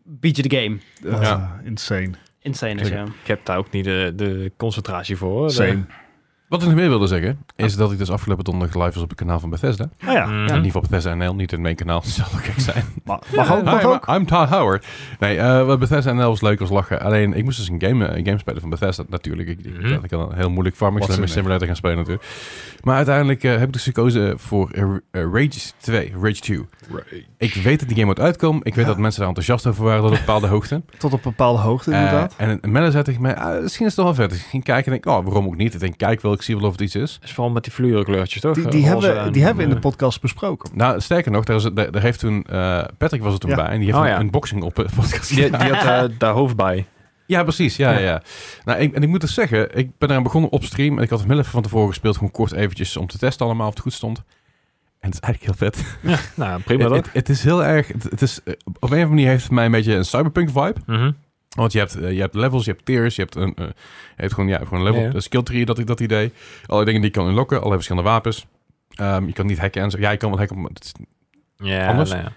Speaker 2: beat je de game.
Speaker 3: Eh,
Speaker 1: Ja.
Speaker 3: Insane.
Speaker 2: Insane is, ja.
Speaker 4: Ik heb daar ook niet de, de concentratie voor.
Speaker 1: eh?
Speaker 4: hoor.
Speaker 3: Same.
Speaker 1: Wat ik nog meer wilde zeggen, is dat ik dus afgelopen donderdag live was op het kanaal van Bethesda.
Speaker 3: Nou ja,
Speaker 4: Mhm.
Speaker 1: In ieder geval Bethesda NL, niet in mijn kanaal. Dat zal ook gek zijn.
Speaker 3: ma- mag ook. Mag
Speaker 1: Hi,
Speaker 3: ook.
Speaker 1: I'm Todd Howard. Nee, eh, wat Bethesda NL was leuk als lachen. Alleen, ik moest dus een game, eh, een game spelen van Bethesda. Natuurlijk, ik, ik,
Speaker 4: Mhm.
Speaker 1: ik had een heel moeilijk farming
Speaker 3: Wat
Speaker 1: simulator,
Speaker 3: zin in.
Speaker 1: simulator gaan spelen natuurlijk. Maar uiteindelijk eh, heb ik dus gekozen voor eh, eh, Rage 2, Rage 2. Ik weet dat die game moet uitkomen. Ik weet
Speaker 3: Ja.
Speaker 1: dat mensen daar enthousiast over waren tot een bepaalde hoogte.
Speaker 3: Tot op een bepaalde hoogte, inderdaad.
Speaker 1: Eh, en een manager zei tegen mij, ah, misschien is het wel vet. Dus ik ging kijken en denk, oh, waarom ook niet? Ik denk, kijk wel, ik zie wel of het iets is.
Speaker 4: is vooral met die fluorkleurtjes, toch?
Speaker 3: Die,
Speaker 4: Eh,
Speaker 3: die,
Speaker 4: roze
Speaker 3: hebben,
Speaker 4: en,
Speaker 3: die hebben in de
Speaker 4: eh,
Speaker 3: podcast besproken.
Speaker 1: Nou, sterker nog, daar, is, daar, daar heeft toen... eh, Patrick was er toen
Speaker 3: Ja.
Speaker 1: bij en die heeft
Speaker 4: Oh,
Speaker 1: een
Speaker 4: ja.
Speaker 1: unboxing op eh, podcast
Speaker 4: Die, die had eh, daar hoofd bij.
Speaker 1: Ja, precies. Ja, ja.
Speaker 4: Ja.
Speaker 1: Nou, ik, en ik moet dus zeggen, ik ben eraan begonnen op stream. En ik had hem heel even van tevoren gespeeld, gewoon kort eventjes om te testen allemaal of het goed stond. En het is eigenlijk heel vet.
Speaker 4: Nou,
Speaker 3: Eh,
Speaker 4: prima toch?
Speaker 1: Het, het is heel erg, het, het is, eh, op een of andere manier heeft het mij een beetje een cyberpunk vibe.
Speaker 4: Mhm.
Speaker 1: Want je hebt, eh, je hebt levels, je hebt tiers, je hebt, een, eh, je hebt gewoon, ja, gewoon een level,
Speaker 4: Ja, ja.
Speaker 1: een skill tree, dat, dat idee. Alle dingen die je kan unlocken, alle verschillende wapens. Ehm, je kan niet hacken en zo. Ja, je kan wel hacken, maar het is
Speaker 4: Ja,
Speaker 1: Anders?
Speaker 4: nou ja.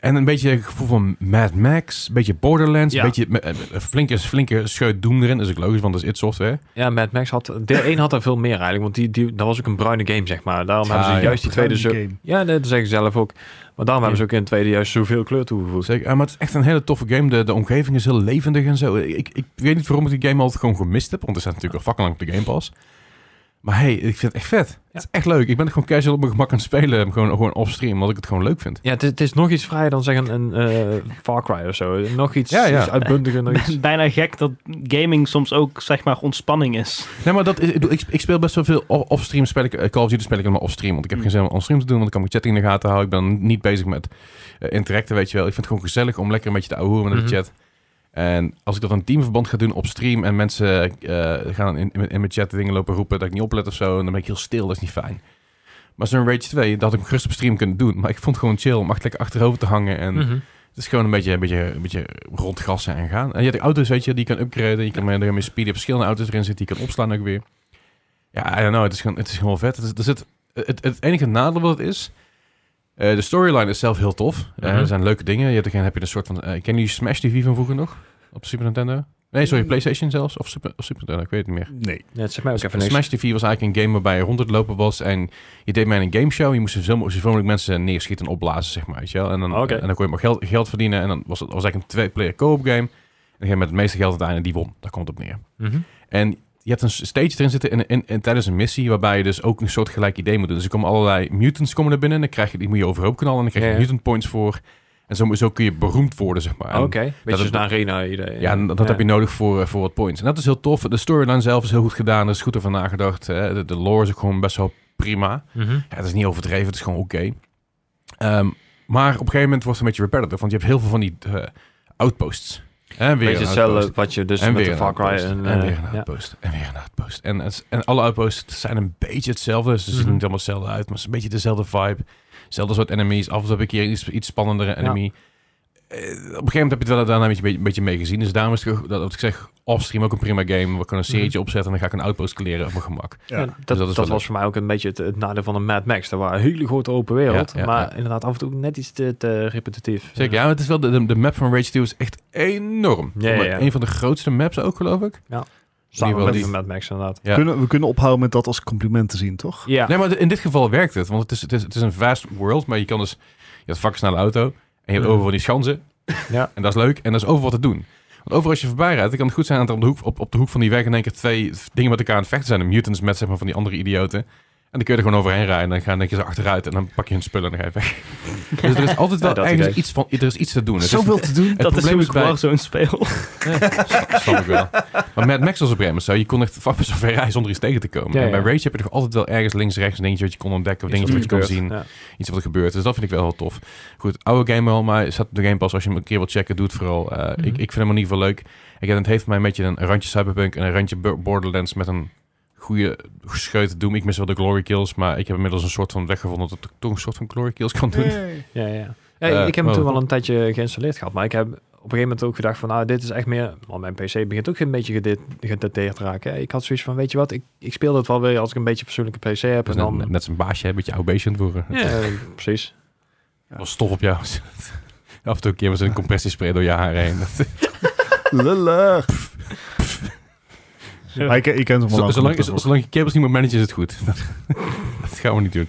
Speaker 1: En een beetje het gevoel van Mad Max, een beetje Borderlands,
Speaker 2: Ja.
Speaker 1: een beetje eh, eh, flinke, flinke scheut doen erin. Dat is ook logisch, want dat is id software.
Speaker 4: Ja, Mad Max had... Deel 1 had er veel meer eigenlijk, want die, die, dat was ook een bruine game, zeg maar. Daarom hebben
Speaker 1: Ah,
Speaker 4: ze
Speaker 1: ja,
Speaker 4: juist die tweede... Zo,
Speaker 3: game.
Speaker 4: ja, nee, dat zeggen ze zelf ook. Maar daarom hebben ze ook in de tweede juist zoveel kleur toegevoegd.
Speaker 1: Zeker. Ah, maar het is echt een hele toffe game. De, de omgeving is heel levendig en zo. Ik, ik weet niet waarom ik die game altijd gewoon gemist heb, want er staat natuurlijk al fucking lang op de Game Pass. Maar hey, ik vind het echt vet. Het is echt leuk. Ik ben het gewoon casual op mijn gemak aan het spelen, gewoon, gewoon offstream, omdat ik het gewoon leuk vind.
Speaker 4: Ja, het is, het is nog iets vrijer dan zeggen een eh, Far Cry of zo. Nog iets,
Speaker 1: Ja, ja.
Speaker 4: iets uitbundiger, nog iets...
Speaker 2: Bijna gek dat gaming soms ook, zeg maar, ontspanning is.
Speaker 1: Nee, maar dat is, ik, bedoel, ik, ik speel best wel veel off- offstream. Speel ik, eh, Call of Duty speel ik helemaal offstream. Want ik heb
Speaker 2: Mm.
Speaker 1: geen zin om onstream te doen. Want ik kan mijn chatting in de gaten houden. Ik ben niet bezig met eh, interacten, weet je wel. Ik vind het gewoon gezellig om lekker een beetje te ouwehoeren met de
Speaker 4: Mhm.
Speaker 1: chat. En als ik dat aan teamverband ga doen op stream... en mensen eh, gaan in, in, in mijn chat dingen lopen roepen... dat ik niet oplet of zo... en dan ben ik heel stil, dat is niet fijn. Maar zo'n Rage 2, dat had ik hem gerust op stream kunnen doen. Maar ik vond het gewoon chill om echt lekker achterover te hangen... en
Speaker 4: Mhm.
Speaker 1: het is gewoon een beetje, een beetje, een beetje rondgrassen en gaan. En je hebt ook auto's, weet je, die je kan upgraden. Je kan met, met speed, je hebt verschillende auto's erin zitten, die je kan opslaan ook weer. Ja, I don't know, het is gewoon, het is gewoon vet. Het, is- er zit, het, het enige nadeel wat het is, eh, de storyline is zelf heel tof. Eh,
Speaker 4: Mhm.
Speaker 1: er zijn leuke dingen. Je hebt, er geen- heb je een soort van, eh ken je die Smash TV van vroeger nog? Op Super Nintendo? Nee, sorry, Playstation zelfs. Of Super, of Super Nintendo, ik weet het niet meer.
Speaker 3: Nee.
Speaker 4: Ja, het zegt mij ook even niks.
Speaker 1: Smash TV was eigenlijk een game waarbij je rond het lopen was en je deed mij een gameshow. Je moest zoveel mo- zoveel mogelijk mensen neerschieten en opblazen, zeg maar. Weet je wel? En, dan,
Speaker 4: Oké.
Speaker 1: en dan kon je maar geld, geld verdienen en dan was het was eigenlijk een twee-player co-op game. En degene met het meeste geld uiteindelijk die won. Daar komt het op neer.
Speaker 4: Mhm.
Speaker 1: En je hebt een stage erin zitten in, in, in- tijdens een missie waarbij je dus ook een soort gelijk idee moet doen. Dus er komen allerlei mutants komen er binnen en dan krijg je, die moet je overhoop knallen en dan krijg je
Speaker 4: Ja, ja.
Speaker 1: mutant points voor. En zo, zo kun je beroemd worden, zeg maar. En-
Speaker 4: Oké, beetje
Speaker 1: is-
Speaker 4: zo'n arena-idee.
Speaker 1: ja, en dat dat heb je nodig voor, eh, voor wat points. En dat is heel tof. De storyline zelf is heel goed gedaan. Er is goed over nagedacht. Hè. De, de lore is ook gewoon best wel prima.
Speaker 4: Mhm.
Speaker 1: Ja, het is niet overdreven. Het is gewoon oké. Ehm, Maar op een gegeven moment wordt het een beetje repetitive, want je hebt heel veel van die eh, outposts. En weer
Speaker 5: Beetje
Speaker 1: een outpost.
Speaker 5: hetzelfde wat je dus
Speaker 1: en
Speaker 5: met
Speaker 1: weer
Speaker 5: de
Speaker 1: een
Speaker 5: Far Cry...
Speaker 1: outpost.
Speaker 5: En,
Speaker 1: En,
Speaker 5: eh,
Speaker 1: weer een
Speaker 5: ja.
Speaker 1: outpost. En weer een outpost. En, het- en alle outposts zijn een beetje hetzelfde. Dus ze zien
Speaker 4: Mhm.
Speaker 1: niet allemaal hetzelfde uit. Maar het is een beetje dezelfde vibe. Hetzelfde soort enemies. Af en toe heb ik hier iets, iets spannendere enemy. Eh, op een gegeven moment heb je het wel daarna een beetje, een beetje mee gezien. Dus daarom is het ook- dat wat ik zeg offstream ook een prima game.
Speaker 5: Mhm.
Speaker 1: We kunnen een serietje opzetten en dan ga ik een outpost kleren op mijn gemak.
Speaker 3: Ja.
Speaker 4: Ja, dat
Speaker 1: Dus dat is
Speaker 4: dat,
Speaker 1: wel
Speaker 4: was
Speaker 1: leuk.
Speaker 4: voor mij ook een beetje het, het nadeel van een Mad Max. Dat waren een hele grote open wereld.
Speaker 1: Ja, ja,
Speaker 4: maar
Speaker 1: ja.
Speaker 4: inderdaad af en toe ook net iets te, te repetitief.
Speaker 1: Zeker, ja, maar het is wel de, de, de map van Rage 2 is echt enorm.
Speaker 4: Ja, ja,
Speaker 1: Maar
Speaker 4: ja.
Speaker 1: Een van de grootste maps ook, geloof ik.
Speaker 4: Samen
Speaker 1: Die wel
Speaker 4: met
Speaker 1: die-
Speaker 4: een Mad Max inderdaad.
Speaker 1: Ja.
Speaker 3: Kunnen, we kunnen ophouden met dat als compliment te zien, toch?
Speaker 4: Ja,
Speaker 1: Nee, maar in dit geval werkt het. Want het is, het is, het is een vast world, maar je kan dus... Je hebt vakken snelle auto en je hebt
Speaker 4: Ja.
Speaker 1: overal die schansen.
Speaker 4: Mm. Ja.
Speaker 1: En dat is leuk en dat is overal te doen. Want overal als je voorbij rijdt, dan kan het goed zijn dat er op de hoek, op, op de hoek van die weg in één keer twee dingen met elkaar aan het vechten zijn. De mutants met zeg maar, van die andere idioten. En dan kun je er gewoon overheen rijden en dan gaan denk je ze achteruit en dan pak je hun spullen en dan ga je weg. dus er is altijd wel
Speaker 4: Ja, dat
Speaker 1: ergens
Speaker 4: idee.
Speaker 1: iets, van, er is iets te doen. Het is-
Speaker 3: Zoveel te doen.
Speaker 1: het
Speaker 2: dat is
Speaker 1: probleem
Speaker 2: hoe
Speaker 1: is
Speaker 2: ik
Speaker 1: bij-
Speaker 2: Warzone speel.
Speaker 1: Snap- Snap ik wel. Maar Mad Max was op een gegeven moment zo. Je kon echt vast zo ver rijden zonder iets tegen te komen.
Speaker 4: Ja,
Speaker 1: en bij
Speaker 4: ja.
Speaker 1: Rage heb je toch altijd wel ergens links, rechts een dingetje wat je kon ontdekken. Of
Speaker 4: Iets
Speaker 1: dingetje wat je
Speaker 4: wat
Speaker 1: kon
Speaker 4: gebeurt.
Speaker 1: zien.
Speaker 4: Ja.
Speaker 1: Iets wat er gebeurt. Dus dat vind ik wel heel tof. Goed, oude game wel, maar staat op de Game Pass. Als je hem een keer wilt checken, doe het vooral. Eh,
Speaker 4: Mhm.
Speaker 1: ik, ik vind hem in ieder geval leuk. Ik, het heeft voor mij een beetje een randje Cyberpunk en een randje Bo- Borderlands met een goede scheut Doom. Ik mis wel de glory kills, maar ik heb inmiddels een soort van weg gevonden dat ik toch een soort van glory kills kan doen.
Speaker 4: Ja, ja. ja
Speaker 1: Eh,
Speaker 4: ik heb hem
Speaker 1: oh.
Speaker 4: toen wel een tijdje geïnstalleerd gehad, maar ik heb op een gegeven moment ook gedacht van, nou, dit is echt meer... Want mijn PC begint ook een beetje gede- gedateerd te raken. hè. Ik had zoiets van, weet je wat, ik, ik speel het wel weer als ik een beetje een fatsoenlijke PC heb.
Speaker 1: Dus
Speaker 4: En
Speaker 1: dan,
Speaker 4: dan,
Speaker 1: net zijn baasje, een beetje outbation worden.
Speaker 4: ja, eh, precies.
Speaker 1: Dat was stof op jou. Af en toe een keer was een compressiespray door je haar heen.
Speaker 3: Lullig. Maar ik, ik ken hem al
Speaker 1: Zo-
Speaker 3: lang
Speaker 1: Zolang,
Speaker 3: genoeg
Speaker 1: z- zolang je kabels niet meer managen, is het goed. dat gaan we niet doen.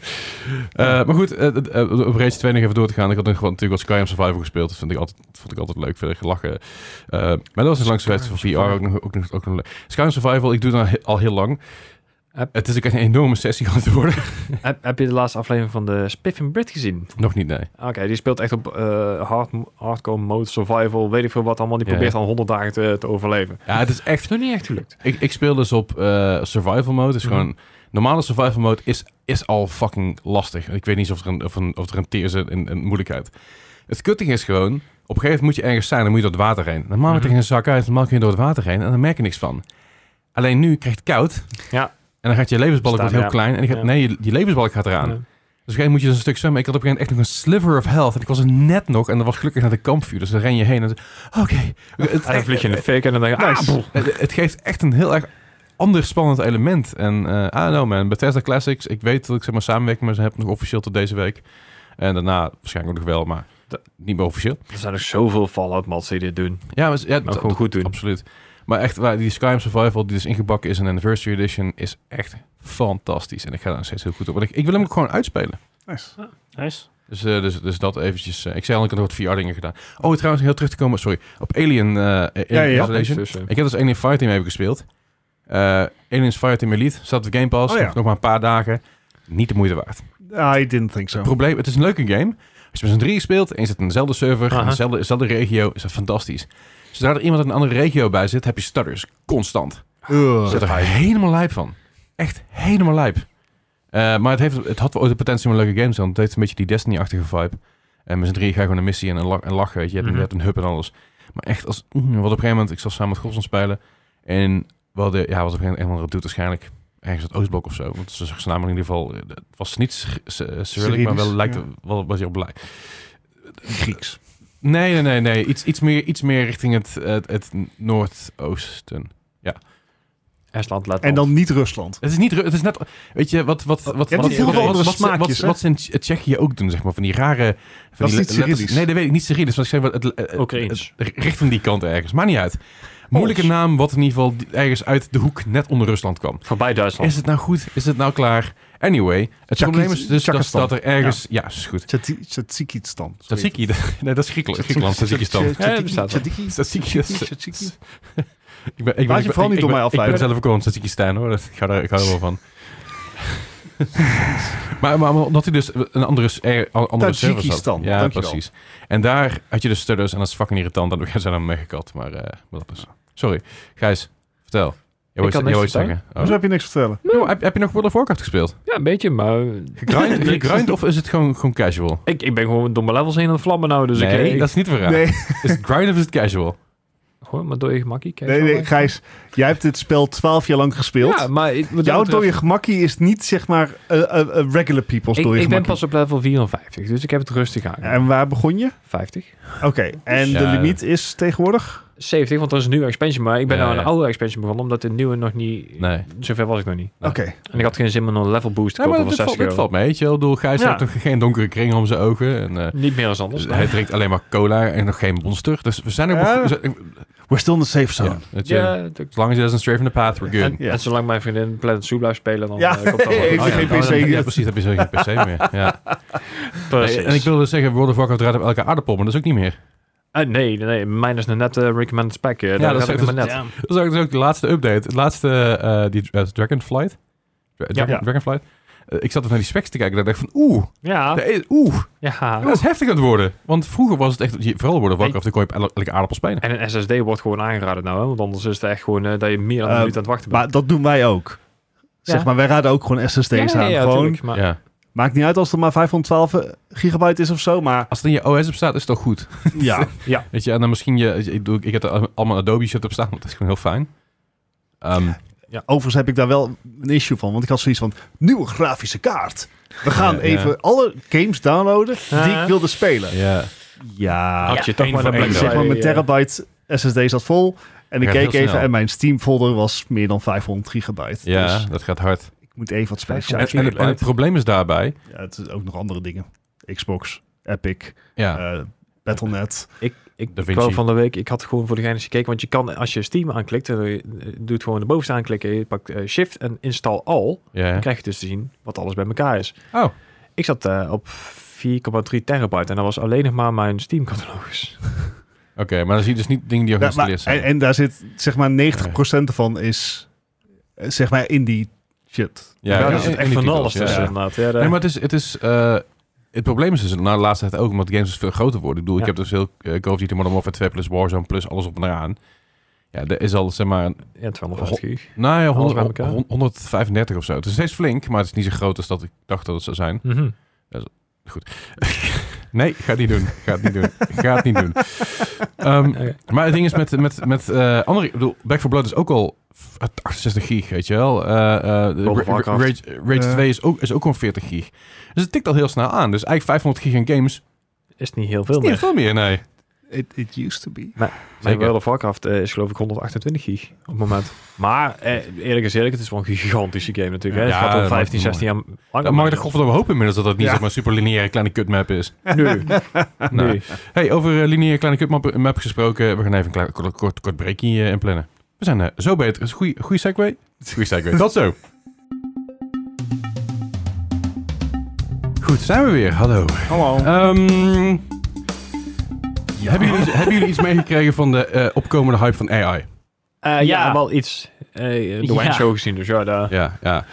Speaker 1: Eh, maar goed, eh, eh, eh, op Rage 2 nog even door te gaan. Ik had nog, wel- natuurlijk wat Skyrim Survival gespeeld. Dat vind ik altijd, vond ik altijd leuk. Verder gelachen. Eh, maar dat was dus langs de wedstrijd van VR ook nog, ook, nog, ook nog leuk. Skyrim Survival, ik doe dat al he- al heel lang.
Speaker 4: Heb-
Speaker 1: Het is ook echt een enorme sessie aan het worden.
Speaker 4: heb, heb je de laatste aflevering van de Spiff and Brit gezien?
Speaker 1: nog niet, nee.
Speaker 4: Oké, die speelt echt op eh, hard, hardcore mode, survival, weet ik veel wat allemaal. Die
Speaker 1: Ja,
Speaker 4: probeert
Speaker 1: ja.
Speaker 4: al 100 dagen te, te overleven.
Speaker 1: Ja, het is echt...
Speaker 4: Is nog niet echt gelukt.
Speaker 1: Ik, ik speel dus op eh, survival mode. Dus
Speaker 4: Mhm.
Speaker 1: gewoon normale survival mode is, is al fucking lastig. Ik weet niet of er een, of een, of er een tier zit in, in moeilijkheid. Het kutting is gewoon, op een gegeven moment moet je ergens zijn, dan moet je door het water heen. Normaal
Speaker 4: Mhm.
Speaker 1: tegen een zak uit, normaal kun je door het water heen en dan merk je niks van. Alleen nu krijg je het koud.
Speaker 4: Ja.
Speaker 1: En dan gaat je levensbalk
Speaker 4: Staan,
Speaker 1: wordt heel
Speaker 4: ja.
Speaker 1: klein. En je gaat,
Speaker 4: Ja.
Speaker 1: nee, je, je levensbalk gaat eraan. Dus
Speaker 4: Ja.
Speaker 1: op een gegeven moment moet je dus een stuk zwemmen. Ik had op een gegeven moment echt nog een sliver of health. En ik was er net nog. En dat was gelukkig naar de kampvuur. Dus dan ren je heen. En dan- oké. Het
Speaker 4: En Ah, dan vlieg je in de fik en dan denk je, ah, boel.
Speaker 1: het, het geeft echt een heel erg ander spannend element. En eh I don't know man, Bethesda Classics. Ik weet dat ik zeg maar samenwerking met ze heb nog officieel tot deze week. En daarna waarschijnlijk ook nog wel, maar
Speaker 4: Da-
Speaker 1: niet meer officieel.
Speaker 4: Er zijn ook zoveel Fallout mods die dit doen.
Speaker 1: Ja, maar, ja
Speaker 4: Maar
Speaker 1: dat-
Speaker 4: gewoon goed doen.
Speaker 1: absoluut. Maar echt, waar die Skyrim Survival die dus ingebakken is in Anniversary Edition, is echt fantastisch. En ik ga daar nog steeds heel goed op. Want ik, ik wil hem ook gewoon uitspelen.
Speaker 3: Nice.
Speaker 2: Nice.
Speaker 1: Dus, eh, dus, dus dat eventjes. eh, ik zei al, ik had nog wat VR-dingen gedaan. Oh, trouwens, heel terug te komen, sorry, op Alien, eh Alien
Speaker 3: ja.
Speaker 1: Isolation.
Speaker 4: Dus, eh,
Speaker 1: Ik heb dus Alien Fireteam even gespeeld. Eh Aliens Fireteam Elite staat op de Game Pass.
Speaker 3: Oh ja.
Speaker 1: Nog maar een paar dagen. Niet de moeite waard.
Speaker 3: I didn't think so.
Speaker 1: Probleem, het is een leuke game. Als je met z'n drieën speelt en je zit in dezelfde server,
Speaker 4: Aha.
Speaker 1: in dezelfde, dezelfde regio, is dat fantastisch. Zodra er iemand uit een andere regio bij zit, heb je stutters. Constant.
Speaker 3: Ugh.
Speaker 1: Ik zit er helemaal lijp van. Echt helemaal lijp. Eh, maar het, heeft, het had wel ooit de potentie om een leuke game te zijn. want Het heeft een beetje die Destiny-achtige vibe. En met z'n drieën ga je gewoon een missie en, een la- en lachen. Weet je. Je, hebt, een- je hebt
Speaker 4: Mhm.
Speaker 1: een hub en alles. Maar echt, als, mm, wat op een gegeven moment... Ik zat samen met Gosson spelen. En wat, de, ja, wat op een gegeven moment een of andere doet waarschijnlijk... Ergens het Oostblok of zo. Want ze zeggen namelijk in ieder geval... eh, Het was niet Cyr- Cyr- Cyrillic, maar wel
Speaker 3: Cyrillisch,
Speaker 1: lijkt
Speaker 3: ja.
Speaker 1: het wel wat je op lijkt.
Speaker 3: Grieks.
Speaker 1: Nee, nee, nee. nee. Iets, iets, meer, iets meer richting het, het, het noordoosten.
Speaker 4: Estland, Letland.
Speaker 3: En dan niet Rusland.
Speaker 1: Het is niet, Ru- het is net, weet je, wat, wat, wat, wat,
Speaker 3: het
Speaker 1: wat,
Speaker 3: is heel veel andere
Speaker 1: wat, ze- wat,
Speaker 3: smaakjes,
Speaker 1: ze-
Speaker 3: hè?
Speaker 1: wat ze in Tsje- Tsjechië ook doen, zeg maar, van die rare, van
Speaker 3: Dat
Speaker 1: die
Speaker 3: is niet
Speaker 1: le- letters-
Speaker 3: Cyrillisch.
Speaker 1: Nee, dat weet ik niet Cyrillisch, maar ik zeg wat, het, eh,
Speaker 4: Oekraïens.
Speaker 1: het- richting die kant ergens, maakt niet uit. Moeilijke naam, wat in ieder geval die- ergens uit de hoek net onder Rusland kwam.
Speaker 4: Voorbij Duitsland.
Speaker 1: Is het nou goed? Is het nou klaar? Anyway, het
Speaker 3: Tsjaki-
Speaker 1: probleem is dus dat,
Speaker 3: Tsjakistan.
Speaker 1: dat er ergens, ja, is goed.
Speaker 3: Tsatsikistan.
Speaker 1: Tzatziki, nee, dat is Griekenland, Griekenland Tadzjikistan.
Speaker 4: Ja, dat bestaat wel.
Speaker 1: Tzatziki is-
Speaker 3: Tzatziki.
Speaker 1: Ik ben, ik ben,
Speaker 3: Laat je
Speaker 1: ik-
Speaker 3: vooral
Speaker 1: ik-
Speaker 3: niet door
Speaker 1: ik ben-
Speaker 3: mij afleiden.
Speaker 1: Ik ben zelf ook wel een Tajikistan hoor. Dat, ik, hou daar, ik hou er wel van. maar, maar omdat hij dus een andere, s- er, een andere service had.
Speaker 3: Tajikistan,
Speaker 1: Ja,
Speaker 3: dankjewel.
Speaker 1: precies. En daar had je dus stutters en dat is fucking irritant. En we zijn dan meegekat. Maar eh, wat dat is. Sorry. Gijs, vertel. wou
Speaker 4: kan
Speaker 1: iets- jij wou
Speaker 4: niks
Speaker 1: iets zeggen.
Speaker 3: Dus
Speaker 1: Oh.
Speaker 3: heb je niks te vertellen.
Speaker 1: Nou, heb, heb je nog World of Warcraft gespeeld?
Speaker 4: Ja, een beetje, maar...
Speaker 1: Gegrind, gegrind of is het gewoon, gewoon casual?
Speaker 4: Ik, ik ben gewoon door mijn levels heen aan het vlammen nou, dus
Speaker 1: nee,
Speaker 4: ik... ik
Speaker 1: dat is niet de vraag.
Speaker 3: Nee.
Speaker 1: Is het grind of is het casual?
Speaker 4: Gewoon maar door je gemakkie. kijk
Speaker 3: Nee,
Speaker 4: zo
Speaker 3: nee,
Speaker 4: maar.
Speaker 3: Gijs, jij hebt dit spel twaalf jaar lang gespeeld.
Speaker 4: Ja, maar... ik- wat dat
Speaker 3: Jouw
Speaker 4: betreft-
Speaker 3: dode gemakkie is niet, zeg maar, eh, eh, eh, regular people's
Speaker 4: ik,
Speaker 3: dode
Speaker 4: ik ben
Speaker 3: gemakkie.
Speaker 4: pas op level 54, dus ik heb het rustig aan.
Speaker 3: En waar begon je?
Speaker 4: 50.
Speaker 3: Oké, en de
Speaker 1: Ja.
Speaker 3: limiet is tegenwoordig?
Speaker 4: 70, want er is een nieuwe expansion, maar ik ben
Speaker 1: Ja,
Speaker 4: nou aan
Speaker 1: ja.
Speaker 4: een oude expansion begonnen, omdat de nieuwe nog niet...
Speaker 1: Nee.
Speaker 4: Zover was ik nog niet.
Speaker 1: Ja.
Speaker 3: Oké.
Speaker 4: En ik had geen zin meer om een level boost te
Speaker 1: Ja, maar
Speaker 4: kopen
Speaker 1: dit,
Speaker 4: van
Speaker 1: valt,
Speaker 4: 60
Speaker 1: dit
Speaker 4: euro.
Speaker 1: valt mee. weet je wel. Ik bedoel, Gijs
Speaker 4: Ja.
Speaker 1: heeft nog geen donkere kring om zijn ogen. En, eh,
Speaker 4: Niet meer als anders.
Speaker 1: dus hij drinkt alleen maar cola en nog geen monster. Dus we zijn ook...
Speaker 3: Ja.
Speaker 1: we zijn-
Speaker 3: We're still in the safe zone.
Speaker 1: ja, weet je,
Speaker 4: ja, dat-
Speaker 1: As long as it doesn't stray from the path, we're good.
Speaker 4: en,
Speaker 3: Ja.
Speaker 4: en zolang mijn vriendin Planet Zoo blijft spelen, dan
Speaker 3: Ja,
Speaker 4: eh, komt dat wel.
Speaker 3: heeft
Speaker 4: Oh
Speaker 3: hij
Speaker 4: ja,
Speaker 3: geen
Speaker 4: dan-
Speaker 3: PC
Speaker 4: dan-
Speaker 1: Ja, precies. Heb je zo geen PC meer. Ja.
Speaker 4: Precies.
Speaker 1: En ik wilde dus zeggen, World of Warcraft draait op elke aardappel, maar dat is ook niet meer.
Speaker 4: Eh, nee, nee, nee, mijn is nog net eh, recommended spec. eh, daar
Speaker 1: dat
Speaker 4: gaat
Speaker 1: is-
Speaker 4: ik nog maar net.
Speaker 2: Damn.
Speaker 1: Dat is eigenlijk ook de laatste update. De laatste, eh, die eh, Dragonflight. Dra- Dragon-
Speaker 4: Ja.
Speaker 1: Dragonflight. Eh, ik zat even naar die specs te kijken en dacht ik van oeh,
Speaker 4: Ja,
Speaker 1: daar is- oeh,
Speaker 4: ja.
Speaker 1: dat is heftig aan het worden. Want vroeger was het echt, je- vooral World of Warcraft, dan kon je op el- elke aardappel spelen.
Speaker 4: En een SSD wordt gewoon aangeraden nou, hè, want anders is het echt gewoon eh, dat je meer dan een
Speaker 3: Eh,
Speaker 4: minuut aan het wachten bent.
Speaker 3: Maar dat doen wij ook. Zeg
Speaker 4: Ja.
Speaker 3: maar, wij raden ook gewoon SSD's
Speaker 4: ja,
Speaker 3: aan.
Speaker 4: ja,
Speaker 3: gewoon,
Speaker 4: tuurlijk, maar
Speaker 1: Ja.
Speaker 3: Maakt niet uit als er maar 512 gigabyte is of zo, maar
Speaker 1: Als het in je OS op staat, is het toch goed.
Speaker 3: ja.
Speaker 1: Weet je, en dan misschien je, ik, bedoel, ik heb er al- allemaal Adobe shit op staan, want dat is gewoon heel fijn. Ehm,
Speaker 3: Overigens heb ik daar wel een issue van, want ik had zoiets van, nieuwe grafische kaart. We gaan
Speaker 1: Ja, ja.
Speaker 3: even alle games downloaden die
Speaker 4: Ja.
Speaker 3: ik wilde spelen.
Speaker 1: ja.
Speaker 3: Ja,
Speaker 4: had je toch
Speaker 1: één
Speaker 4: maar
Speaker 1: voor
Speaker 4: de
Speaker 1: één,
Speaker 4: Black
Speaker 3: zeg maar,
Speaker 4: Friday,
Speaker 3: mijn
Speaker 4: eh,
Speaker 3: terabyte SSD zat vol. En ik
Speaker 1: Ja,
Speaker 3: keek
Speaker 1: heel
Speaker 3: even
Speaker 1: snel.
Speaker 3: en mijn Steam folder was meer dan 500 gigabyte.
Speaker 1: ja,
Speaker 3: Dus
Speaker 1: dat gaat hard.
Speaker 3: ik moet even wat spelletjes
Speaker 1: En, en,
Speaker 3: uitzoeken.
Speaker 4: Vijfhonderd
Speaker 1: het- en het probleem is daarbij,
Speaker 3: Ja, het is ook nog andere dingen. Xbox, Epic,
Speaker 1: ja,
Speaker 3: eh Battle.net.
Speaker 4: Ik, ik,
Speaker 1: Da
Speaker 4: ik wou
Speaker 1: Vinci.
Speaker 4: van de week, ik had gewoon voor de gein eens gekeken, want je kan als je Steam aanklikt, dan eh, doet gewoon de bovenste aanklikken, je pakt eh, Shift en Install All,
Speaker 1: ja.
Speaker 4: dan krijg je dus te zien wat alles bij elkaar is.
Speaker 1: Oh,
Speaker 4: Ik zat eh, op 4,3 terabyte en dat was alleen nog maar mijn Steam-catalogus.
Speaker 1: oké, maar dan zie je dus niet dingen die al
Speaker 3: Ja, maar-
Speaker 1: geïnstalleerd zijn.
Speaker 3: en, en daar zit, zeg maar, 90% ervan is, eh, zeg maar, indie shit.
Speaker 4: Ja,
Speaker 1: en-
Speaker 4: daar zit
Speaker 1: en
Speaker 4: echt
Speaker 1: die
Speaker 4: van
Speaker 1: titels,
Speaker 4: alles
Speaker 1: ja.
Speaker 4: tussen
Speaker 1: Ja.
Speaker 4: inderdaad. Ja, daar-
Speaker 1: Nee, maar het is... Het, is eh, het probleem is dus na de laatste tijd ook, omdat games dus veel groter worden. Ik bedoel, ik
Speaker 4: Ja.
Speaker 1: heb dus heel eh, Call of Duty Modern Warfare 2 plus Warzone plus alles op en eraan. Ja, er is al zeg maar, een-
Speaker 4: ja 250 gig.
Speaker 1: nou ja,
Speaker 4: Alles bij
Speaker 1: 100
Speaker 4: elkaar.
Speaker 1: 135 of zo. Het is steeds flink, maar het is niet zo groot als dat ik dacht dat het zou zijn.
Speaker 4: Mhm.
Speaker 1: Nee, ga het niet doen. Ga het niet doen. Ga het niet doen. Ehm,
Speaker 4: Oké.
Speaker 1: maar het ding is met, met, met eh, andere... Ik bedoel, Back 4 Blood is ook al f- 68 gig, weet je wel. Eh, eh, de
Speaker 4: World of
Speaker 1: Ra- Ra- Rage,
Speaker 4: Warcraft.
Speaker 1: Rage
Speaker 3: Eh.
Speaker 1: 2 is ook, is ook gewoon 40 gig. Dus het tikt al heel snel aan. Dus eigenlijk 500 gig aan games
Speaker 4: Is niet heel veel
Speaker 1: Niet
Speaker 4: meer.
Speaker 1: veel meer, nee.
Speaker 3: It, it used to be.
Speaker 4: Mijn
Speaker 1: Zeker.
Speaker 4: World of Warcraft eh, is geloof ik 128 gig op het moment. Maar eh, eerlijk is eerlijk, het is wel een gigantische game natuurlijk. Hè?
Speaker 1: Ja,
Speaker 4: het gaat om
Speaker 1: dat
Speaker 4: 15,
Speaker 1: maakt
Speaker 4: 16 jaar langer.
Speaker 1: Dan mag je er godverdomme hopen inmiddels dat dat niet
Speaker 3: Ja.
Speaker 1: zomaar een super lineaire kleine kutmap is.
Speaker 4: Nee,
Speaker 1: Nou,
Speaker 4: nee.
Speaker 1: Hey, over eh, lineaire kleine kutmap map gesproken. We gaan even een klein- kort, kort, kort breakje eh, inplannen. We zijn eh, zo beter. Is een goede segue. Goede segue. Tot zo. Goed, zijn we weer. Hallo.
Speaker 3: Hallo.
Speaker 1: Ehm, hebben, jullie, hebben jullie iets meegekregen van de eh, opkomende hype van AI?
Speaker 4: Eh, ja,
Speaker 2: Ja.
Speaker 4: wel iets. Eh de
Speaker 2: Ja.
Speaker 4: Wine Show gezien, dus ja, daar...
Speaker 1: Ja, ja.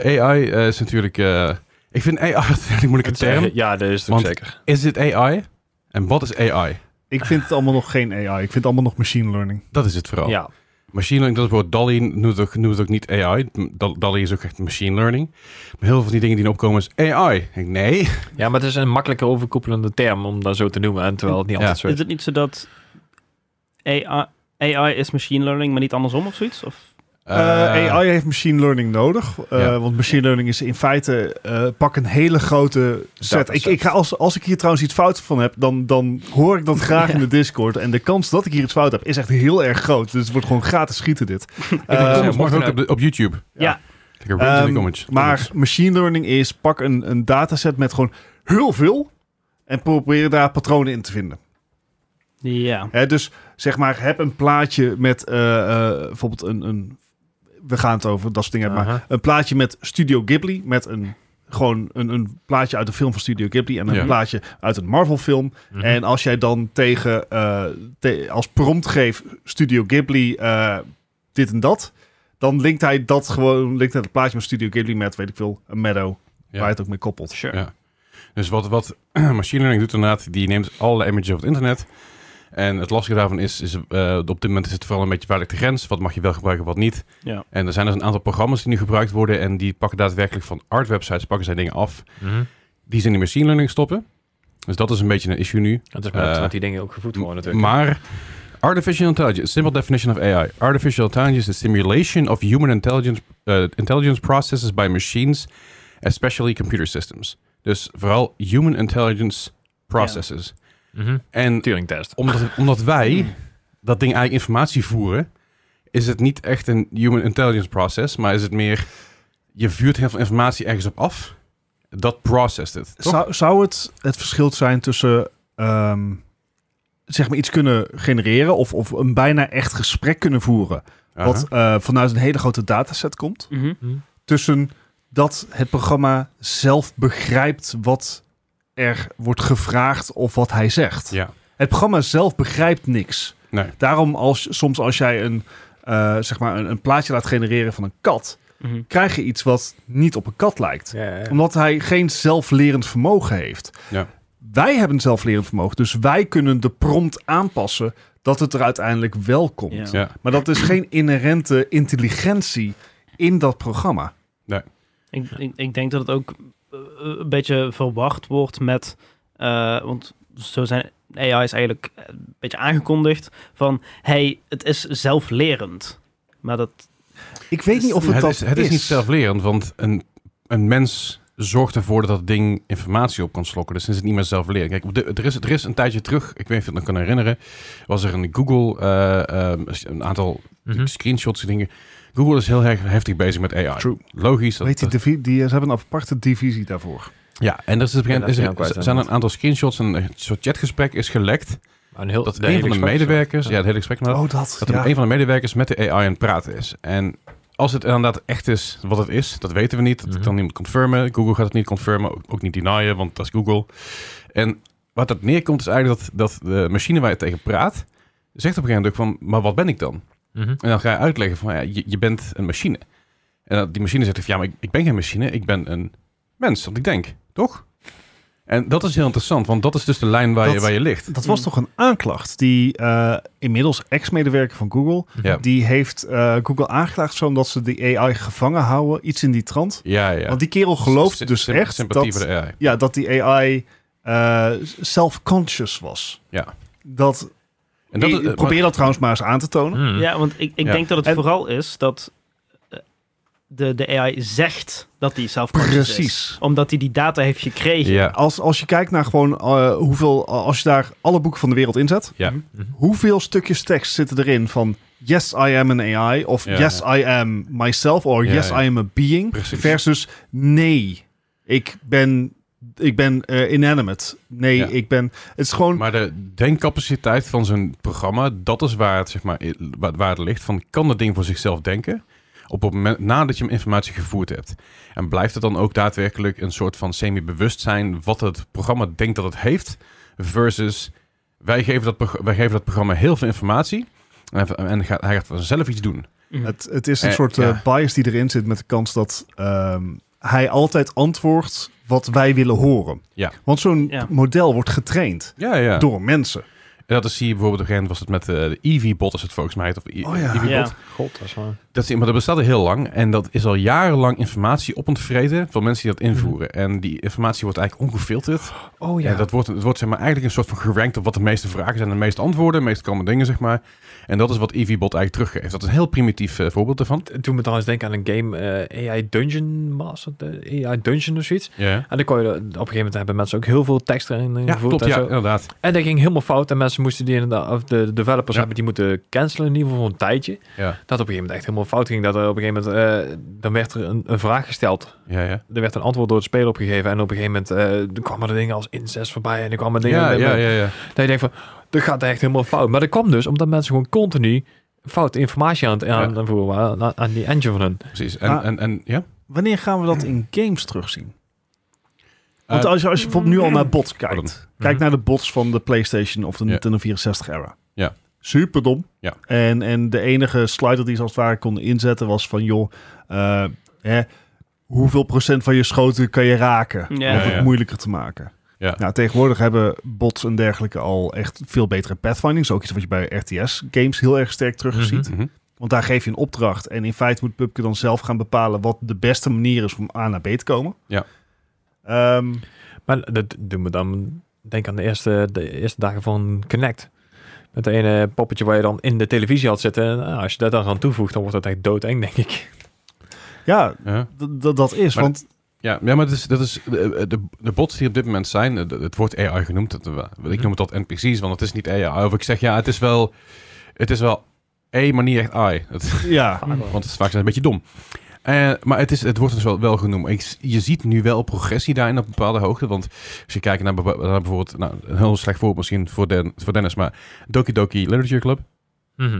Speaker 1: Eh, AI is natuurlijk... eh, ik vind AI een hele moeilijke
Speaker 4: Het,
Speaker 1: term.
Speaker 4: eh, Ja, dat is het
Speaker 1: Want-
Speaker 4: zeker.
Speaker 1: Is dit AI? En wat is AI?
Speaker 3: Ik vind het allemaal nog geen AI. Ik vind het allemaal nog machine learning.
Speaker 1: Dat is het vooral.
Speaker 4: Ja.
Speaker 1: Machine learning, dat is woord DALL-E noemt het, ook, noemt het ook niet AI. Dall- DALL-E is ook echt machine learning. Maar heel veel van die dingen die nu opkomen is AI. Ik denk, nee.
Speaker 4: ja, maar het is een makkelijke overkoepelende term om dat zo te noemen. En terwijl het niet
Speaker 1: Ja.
Speaker 4: altijd zo
Speaker 2: Is
Speaker 4: is.
Speaker 2: het niet zo dat AI, AI is machine learning, maar niet andersom of zoiets? Of,
Speaker 3: Eh,
Speaker 1: Eh,
Speaker 3: AI heeft machine learning nodig. eh,
Speaker 1: Ja.
Speaker 3: Want machine learning is in feite... eh, pak een hele grote set. Ik,
Speaker 4: Dataset.
Speaker 3: ik ga als, als ik hier trouwens iets fout van heb... Dan, dan hoor ik dat graag in de Discord. En de kans dat ik hier iets fout heb... is echt heel erg groot. Dus het wordt gewoon gratis schieten dit.
Speaker 1: ik
Speaker 3: Eh,
Speaker 1: denk,
Speaker 4: ja,
Speaker 1: dat mag ook
Speaker 4: vanuit-
Speaker 1: op, de- op YouTube.
Speaker 2: Ja.
Speaker 1: Lekker rage in de
Speaker 3: Ehm,
Speaker 1: comments.
Speaker 3: Maar machine learning is pak een, een dataset met gewoon heel veel en probeer daar patronen in te vinden.
Speaker 2: ja.
Speaker 3: Hè, dus zeg maar, heb een plaatje met eh, eh, bijvoorbeeld een, een. We gaan het over dat soort dingen. hebben,
Speaker 4: Aha.
Speaker 3: Maar een plaatje met Studio Ghibli. Met een, gewoon een, een plaatje uit een film van Studio Ghibli. En een
Speaker 1: Ja.
Speaker 3: plaatje uit een Marvel-film.
Speaker 4: Mhm.
Speaker 3: En als jij dan tegen. eh, te- als prompt geeft Studio Ghibli eh, dit en dat. Dan linkt hij dat gewoon. Linkt hij het plaatje met Studio Ghibli met, weet ik veel, een Meadow.
Speaker 1: Ja.
Speaker 3: Waar je het ook mee koppelt.
Speaker 2: Sure.
Speaker 1: Ja. Dus wat, wat machine learning doet inderdaad, die neemt alle images op het internet. En En het lastige daarvan is, is eh, op dit moment is het vooral een beetje veilig de grens. Wat mag je wel gebruiken, wat niet.
Speaker 2: Ja.
Speaker 1: En er zijn dus een aantal programma's die nu gebruikt worden. En die pakken daadwerkelijk van art websites, pakken zij dingen af.
Speaker 4: Mhm.
Speaker 1: Die ze in de machine learning stoppen. Dus dat is een beetje een issue nu.
Speaker 4: Het is maar dat,
Speaker 1: Eh,
Speaker 4: dat die dingen ook gevoed worden natuurlijk.
Speaker 1: Maar artificial intelligence, simple definition of AI. Artificial intelligence is simulation of human intelligence, eh, intelligence processes by machines, especially computer systems. Dus vooral human intelligence processes.
Speaker 4: Mhm.
Speaker 1: En
Speaker 4: Turing-test.
Speaker 1: omdat, omdat wij dat ding eigenlijk informatie voeren, is het niet echt een human intelligence process, maar is het meer je vuurt heel veel informatie ergens op af. Dat processt het. Toch?
Speaker 3: Zou, zou het het verschil zijn tussen ehm, zeg maar iets kunnen genereren of, of een bijna echt gesprek kunnen voeren,
Speaker 1: Aha.
Speaker 3: wat eh, vanuit een hele grote dataset komt,
Speaker 2: Mhm.
Speaker 3: tussen dat het programma zelf begrijpt wat er wordt gevraagd of wat hij zegt.
Speaker 1: Ja.
Speaker 3: Het programma zelf begrijpt niks.
Speaker 1: Nee.
Speaker 3: Daarom als soms als jij een, eh, zeg maar een, een plaatje laat genereren van een kat,
Speaker 2: Mhm.
Speaker 3: krijg je iets wat niet op een kat lijkt.
Speaker 4: Ja, ja.
Speaker 3: Omdat hij geen zelflerend vermogen heeft.
Speaker 1: Ja.
Speaker 3: Wij hebben een zelflerend vermogen, dus wij kunnen de prompt aanpassen dat het er uiteindelijk wel komt.
Speaker 2: Ja.
Speaker 1: Ja.
Speaker 3: Maar dat is geen inherente intelligentie in dat programma.
Speaker 2: Ik, ik, ik denk dat het ook eh, een beetje verwacht wordt met, eh, want zo zijn AI's eigenlijk een beetje aangekondigd van, hey, het is zelflerend. Maar dat,
Speaker 3: Ik weet niet of het,
Speaker 1: het,
Speaker 3: dat
Speaker 1: is, het is. niet zelflerend, want een, een mens zorgt ervoor dat dat ding informatie op kan slokken. Dus dan is het niet meer zelflerend. Kijk, op de- er, is, er is een tijdje terug, ik weet niet of je het nog kan herinneren, was er een Google, eh, eh, een aantal
Speaker 4: Mhm.
Speaker 1: screenshots en dingen. Google is heel erg heftig bezig met AI.
Speaker 3: True.
Speaker 1: Logisch. dat-
Speaker 3: Weet je,
Speaker 1: dat-
Speaker 3: divi- die, ze hebben een aparte divisie daarvoor.
Speaker 1: ja, en er, is op een
Speaker 4: Ja,
Speaker 1: gegeven
Speaker 4: dat
Speaker 1: moment-
Speaker 4: is heel kwijt,
Speaker 1: is er zijn een aantal screenshots en een soort chatgesprek is gelekt.
Speaker 4: Maar een heel,
Speaker 1: Dat
Speaker 4: de
Speaker 1: een
Speaker 4: hele
Speaker 1: van de
Speaker 4: expert-
Speaker 1: medewerkers, ja,
Speaker 4: Ja.
Speaker 1: het hele gesprek met
Speaker 3: oh, dat.
Speaker 1: dat
Speaker 3: ja.
Speaker 1: er een van de medewerkers met de AI aan het praten is. En als het inderdaad echt is wat het is, dat weten we niet. Dat
Speaker 4: Mhm.
Speaker 1: kan niemand confirmen. Google gaat het niet confirmen, ook- ook niet denyen, want dat is Google. En wat dat neerkomt is eigenlijk dat, dat de machine waar je tegen praat, zegt op een gegeven moment ook van, maar wat ben ik dan?
Speaker 4: Mhm.
Speaker 1: En dan ga je uitleggen van, ja, je, je bent een machine. En dat die machine zegt van, ja, maar ik, ik ben geen machine, ik ben een mens, want ik denk, toch? En dat is heel interessant, want dat is dus de lijn waar, je,
Speaker 3: Dat-
Speaker 1: waar je ligt.
Speaker 3: Dat was
Speaker 2: Mm.
Speaker 3: toch een aanklacht die eh, inmiddels ex-medewerker van Google,
Speaker 1: Ja.
Speaker 3: die heeft eh, Google aangeklaagd zo omdat ze die AI gevangen houden, iets in die trant.
Speaker 1: Ja, ja.
Speaker 3: Want die kerel gelooft
Speaker 1: Sy-
Speaker 3: dus
Speaker 1: symp-
Speaker 3: echt
Speaker 1: Sympathie
Speaker 3: dat,
Speaker 1: voor de AI.
Speaker 3: ja, dat die AI eh, self-conscious was.
Speaker 1: Ja.
Speaker 3: Dat,
Speaker 1: En dat, is- eh,
Speaker 3: probeer dat trouwens maar eens aan te tonen.
Speaker 4: Mhm.
Speaker 2: ja, want ik, ik
Speaker 1: Ja.
Speaker 2: denk dat het
Speaker 3: En-
Speaker 2: vooral is dat eh, de, de AI zegt dat hij zelf is.
Speaker 3: Precies.
Speaker 2: Omdat hij die data heeft gekregen.
Speaker 1: Ja.
Speaker 3: Als, als je kijkt naar gewoon eh, hoeveel, als je daar alle boeken van de wereld inzet,
Speaker 1: Ja. Mhm.
Speaker 3: hoeveel stukjes tekst zitten erin van yes, I am an AI of
Speaker 1: Ja,
Speaker 3: yes, I am myself or
Speaker 1: Ja,
Speaker 3: yes,
Speaker 1: ja.
Speaker 3: I am a being
Speaker 1: Precies.
Speaker 3: versus nee, ik ben, ik ben eh, inanimate. Nee,
Speaker 1: Ja.
Speaker 3: ik ben... Het is gewoon...
Speaker 1: Maar de denkcapaciteit van zo'n programma, dat is waar het, zeg maar, i- waar, waar het ligt. Van, kan dat ding voor zichzelf denken? Op het moment nadat je hem informatie gevoerd hebt. En blijft het dan ook daadwerkelijk een soort van semi-bewustzijn wat het programma denkt dat het heeft? Versus, wij geven dat, prog- wij geven dat programma heel veel informatie. En, en gaat, hij gaat vanzelf iets doen.
Speaker 2: Mhm.
Speaker 3: Het, het is een
Speaker 1: Eh,
Speaker 3: soort
Speaker 1: ja.
Speaker 3: eh, bias die erin zit met de kans dat ehm, hij altijd antwoordt wat wij willen horen.
Speaker 1: Ja.
Speaker 3: Want zo'n
Speaker 2: Ja.
Speaker 3: model wordt getraind
Speaker 1: Ja, ja.
Speaker 3: door mensen.
Speaker 1: En dat is hier bijvoorbeeld, op een gegeven moment was het met eh, de EV-bot, is het volgens mij. Of I- E
Speaker 3: Oh ja.
Speaker 1: EV-bot.
Speaker 2: Ja.
Speaker 4: God, dat is wel...
Speaker 1: Dat is, maar dat bestaat al heel lang en dat is al jarenlang informatie op aan het vreten van mensen die dat invoeren. En die informatie wordt eigenlijk ongefilterd.
Speaker 4: Mhm. Oh
Speaker 1: Ja. dat wordt, het wordt zeg maar, eigenlijk een soort van gerankt op wat de meeste vragen zijn, de meeste antwoorden, de meest kromme dingen, zeg maar. En dat is wat EVBot eigenlijk teruggeeft. Dat is een heel primitief eh, voorbeeld daarvan.
Speaker 4: Toen me trouwens denken aan een game, eh, AI Dungeon Master, eh, AI Dungeon of zoiets.
Speaker 1: Ja,
Speaker 4: En dan kon je, er- op een gegeven moment hebben mensen ook heel veel tekst erin eh,
Speaker 1: ja
Speaker 4: gevoerd
Speaker 1: klopt,
Speaker 4: en
Speaker 1: ja,
Speaker 4: zo.
Speaker 1: inderdaad.
Speaker 4: En dat ging helemaal fout en mensen moesten die inderdaad, of de developers
Speaker 1: Ja.
Speaker 4: hebben die moeten cancelen in ieder geval voor een tijdje.
Speaker 1: Ja,
Speaker 4: Dat op een gegeven moment echt helemaal fout ging. Dat er op een gegeven moment, eh, dan werd er een, een vraag gesteld.
Speaker 1: ja, ja.
Speaker 4: Er werd een antwoord door het speler opgegeven en op een gegeven moment eh, kwamen er dingen als incest voorbij en er kwamen dingen...
Speaker 1: Ja, ja, ja, ja.
Speaker 4: Dat je denkt van, dat gaat echt helemaal fout. Maar dat kwam dus omdat mensen gewoon continu fout informatie aan het aan, aan voeren waren, aan, aan die engine van hun.
Speaker 1: precies. En,
Speaker 4: Ah.
Speaker 3: Maar-
Speaker 1: en, en ja.
Speaker 3: Wanneer gaan we dat in games terugzien? Want
Speaker 1: Eh,
Speaker 3: als je, als je bijvoorbeeld nu al naar bots
Speaker 1: Pardon. Mhm.
Speaker 3: kijkt. Kijk naar de bots van de PlayStation of de
Speaker 1: Ja.
Speaker 3: Nintendo 64 era.
Speaker 1: Ja.
Speaker 3: Super dom.
Speaker 1: Ja.
Speaker 3: En, en de enige slider die ze als het ware konden inzetten was van... joh, eh, hè, hoeveel procent van je schoten kan je raken?
Speaker 2: Ja.
Speaker 3: Om het
Speaker 1: Ja, ja.
Speaker 3: moeilijker te maken.
Speaker 1: Ja.
Speaker 3: Nou, tegenwoordig hebben bots en dergelijke al echt veel betere pathfindings. Ook iets wat je bij RTS-games heel erg sterk terugziet.
Speaker 4: Mhm.
Speaker 1: Mhm.
Speaker 3: Want daar geef je een opdracht. En in feite moet Pupke dan zelf gaan bepalen wat de beste manier is om A naar B te komen.
Speaker 1: Ja.
Speaker 3: Ehm,
Speaker 4: Maar dat doen we dan, denk aan de eerste, de eerste dagen van Connect. Met dat ene poppetje waar je dan in de televisie had zitten. Nou, als je dat dan aan toevoegt, dan wordt dat echt doodeng, denk ik.
Speaker 3: ja,
Speaker 1: Ja.
Speaker 3: d- d- dat is.
Speaker 1: Maar-
Speaker 3: want
Speaker 1: Ja, ja, maar dat is, dat is de, de, de bots die op dit moment zijn, eh, de- het wordt AI genoemd. Dat, eh, ik noem het altijd NPC's, want het is niet AI. Of ik zeg ja, het is wel, het is wel A, maar niet echt AI. Het-
Speaker 3: ja,
Speaker 1: want het is vaak zijn ze een beetje dom. Eh, maar het, is, het wordt dus wel, wel genoemd. Ik, je ziet nu wel progressie daarin op bepaalde hoogte. Want als je kijkt naar, bijvo- naar bijvoorbeeld, nou, een heel slecht voorbeeld misschien voor, Den, voor Dennis, maar Doki Doki Literature Club.
Speaker 2: Mhm.
Speaker 1: Eh,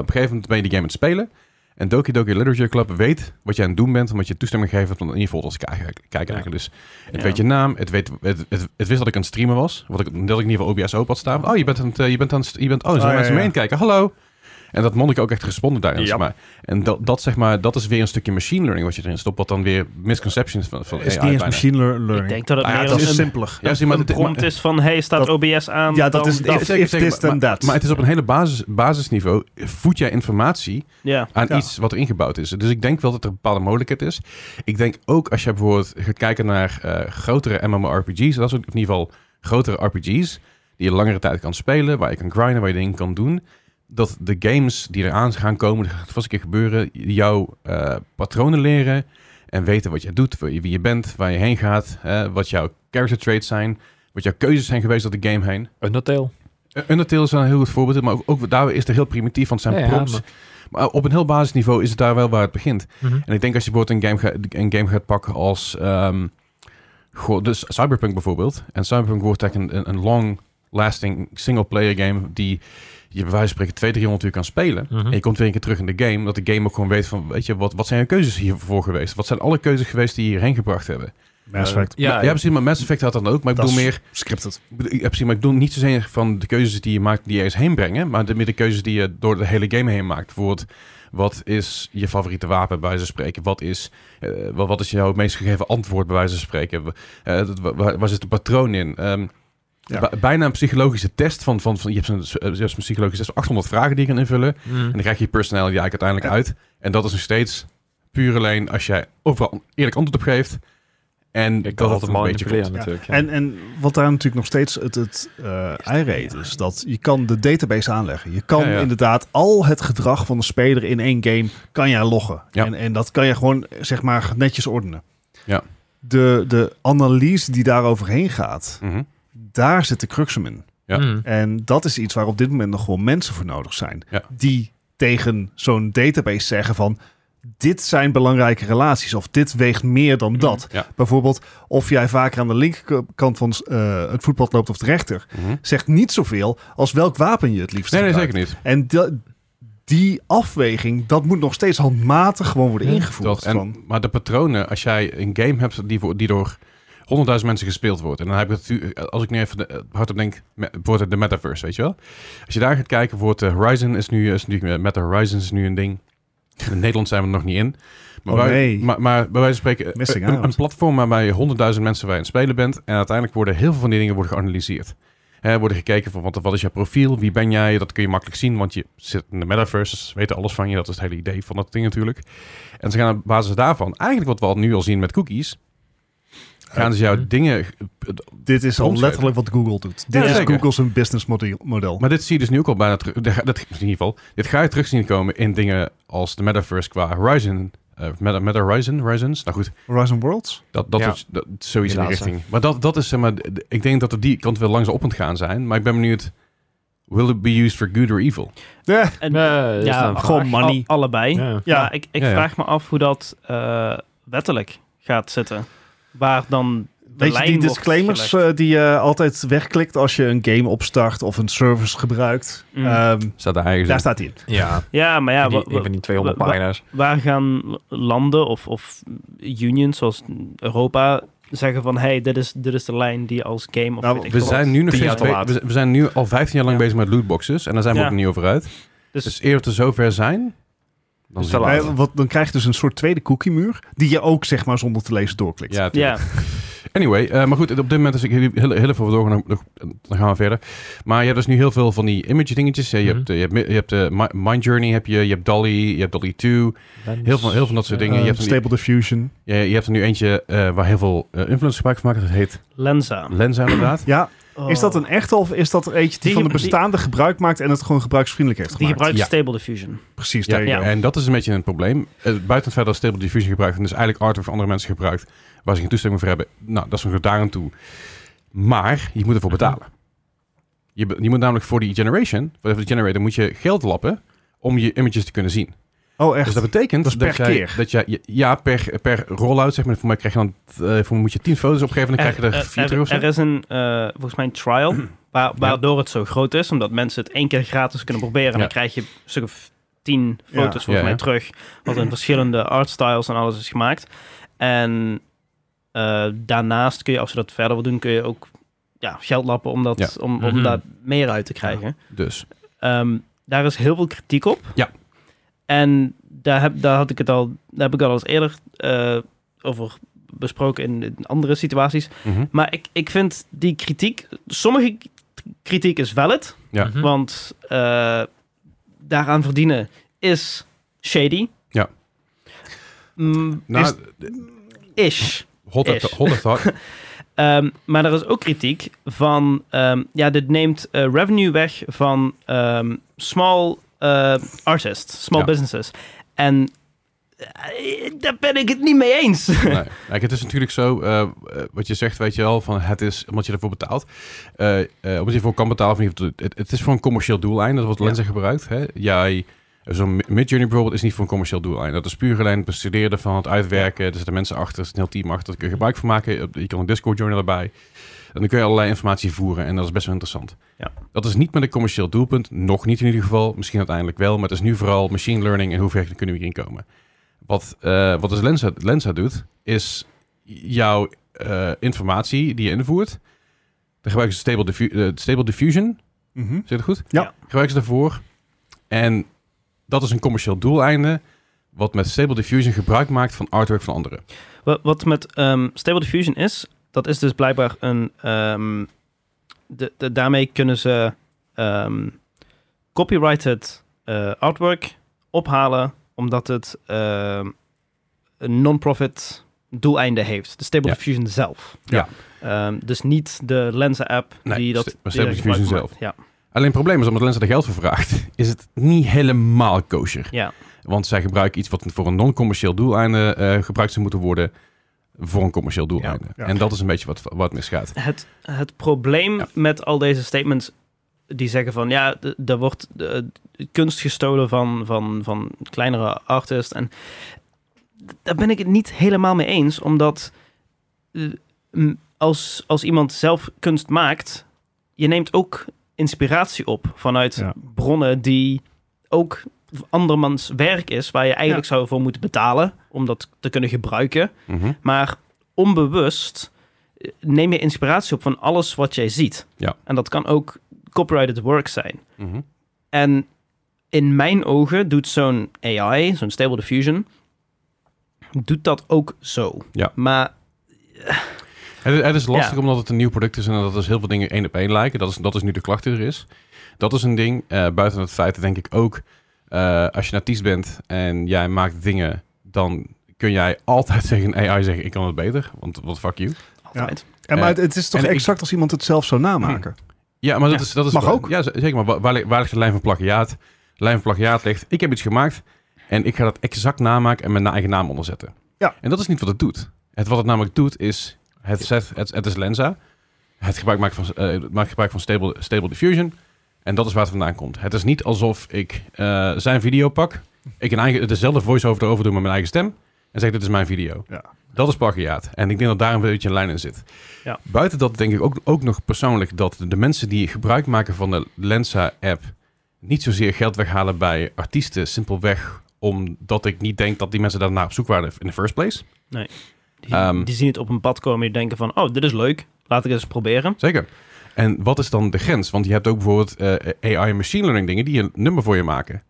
Speaker 1: op een gegeven moment ben je die game aan het spelen. En Doki Doki Literature Club weet wat je aan het doen bent, omdat je toestemming gegeven hebt om dat in je folders te kijken. kijken eigenlijk. Dus het
Speaker 4: Ja.
Speaker 1: weet je naam, het, weet, het, het, het wist dat ik aan het streamen was, wat ik, dat ik in ieder geval OBS open had staan. Oh, je bent aan het, eh, je bent aan het, st- je bent, oh, er zijn
Speaker 3: ja,
Speaker 1: mensen
Speaker 3: ja.
Speaker 1: mee aan het kijken, hallo. En dat monnik ook echt gesponden daarin,
Speaker 4: Ja.
Speaker 1: zeg maar. En dat, dat, zeg maar, dat is weer een stukje machine learning wat je erin stopt, wat dan weer misconceptions van, van
Speaker 3: is
Speaker 1: AI
Speaker 3: niet eens
Speaker 1: bijna.
Speaker 3: machine lear- learning.
Speaker 2: Ik denk dat het
Speaker 1: Ah ja,
Speaker 2: meer
Speaker 1: dat
Speaker 3: dat
Speaker 2: een,
Speaker 3: is
Speaker 2: een,
Speaker 3: simpeler.
Speaker 1: Ja, zie, maar dit- maar-
Speaker 2: prompt is van... hey, staat
Speaker 3: eh, Dat-
Speaker 2: OBS aan?
Speaker 3: Ja, dat
Speaker 2: dan
Speaker 3: is
Speaker 1: Ja,
Speaker 3: if,
Speaker 1: zeker,
Speaker 3: if
Speaker 1: zeker,
Speaker 3: this then
Speaker 1: maar,
Speaker 3: that.
Speaker 1: maar het is op een hele basis, basisniveau, voed jij informatie
Speaker 2: Ja.
Speaker 4: Ah,
Speaker 1: aan
Speaker 3: Ja.
Speaker 1: iets wat er ingebouwd is. Dus ik denk wel dat er een bepaalde mogelijkheid is. Ik denk ook als je bijvoorbeeld gaat kijken naar eh, grotere MMORPG's, dat soort, of in ieder geval grotere RPG's, die je langere tijd kan spelen, waar je kan grinden, waar je dingen kan doen, dat de games die eraan gaan komen, dat gaat vast een keer gebeuren, jouw eh, patronen leren en weten wat jij doet, wie wie je bent, waar je heen gaat, eh, wat jouw character traits zijn, wat jouw keuzes zijn geweest door de game heen.
Speaker 4: Undertale.
Speaker 1: Uh, Undertale is een heel goed voorbeeld, maar ook, ook daar is het heel primitief, want het zijn
Speaker 4: Ja, ja,
Speaker 1: prompts. Maar op een heel basisniveau is het daar wel waar het begint. En ik denk als je bijvoorbeeld een game, ga- een game gaat pakken als... ehm, goh, dus Cyberpunk bijvoorbeeld. En Cyberpunk wordt eigenlijk een, een, een long-lasting single-player game... die je bij wijze van spreken 200, 300 uur kan spelen.
Speaker 4: Mhm.
Speaker 1: En je komt weer een keer terug in de game. Dat de game ook gewoon weet van... weet je, wat, wat zijn je keuzes hiervoor geweest? Wat zijn alle keuzes geweest die je hierheen gebracht hebben?
Speaker 3: Mass Effect.
Speaker 1: Ja, ja precies. Maar Mass Effect had dat dan ook. Maar ik
Speaker 3: Dat
Speaker 1: bedoel
Speaker 3: is
Speaker 1: meer...
Speaker 3: Scripted.
Speaker 1: Ik bedoel, Ja, precies, maar ik bedoel niet zozeer van de keuzes die je maakt die je eens heen brengen, maar de, meer de keuzes die je door de hele game heen maakt. Bijvoorbeeld, wat is je favoriete wapen bij wijze van spreken? Wat is, eh, wat, wat is jouw meest gegeven antwoord bij wijze van spreken? Eh, dat- wa- waar, waar zit een patroon in? Ehm,
Speaker 3: Ja.
Speaker 1: ba- bijna een psychologische test van, van, van je, hebt zo'n, je hebt zo'n psychologische test van 800 vragen die je kan
Speaker 4: Hm.
Speaker 1: invullen.
Speaker 2: Mhm.
Speaker 1: En dan krijg je je personality eigenlijk uiteindelijk uit. En dat is nog steeds puur alleen als jij overal eerlijk antwoord op geeft. En
Speaker 4: Ik
Speaker 1: dat
Speaker 4: kan
Speaker 1: het
Speaker 4: altijd
Speaker 1: een beetje klopt.
Speaker 4: manipuleren natuurlijk. ja.
Speaker 3: En, en wat daar natuurlijk nog steeds het, het eh, ei reed is dat je kan de database aanleggen. Je kan
Speaker 1: Ja, ja.
Speaker 3: inderdaad al het gedrag van de speler in één game kan jij loggen.
Speaker 1: Ja.
Speaker 3: En, en dat kan je gewoon zeg maar netjes ordenen.
Speaker 1: Ja.
Speaker 3: De, de analyse die daar overheen gaat,
Speaker 1: Mhm.
Speaker 3: daar zit de crux hem in.
Speaker 1: Ja.
Speaker 4: Mhm.
Speaker 3: En dat is iets waar op dit moment nog gewoon mensen voor nodig zijn.
Speaker 1: Ja.
Speaker 3: Die tegen zo'n database zeggen van... dit zijn belangrijke relaties of dit weegt meer dan dat.
Speaker 1: Mm, Ja.
Speaker 3: Bijvoorbeeld of jij vaker aan de linkerkant van eh, het voetpad loopt of de rechter...
Speaker 1: Mhm.
Speaker 3: zegt niet zoveel als welk wapen je het liefst
Speaker 1: Nee, nee,
Speaker 3: gebruikt.
Speaker 1: zeker niet.
Speaker 3: En da- die afweging, dat moet nog steeds handmatig gewoon worden
Speaker 4: Ja,
Speaker 3: ingevoerd.
Speaker 1: Dat, en-
Speaker 3: van,
Speaker 1: maar de patronen, als jij een game hebt die, voor, die door 100.000 mensen gespeeld wordt. En dan heb ik het, tu- als ik nu even de- eh, hardop denk, me- wordt het de metaverse, weet je wel? Als je daar gaat kijken, wordt eh, Horizon is nu, is nu, eh, Meta Horizon is nu een ding. In Nederland zijn we er nog niet in. Maar,
Speaker 3: Oh,
Speaker 1: wij-
Speaker 3: nee.
Speaker 1: maar, maar bij wijze van spreken, eh,
Speaker 3: Missing
Speaker 1: een,
Speaker 3: out.
Speaker 1: een platform waarbij je 100.000 mensen bij aan het spelen bent. En uiteindelijk worden heel veel van die dingen worden geanalyseerd. Hè, worden gekeken van wat, wat is jouw profiel, wie ben jij, dat kun je makkelijk zien, want je zit in de metaverse, ze weten alles van je, dat is het hele idee van dat ding natuurlijk. En ze gaan op basis daarvan, eigenlijk wat we al nu al zien met cookies, gaan ze jouw
Speaker 4: Mhm.
Speaker 1: dingen...
Speaker 3: dit is al
Speaker 1: Rondzetten.
Speaker 3: letterlijk wat Google doet. Dit is
Speaker 1: zeker.
Speaker 3: Google's business model. model.
Speaker 1: Maar dit zie je dus nu ook al bijna terug, dat, dat- in ieder geval, dit ga je terug zien komen in dingen als de metaverse qua Horizon, eh, Meta, Meta Horizon, Horizons, nou goed,
Speaker 3: Horizon Worlds?
Speaker 1: Dat, dat
Speaker 4: Ja.
Speaker 1: is dat, zoiets in die
Speaker 4: Laatste.
Speaker 1: richting. Maar dat, dat is, zeg maar, d- d- ik denk dat we die kant wel langs op aan het gaan zijn. Maar ik ben benieuwd, will it be used for good or evil?
Speaker 3: Ja.
Speaker 2: En,
Speaker 4: Nee, dat is dan een vraag.
Speaker 3: gewoon money.
Speaker 2: Al- allebei.
Speaker 4: Ja.
Speaker 3: Ja.
Speaker 2: Maar ik, ik
Speaker 1: Ja, ja.
Speaker 2: vraag me af hoe dat eh, wettelijk gaat zitten. Waar dan de
Speaker 3: Weet je,
Speaker 2: lijn
Speaker 3: die
Speaker 2: wordt
Speaker 3: disclaimers
Speaker 2: gelegd.
Speaker 3: eh, die je altijd wegklikt als je een game opstart of een service gebruikt.
Speaker 2: Mm.
Speaker 3: Ehm,
Speaker 1: Staat daar eigenlijk
Speaker 3: daar
Speaker 1: zo.
Speaker 3: staat hij in.
Speaker 4: Ja,
Speaker 2: ja, maar ja,
Speaker 4: die,
Speaker 2: wa- wa-
Speaker 4: een van die 200
Speaker 2: wa- wa-
Speaker 4: pagina's.
Speaker 2: waar gaan landen of, of unions zoals Europa zeggen van... hey, dit is, dit is de lijn die als game... Of
Speaker 3: Nou,
Speaker 2: weet ik
Speaker 1: We
Speaker 2: veel
Speaker 1: zijn,
Speaker 2: wat.
Speaker 1: nu nog
Speaker 4: Tien
Speaker 1: steeds
Speaker 4: jaar
Speaker 1: be-
Speaker 4: te laat.
Speaker 1: we we zijn nu al 15 jaar lang
Speaker 2: Ja.
Speaker 1: bezig met lootboxes. En daar zijn we
Speaker 2: Ja.
Speaker 1: ook niet over uit.
Speaker 2: Dus,
Speaker 1: Dus eer we er zover zijn... Dan
Speaker 4: Dus
Speaker 1: zien
Speaker 4: te
Speaker 1: we
Speaker 3: Eh,
Speaker 4: laat.
Speaker 1: het.
Speaker 3: Nee, want dan krijg je dus een soort tweede cookie muur die je ook zeg maar zonder te lezen doorklikt.
Speaker 1: Ja, tuurlijk.
Speaker 2: ja,
Speaker 1: Anyway, eh, maar goed, op dit moment is ik heel, heel, heel even doorgaan, nog, nog- dan gaan we verder. Maar je hebt dus nu heel veel van die image dingetjes. Eh, Je
Speaker 4: Mhm.
Speaker 1: hebt, eh, je hebt, mi- je hebt eh, Mi- Mind Journey, heb je, je hebt Dolly, je hebt Dolly 2. Heel veel, heel veel dat soort dingen.
Speaker 3: Eh,
Speaker 1: je, hebt er nu,
Speaker 3: Stable Diffusion.
Speaker 1: ja, je hebt er nu eentje eh, waar heel veel eh, influencers gebruik van maken. Dat heet
Speaker 2: Lenza.
Speaker 1: Lenza inderdaad.
Speaker 3: Ja,
Speaker 2: Oh.
Speaker 3: is dat een echte of is dat er eentje die,
Speaker 2: Die-
Speaker 3: van de
Speaker 2: die-
Speaker 3: bestaande gebruik maakt en het gewoon gebruiksvriendelijk heeft
Speaker 2: Oh. Die
Speaker 3: gemaakt?
Speaker 2: gebruikt
Speaker 1: Ja.
Speaker 2: Stable Diffusion.
Speaker 3: Precies,
Speaker 1: Ja,
Speaker 3: daar ja.
Speaker 2: ja.
Speaker 1: En dat is een beetje een probleem. Eh, buiten het feit dat Stable Diffusion gebruikt, en dus eigenlijk hardware van andere mensen gebruikt, waar ze geen toestemming voor hebben. Nou, dat is nog daar aan toe. Maar je moet ervoor
Speaker 3: Mhm.
Speaker 1: betalen. Je, be- je moet namelijk voor die generation, voor de generator, moet je geld lappen om je images te kunnen zien.
Speaker 3: Oh, echt?
Speaker 1: Dus dat betekent
Speaker 3: Dat is per
Speaker 1: jij,
Speaker 3: keer.
Speaker 1: dat jij, ja, per, per rollout zeg maar. Voor mij krijg je dan, eh, voor mij moet je 10 foto's opgeven, dan krijg je er 4
Speaker 2: er,
Speaker 1: terug of zo.
Speaker 2: er is een, eh, volgens mij een trial, wa- waardoor het zo groot is. Omdat mensen het één keer gratis kunnen proberen.
Speaker 1: Ja.
Speaker 2: En dan krijg je een stuk of tien
Speaker 3: Ja.
Speaker 2: foto's volgens
Speaker 1: Ja,
Speaker 2: mij
Speaker 1: ja.
Speaker 2: terug. Wat in verschillende artstyles en alles is gemaakt. En eh, daarnaast kun je, als je dat verder wil doen, kun je ook ja, geld lappen om, dat,
Speaker 1: Ja.
Speaker 2: om, om
Speaker 4: Mhm.
Speaker 2: daar meer uit te krijgen.
Speaker 1: Dus,
Speaker 2: Ehm, daar is heel veel kritiek op.
Speaker 1: Ja.
Speaker 2: En daar heb, daar had ik het al, daar heb ik al eens eerder eh, over besproken in, in andere situaties.
Speaker 1: mhm.
Speaker 2: Maar ik, ik vind die kritiek, sommige k- kritiek is valid,
Speaker 1: Ja.
Speaker 4: Mhm.
Speaker 2: want eh, daaraan verdienen is shady.
Speaker 1: Ja.
Speaker 2: Mm,
Speaker 1: nou,
Speaker 3: Is-
Speaker 2: ish.
Speaker 1: hot, at
Speaker 2: is.
Speaker 1: the- hot at the heart.
Speaker 2: Ehm, maar er is ook kritiek van, ehm, ja, dit neemt eh, revenue weg van ehm, small eh, artists, small
Speaker 1: Ja.
Speaker 2: businesses. En eh, daar ben ik het niet mee eens.
Speaker 1: nee. Kijk, het is natuurlijk zo, eh, eh, wat je zegt, weet je wel, van het is omdat je ervoor betaalt. Eh, eh, omdat je ervoor kan betalen, vind je het, het, het is voor een commercieel doeleinde, dat wordt
Speaker 2: Ja.
Speaker 1: lenzen gebruikt. Hè? Jij, eh, zo'n Midjourney bijvoorbeeld, is niet voor een commercieel doeleinde. Dat is puur alleen het bestuderen van het uitwerken. Er zitten mensen achter, er zit een heel team achter, daar kun
Speaker 2: Mhm.
Speaker 1: je gebruik van maken. Je kan een Discord journal erbij. En dan kun je allerlei informatie voeren en dat is best wel interessant.
Speaker 2: Ja.
Speaker 1: Dat is niet met een commercieel doelpunt, nog niet in ieder geval. Misschien uiteindelijk wel, maar het is nu vooral machine learning en hoe ver kunnen we hierin komen. Wat, eh wat dus Lensa, Lensa doet, is jouw eh, informatie die je invoert. Dan gebruiken ze Stable, Diffu- eh, stable Diffusion,
Speaker 3: Mhm.
Speaker 1: zit het goed?
Speaker 3: Ja.
Speaker 1: Gebruiken ze daarvoor. En dat is een commercieel doeleinde, wat met Stable Diffusion gebruik maakt van artwork van anderen.
Speaker 2: Wa- Wat met ehm, Stable Diffusion is, dat is dus blijkbaar een. ehm, de, de- daarmee kunnen ze ehm, copyrighted eh, artwork ophalen, omdat het ehm, een non-profit doeleinde heeft. De Stable
Speaker 1: Ja.
Speaker 2: Diffusion zelf.
Speaker 1: Ja.
Speaker 2: Ehm, dus niet de Lenzen-app
Speaker 1: Nee,
Speaker 2: die dat.
Speaker 1: sta- maar
Speaker 2: die
Speaker 1: Stable
Speaker 2: er
Speaker 1: Diffusion
Speaker 2: gebruik van
Speaker 1: zelf.
Speaker 2: maakt. Ja.
Speaker 1: Alleen het probleem is, omdat Lensa er geld voor vraagt, is het niet helemaal kosher.
Speaker 2: ja.
Speaker 1: Want zij gebruiken iets wat voor een non-commercieel doeleinde eh, gebruikt zou moeten worden voor een commercieel doeleinde.
Speaker 3: Ja.
Speaker 1: En dat is een beetje wat, wat misgaat.
Speaker 2: Het, het probleem
Speaker 1: Ja.
Speaker 2: met al deze statements die zeggen van ja, d- er wordt eh, kunst gestolen van, van, van kleinere artists. En d- daar ben ik het niet helemaal mee eens, omdat eh, m, als, als iemand zelf kunst maakt, je neemt ook inspiratie op vanuit
Speaker 3: Ja.
Speaker 2: bronnen die ook andermans werk is, waar je eigenlijk zou voor moeten betalen om dat te kunnen gebruiken.
Speaker 1: Mhm.
Speaker 2: Maar onbewust eh, neem je inspiratie op van alles wat jij ziet.
Speaker 1: Ja.
Speaker 2: En dat kan ook copyrighted work zijn.
Speaker 1: Mhm.
Speaker 2: En in mijn ogen doet zo'n AI, zo'n Stable Diffusion, doet dat ook zo.
Speaker 1: Ja.
Speaker 2: Maar
Speaker 1: Het, is- het is lastig
Speaker 2: Ja.
Speaker 1: omdat het een nieuw product is en dat er heel veel dingen één op één lijken. Dat is, dat is nu de klacht die er is. Dat is een ding. Eh, buiten het feit denk ik ook, eh, als je een artiest bent en jij maakt dingen, dan kun jij altijd tegen een AI zeggen, ik kan het beter, want wat fuck you.
Speaker 2: altijd.
Speaker 3: En, maar het, het is toch
Speaker 1: Eh, en ik-
Speaker 3: exact als iemand het zelf zou namaken?
Speaker 1: Ja, maar dat
Speaker 2: Ja,
Speaker 1: is... Dat is
Speaker 3: mag ook.
Speaker 1: Ja, z- zeker. Maar wa- waar, li- waar ligt de lijn van plagiaat? De lijn van plagiaat ligt, ik heb iets gemaakt en ik ga dat exact namaken en mijn na- eigen naam onderzetten.
Speaker 3: Ja.
Speaker 1: En dat is niet wat het doet. Het, wat het namelijk doet is, het, zet, het, het is Lenza, het gebruik maakt, van, eh, het maakt gebruik van stable, stable diffusion en dat is waar het vandaan komt. Het is niet alsof ik eh, zijn video pak, ik een eigen, dezelfde voice-over erover doe met mijn eigen stem en zeg dit is mijn video.
Speaker 3: Ja.
Speaker 1: Dat is plagiaat. En ik denk dat daar een beetje een lijn in zit.
Speaker 2: Ja.
Speaker 1: Buiten dat denk ik ook, ook nog persoonlijk dat de mensen die gebruik maken van de Lensa-app niet zozeer geld weghalen bij artiesten. Simpelweg omdat ik niet denk dat die mensen daarna op zoek waren in the first place.
Speaker 2: Die,
Speaker 1: Ehm.
Speaker 2: die zien het op een pad komen en die denken van, oh, dit is leuk. Laat ik het eens proberen.
Speaker 1: Zeker. En wat is dan de grens? Want je hebt ook bijvoorbeeld eh, AI en machine learning dingen die een nummer voor je maken.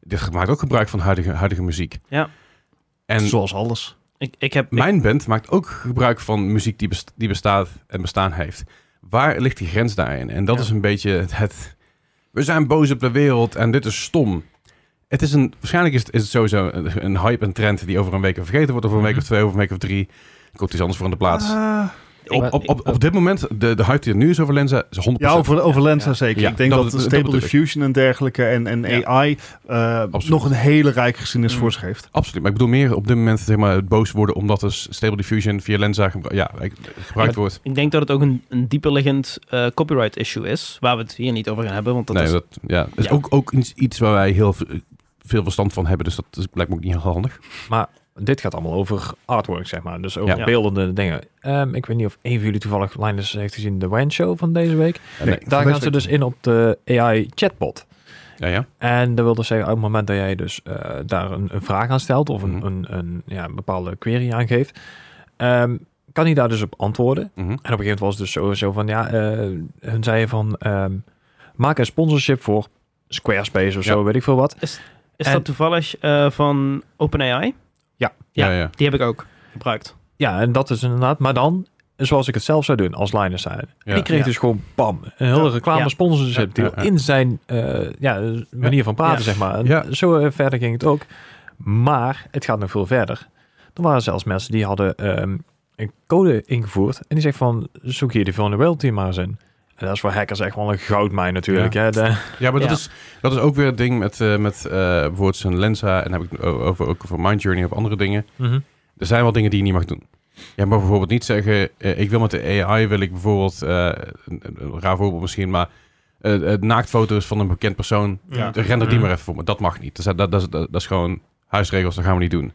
Speaker 1: Dit maakt ook gebruik van huidige, huidige muziek.
Speaker 2: Ja.
Speaker 1: En
Speaker 3: Zoals alles.
Speaker 2: Ik, ik heb... ik-
Speaker 1: Mijn band maakt ook gebruik van muziek die, best- die bestaat en bestaan heeft. Waar ligt die grens daarin? En dat
Speaker 4: Ja.
Speaker 1: is een beetje het, het- We zijn boos op de wereld en dit is stom. Het is een, waarschijnlijk is het, is het sowieso een, een hype en trend die over een week vergeten wordt, over een week of twee, over een week of drie. Er komt iets anders voor in de plaats.
Speaker 3: Mhm.
Speaker 2: Eh,
Speaker 3: Ah,
Speaker 1: op, op, op, op dit moment, de, de hype die er nu is over Lenza, is 100%.
Speaker 3: ja, over, over Lensa
Speaker 2: ja.
Speaker 3: zeker.
Speaker 1: Ja,
Speaker 3: ik denk
Speaker 1: dat-
Speaker 3: dat,
Speaker 1: dat
Speaker 3: Stable
Speaker 1: bedoel ik.
Speaker 3: Diffusion en dergelijke en, en
Speaker 2: Ja.
Speaker 3: AI eh,
Speaker 1: Absoluut.
Speaker 3: nog een hele rijke geschiedenis
Speaker 2: Mm.
Speaker 3: voor zich heeft.
Speaker 1: Absoluut, maar ik bedoel meer op dit moment zeg maar, het boos worden omdat dus Stable Diffusion via Lenza gebru- ja, ik- gebruikt wordt.
Speaker 2: Ik denk dat het ook een, een dieperliggend eh, copyright issue is, waar we het hier niet over gaan hebben, want dat
Speaker 1: nee,
Speaker 2: is...
Speaker 1: dat ja, is
Speaker 2: Ja.
Speaker 1: Ook, ook iets, iets waar wij heel v- veel verstand van hebben, dus dat is blijkbaar ook niet heel handig.
Speaker 4: Dit gaat allemaal over artwork, zeg maar. Dus over
Speaker 2: Ja.
Speaker 4: beeldende dingen. Ehm, ik weet niet of een van jullie toevallig Linus heeft gezien de WAN Show van deze week.
Speaker 1: Nee.
Speaker 4: Daar
Speaker 3: deze
Speaker 4: gaan ze
Speaker 3: week
Speaker 4: dus in op de AI chatbot.
Speaker 1: Ja, ja.
Speaker 4: En dat wil dus zeggen, op het moment dat jij dus eh, daar een, een vraag aan stelt of een,
Speaker 1: Mhm.
Speaker 4: een, een, ja, een bepaalde query aangeeft, ehm, kan hij daar dus op antwoorden.
Speaker 1: Mhm.
Speaker 4: En op een gegeven moment was het dus sowieso van, ja, eh hun zeiden van, ehm, maak een sponsorship voor Squarespace of
Speaker 1: Ja.
Speaker 4: zo, weet ik veel wat.
Speaker 2: Is
Speaker 4: En-
Speaker 2: dat toevallig eh, van OpenAI?
Speaker 1: Ja,
Speaker 2: Ja.
Speaker 1: ja.
Speaker 2: Die heb ik ook gebruikt.
Speaker 4: Ja, en dat is inderdaad, maar dan zoals ik het zelf zou doen als Linus zijn. En ik kreeg
Speaker 2: Ja.
Speaker 4: dus gewoon, bam, een hele reclame
Speaker 2: Ja.
Speaker 4: sponsorship
Speaker 1: Ja.
Speaker 4: deal in zijn eh, ja, manier van praten,
Speaker 2: Ja.
Speaker 4: zeg maar. En
Speaker 1: Ja.
Speaker 4: Zo eh, verder ging het ook. Maar het gaat nog veel verder. Er waren zelfs mensen die hadden ehm, een code ingevoerd en die zegt van, zoek hier de vulnerability maar eens in. En dat is voor hackers echt wel een goudmijn natuurlijk.
Speaker 1: Ja.
Speaker 4: Hè? De-
Speaker 1: Ja, maar dat,
Speaker 2: Ja.
Speaker 1: Is, dat is ook weer het ding met, eh met eh, bijvoorbeeld zijn Lenza en dan heb ik het o- over, ook over Mind Journey of andere dingen.
Speaker 2: Mhm.
Speaker 1: Er zijn wel dingen die je niet mag doen. Je mag bijvoorbeeld niet zeggen, eh, ik wil met de AI, wil ik bijvoorbeeld, eh, een, een raar voorbeeld misschien, maar eh, eh, naaktfoto's van een bekend persoon,
Speaker 3: Ja.
Speaker 1: render die
Speaker 4: Mhm.
Speaker 1: maar even voor me. Dat mag niet. Dat, is- dat, dat, is- dat, dat is gewoon huisregels, dat gaan we niet doen.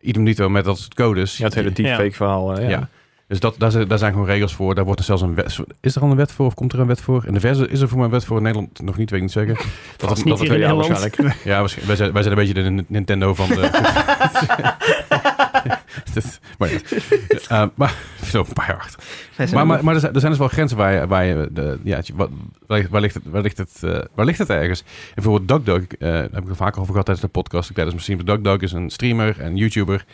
Speaker 1: Idem dito met dat soort codes.
Speaker 4: Ja, het hele deepfake verhaal. eh,
Speaker 1: Ja.
Speaker 4: ja.
Speaker 1: Dus dat, daar, zijn, daar zijn gewoon regels voor. Daar wordt er zelfs een wet. Is er al een wet voor of komt er een wet voor? In de verse is er voor mij een wet voor. In Nederland nog niet, weet ik niet zeker. Dat,
Speaker 2: Vast
Speaker 1: het-
Speaker 2: niet
Speaker 1: het-
Speaker 2: hier in
Speaker 4: ja,
Speaker 2: Nederland.
Speaker 4: waarschijnlijk.
Speaker 1: ja, waarsch- wij zijn, wij zijn een beetje de Nin- Nintendo van de... Dus- maar ja. Eh, maar zo een paar jaar achter. Maar, maar, maar er, zijn, er zijn dus wel grenzen waar je... Waar je de, ja, het je- wat- waar, ligt- waar ligt het, waar, ligt het, eh, waar ligt het ergens? En bijvoorbeeld DuckDuck, eh, daar heb ik het vaker over gehad tijdens de podcast. Ik tijdens misschien DuckDuck is een streamer en YouTuber.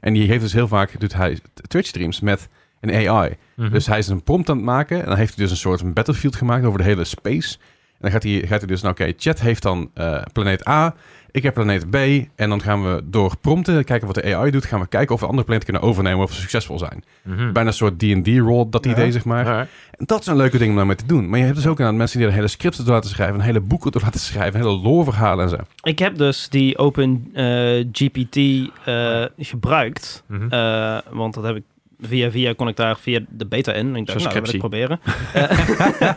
Speaker 1: En die heeft dus heel vaak, doet hij Twitch-streams met een AI.
Speaker 4: Mhm.
Speaker 1: Dus hij is een prompt aan het maken. En dan heeft hij dus een soort van battlefield gemaakt over de hele space. En dan gaat hij, gaat hij dus, nou oké, chat heeft dan eh, planeet A. Ik heb planeet B. En dan gaan we door prompten, kijken wat de AI doet. Gaan we kijken of we andere planeten kunnen overnemen of we succesvol zijn.
Speaker 4: Mhm.
Speaker 1: Bijna een soort D&D-rol, dat
Speaker 3: Ja.
Speaker 1: idee, zeg maar.
Speaker 4: Ja.
Speaker 1: En dat zijn leuke dingen om daarmee te doen. Maar je hebt dus ook aan mensen die er hele scripten door laten schrijven. Een hele boeken door laten schrijven. Hele loreverhalen en zo.
Speaker 2: Ik heb dus die Open eh, GPT eh, gebruikt,
Speaker 4: Mhm.
Speaker 2: eh, want dat heb ik via via kon ik daar via de beta in. En ik dacht, nou, dat wil ik
Speaker 4: Subscriptie.
Speaker 2: proberen. Eh,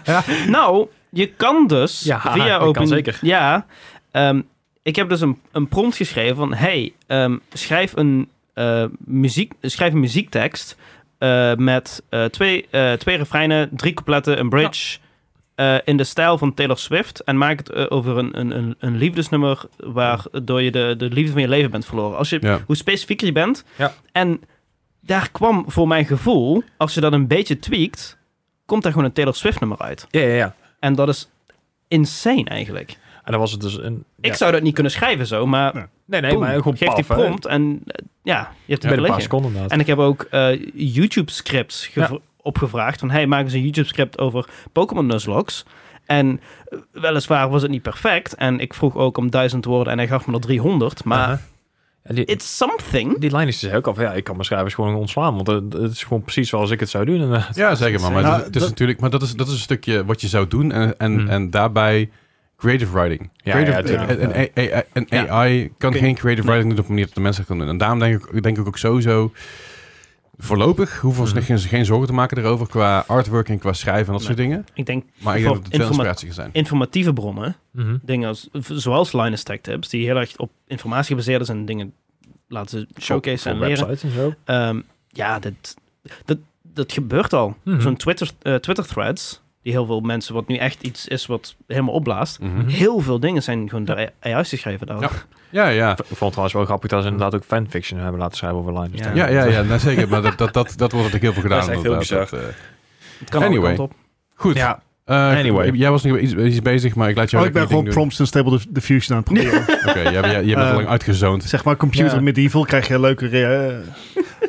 Speaker 2: nou, je kan dus
Speaker 4: Ja,
Speaker 2: via
Speaker 4: dat kan
Speaker 2: Open
Speaker 4: zeker.
Speaker 2: Ja, ehm, ik heb dus een, een prompt geschreven van, hey, ehm, schrijf een eh, muziek, schrijf een muziektekst eh, met eh, twee, eh, twee refreinen, drie coupletten, een bridge. eh, in de stijl van Taylor Swift. En maak het eh, over een, een, een, een liefdesnummer. waardoor je de, de liefde van je leven bent verloren. Als je,
Speaker 1: Ja.
Speaker 2: Hoe specifieker je bent.
Speaker 4: Ja.
Speaker 2: En daar kwam voor mijn gevoel. als je dat een beetje tweakt. komt daar gewoon een Taylor Swift nummer uit.
Speaker 4: ja, ja, ja.
Speaker 2: En dat is insane eigenlijk.
Speaker 4: En dan was het dus een... ja.
Speaker 2: Ik zou dat niet kunnen schrijven zo. maar
Speaker 3: Nee,
Speaker 4: Nee, nee,
Speaker 2: boem,
Speaker 4: maar gewoon
Speaker 2: geef die
Speaker 4: paf, hè.
Speaker 2: prompt. en eh, ja, je hebt het
Speaker 4: Binnen een paar
Speaker 2: beleggen.
Speaker 4: seconden inderdaad.
Speaker 2: En ik heb ook eh, YouTube-scripts gev-
Speaker 4: Ja.
Speaker 2: opgevraagd. Van, hey, maak eens een YouTube-script over Pokémon Nuzlocke. En eh, weliswaar was het niet perfect. En ik vroeg ook om duizend woorden en hij gaf me er 300. Maar
Speaker 4: Aha. Ja, die,
Speaker 2: it's something.
Speaker 4: die lijn is dus ook al van, ja, ik kan mijn schrijvers gewoon ontslaan, want het, het is gewoon precies zoals ik het zou doen. eh, En,
Speaker 1: Ja, zeker maar. Maar
Speaker 3: Nou,
Speaker 1: het is, het is
Speaker 3: dat-
Speaker 1: natuurlijk, maar dat is, dat is een stukje wat je zou doen en, en,
Speaker 4: Hmm.
Speaker 1: en daarbij creative writing.
Speaker 4: Ja,
Speaker 1: creative,
Speaker 4: ja, tuurlijk.
Speaker 1: een- een- een- een- Een
Speaker 2: Ja.
Speaker 1: AI kan
Speaker 2: Kun-
Speaker 1: geen creative writing doen op een manier dat de mensen dat kan doen. En daarom denk ik, denk ik ook sowieso voorlopig hoeven
Speaker 4: Hmm.
Speaker 1: we ons geen, geen zorgen te maken erover qua artwork en qua schrijven en dat soort dingen.
Speaker 2: Ik denk
Speaker 1: Maar ik denk dat het wel
Speaker 2: Informa-
Speaker 1: inspiratie gaan zijn.
Speaker 2: informatieve bronnen.
Speaker 3: Mhm.
Speaker 2: Dingen als, v- zoals Linus Tech Tips. Die heel erg op informatie gebaseerd is en dingen laten showcase en
Speaker 4: en
Speaker 2: leren.
Speaker 4: websites en zo.
Speaker 2: Ehm, ja, dit, dat, dat gebeurt al.
Speaker 4: Mhm.
Speaker 2: Zo'n Twitter, eh, Twitter-threads. Die heel veel mensen, wat nu echt iets is wat helemaal opblaast.
Speaker 1: Mhm.
Speaker 2: heel veel dingen zijn gewoon door AI geschreven daar.
Speaker 1: Ja. Ja, ja.
Speaker 4: Ik vond het trouwens wel grappig dat ze inderdaad ook fanfiction hebben laten schrijven over Linus.
Speaker 2: Ja.
Speaker 1: Ja, ja, ja, nou, zeker. Maar dat, dat, dat, dat wordt natuurlijk heel veel gedaan.
Speaker 4: Dat is echt heel
Speaker 1: inderdaad. Dat, eh,
Speaker 2: Het kan alle
Speaker 1: Anyway.
Speaker 2: kanten op.
Speaker 1: Goed.
Speaker 4: Ja.
Speaker 1: Eh,
Speaker 4: Anyway.
Speaker 1: Jij was nog iets, iets bezig, maar ik laat jou
Speaker 3: Oh, ik
Speaker 1: lekker
Speaker 3: ben
Speaker 1: je
Speaker 3: gewoon
Speaker 1: ding
Speaker 3: prompts en Stable Diff- Diffusion aan het proberen.
Speaker 1: doen. Oké, jij, jij, jij bent al
Speaker 3: Eh,
Speaker 1: lang uitgezoond.
Speaker 3: zeg maar computer
Speaker 2: Ja.
Speaker 3: medieval krijg je leuke... re- eh,